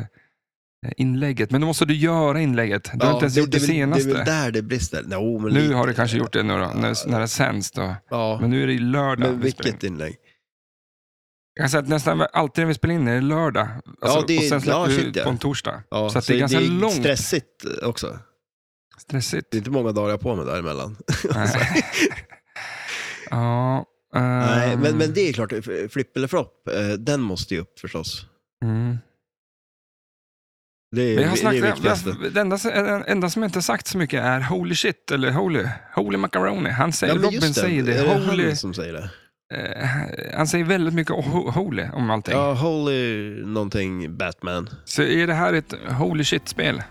inlägget. Men då måste du göra inlägget. Du har inte ens gjort det,
är väl-
senaste.
Det är väl där det brister. No, men
nu
lite.
har du kanske gjort det nu då, när, när det sänds. Då.
Ja,
Men
men,
nu är det ju lördag. vi spelar in.
vilket inlägg?
Jag kan säga att nästan alltid när vi spelar in är det lördag. Alltså,
det är-
och sen släpper
ja,
vi
shit,
ut
ja.
på en torsdag.
Ja,
så att det är ganska långt.
stressigt också.
Stressigt.
*laughs* Det är inte många dagar jag har på mig däremellan. Alltså.
Nej. *laughs* ja, ehm,
Nej, men, men det är klart, f- flipp eller flopp, eh, den måste ju upp förstås.
mm.
Det är
Men jag har
det, är det
snackat,
viktigaste.
jag, det enda, det enda som jag inte har sagt så mycket är holy shit, eller holy, holy macaroni. Han säger,
men
Robin
just
säger det,
Är
holy,
det han liksom? som säger det?
eh, han säger väldigt mycket ho- holy om allting.
Ja, holy någonting Batman.
Så är det här ett holy shit-spel?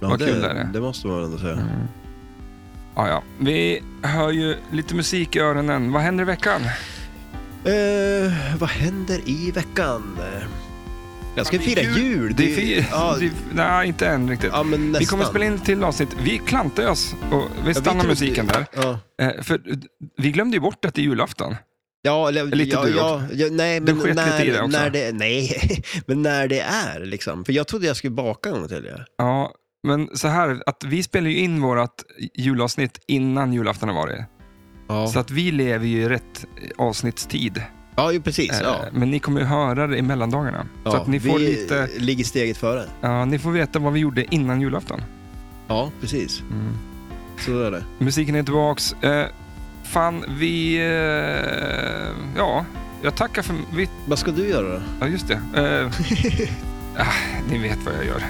Ja,
Vad
det,
kul det Mm. är.
det måste man väl ändå säga.
Ja, ja. Vi hör ju lite musik i öronen. Vad händer i veckan?
Eh, vad händer i veckan? Jag ska
Ja, det
fira
är
jul.
Det är
ju-
fi-
ja,
det är, nej, inte än riktigt.
ja, men nästan.
vi kommer spela in ett till avsnitt. Vi klantar oss och vi
Ja, vi
stannar
trodde-
musiken där.
Ja,
Eh, för vi glömde ju bort att det är julafton.
ja eller,
Lite
ja,
du
ja, ja, nej, men
sket
när,
lite i det också.
när det Nej, *laughs* men när det är liksom. För jag trodde jag skulle baka en gång till. Ja.
Ja, men så här, att vi spelar ju in vårt julavsnitt innan julafton har varit.
Ja.
Så att vi lever ju i rätt avsnittstid.
ja, ju precis.
Eh,
Ja.
Men ni kommer ju höra det i mellandagarna.
Ja,
Så att ni får,
vi
lite,
ligger steget före.
ja, ni får veta vad vi gjorde innan julafton.
Ja, precis.
Mm.
Så är det.
Musiken är tillbaks. Eh, fan, vi... Eh, ja, jag tackar för... Vi,
Vad ska du göra då?
ja, just det. Eh, ah, ni vet vad jag gör.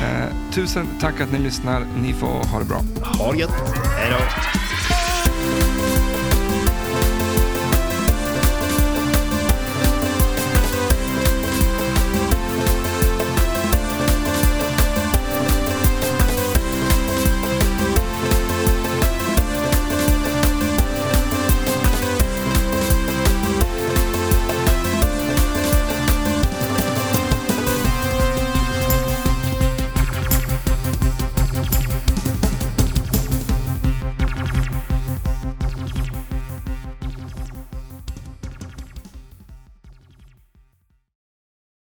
eh, tusen tack att ni lyssnar. Ni får ha det bra.
Ha det gött. Hej då.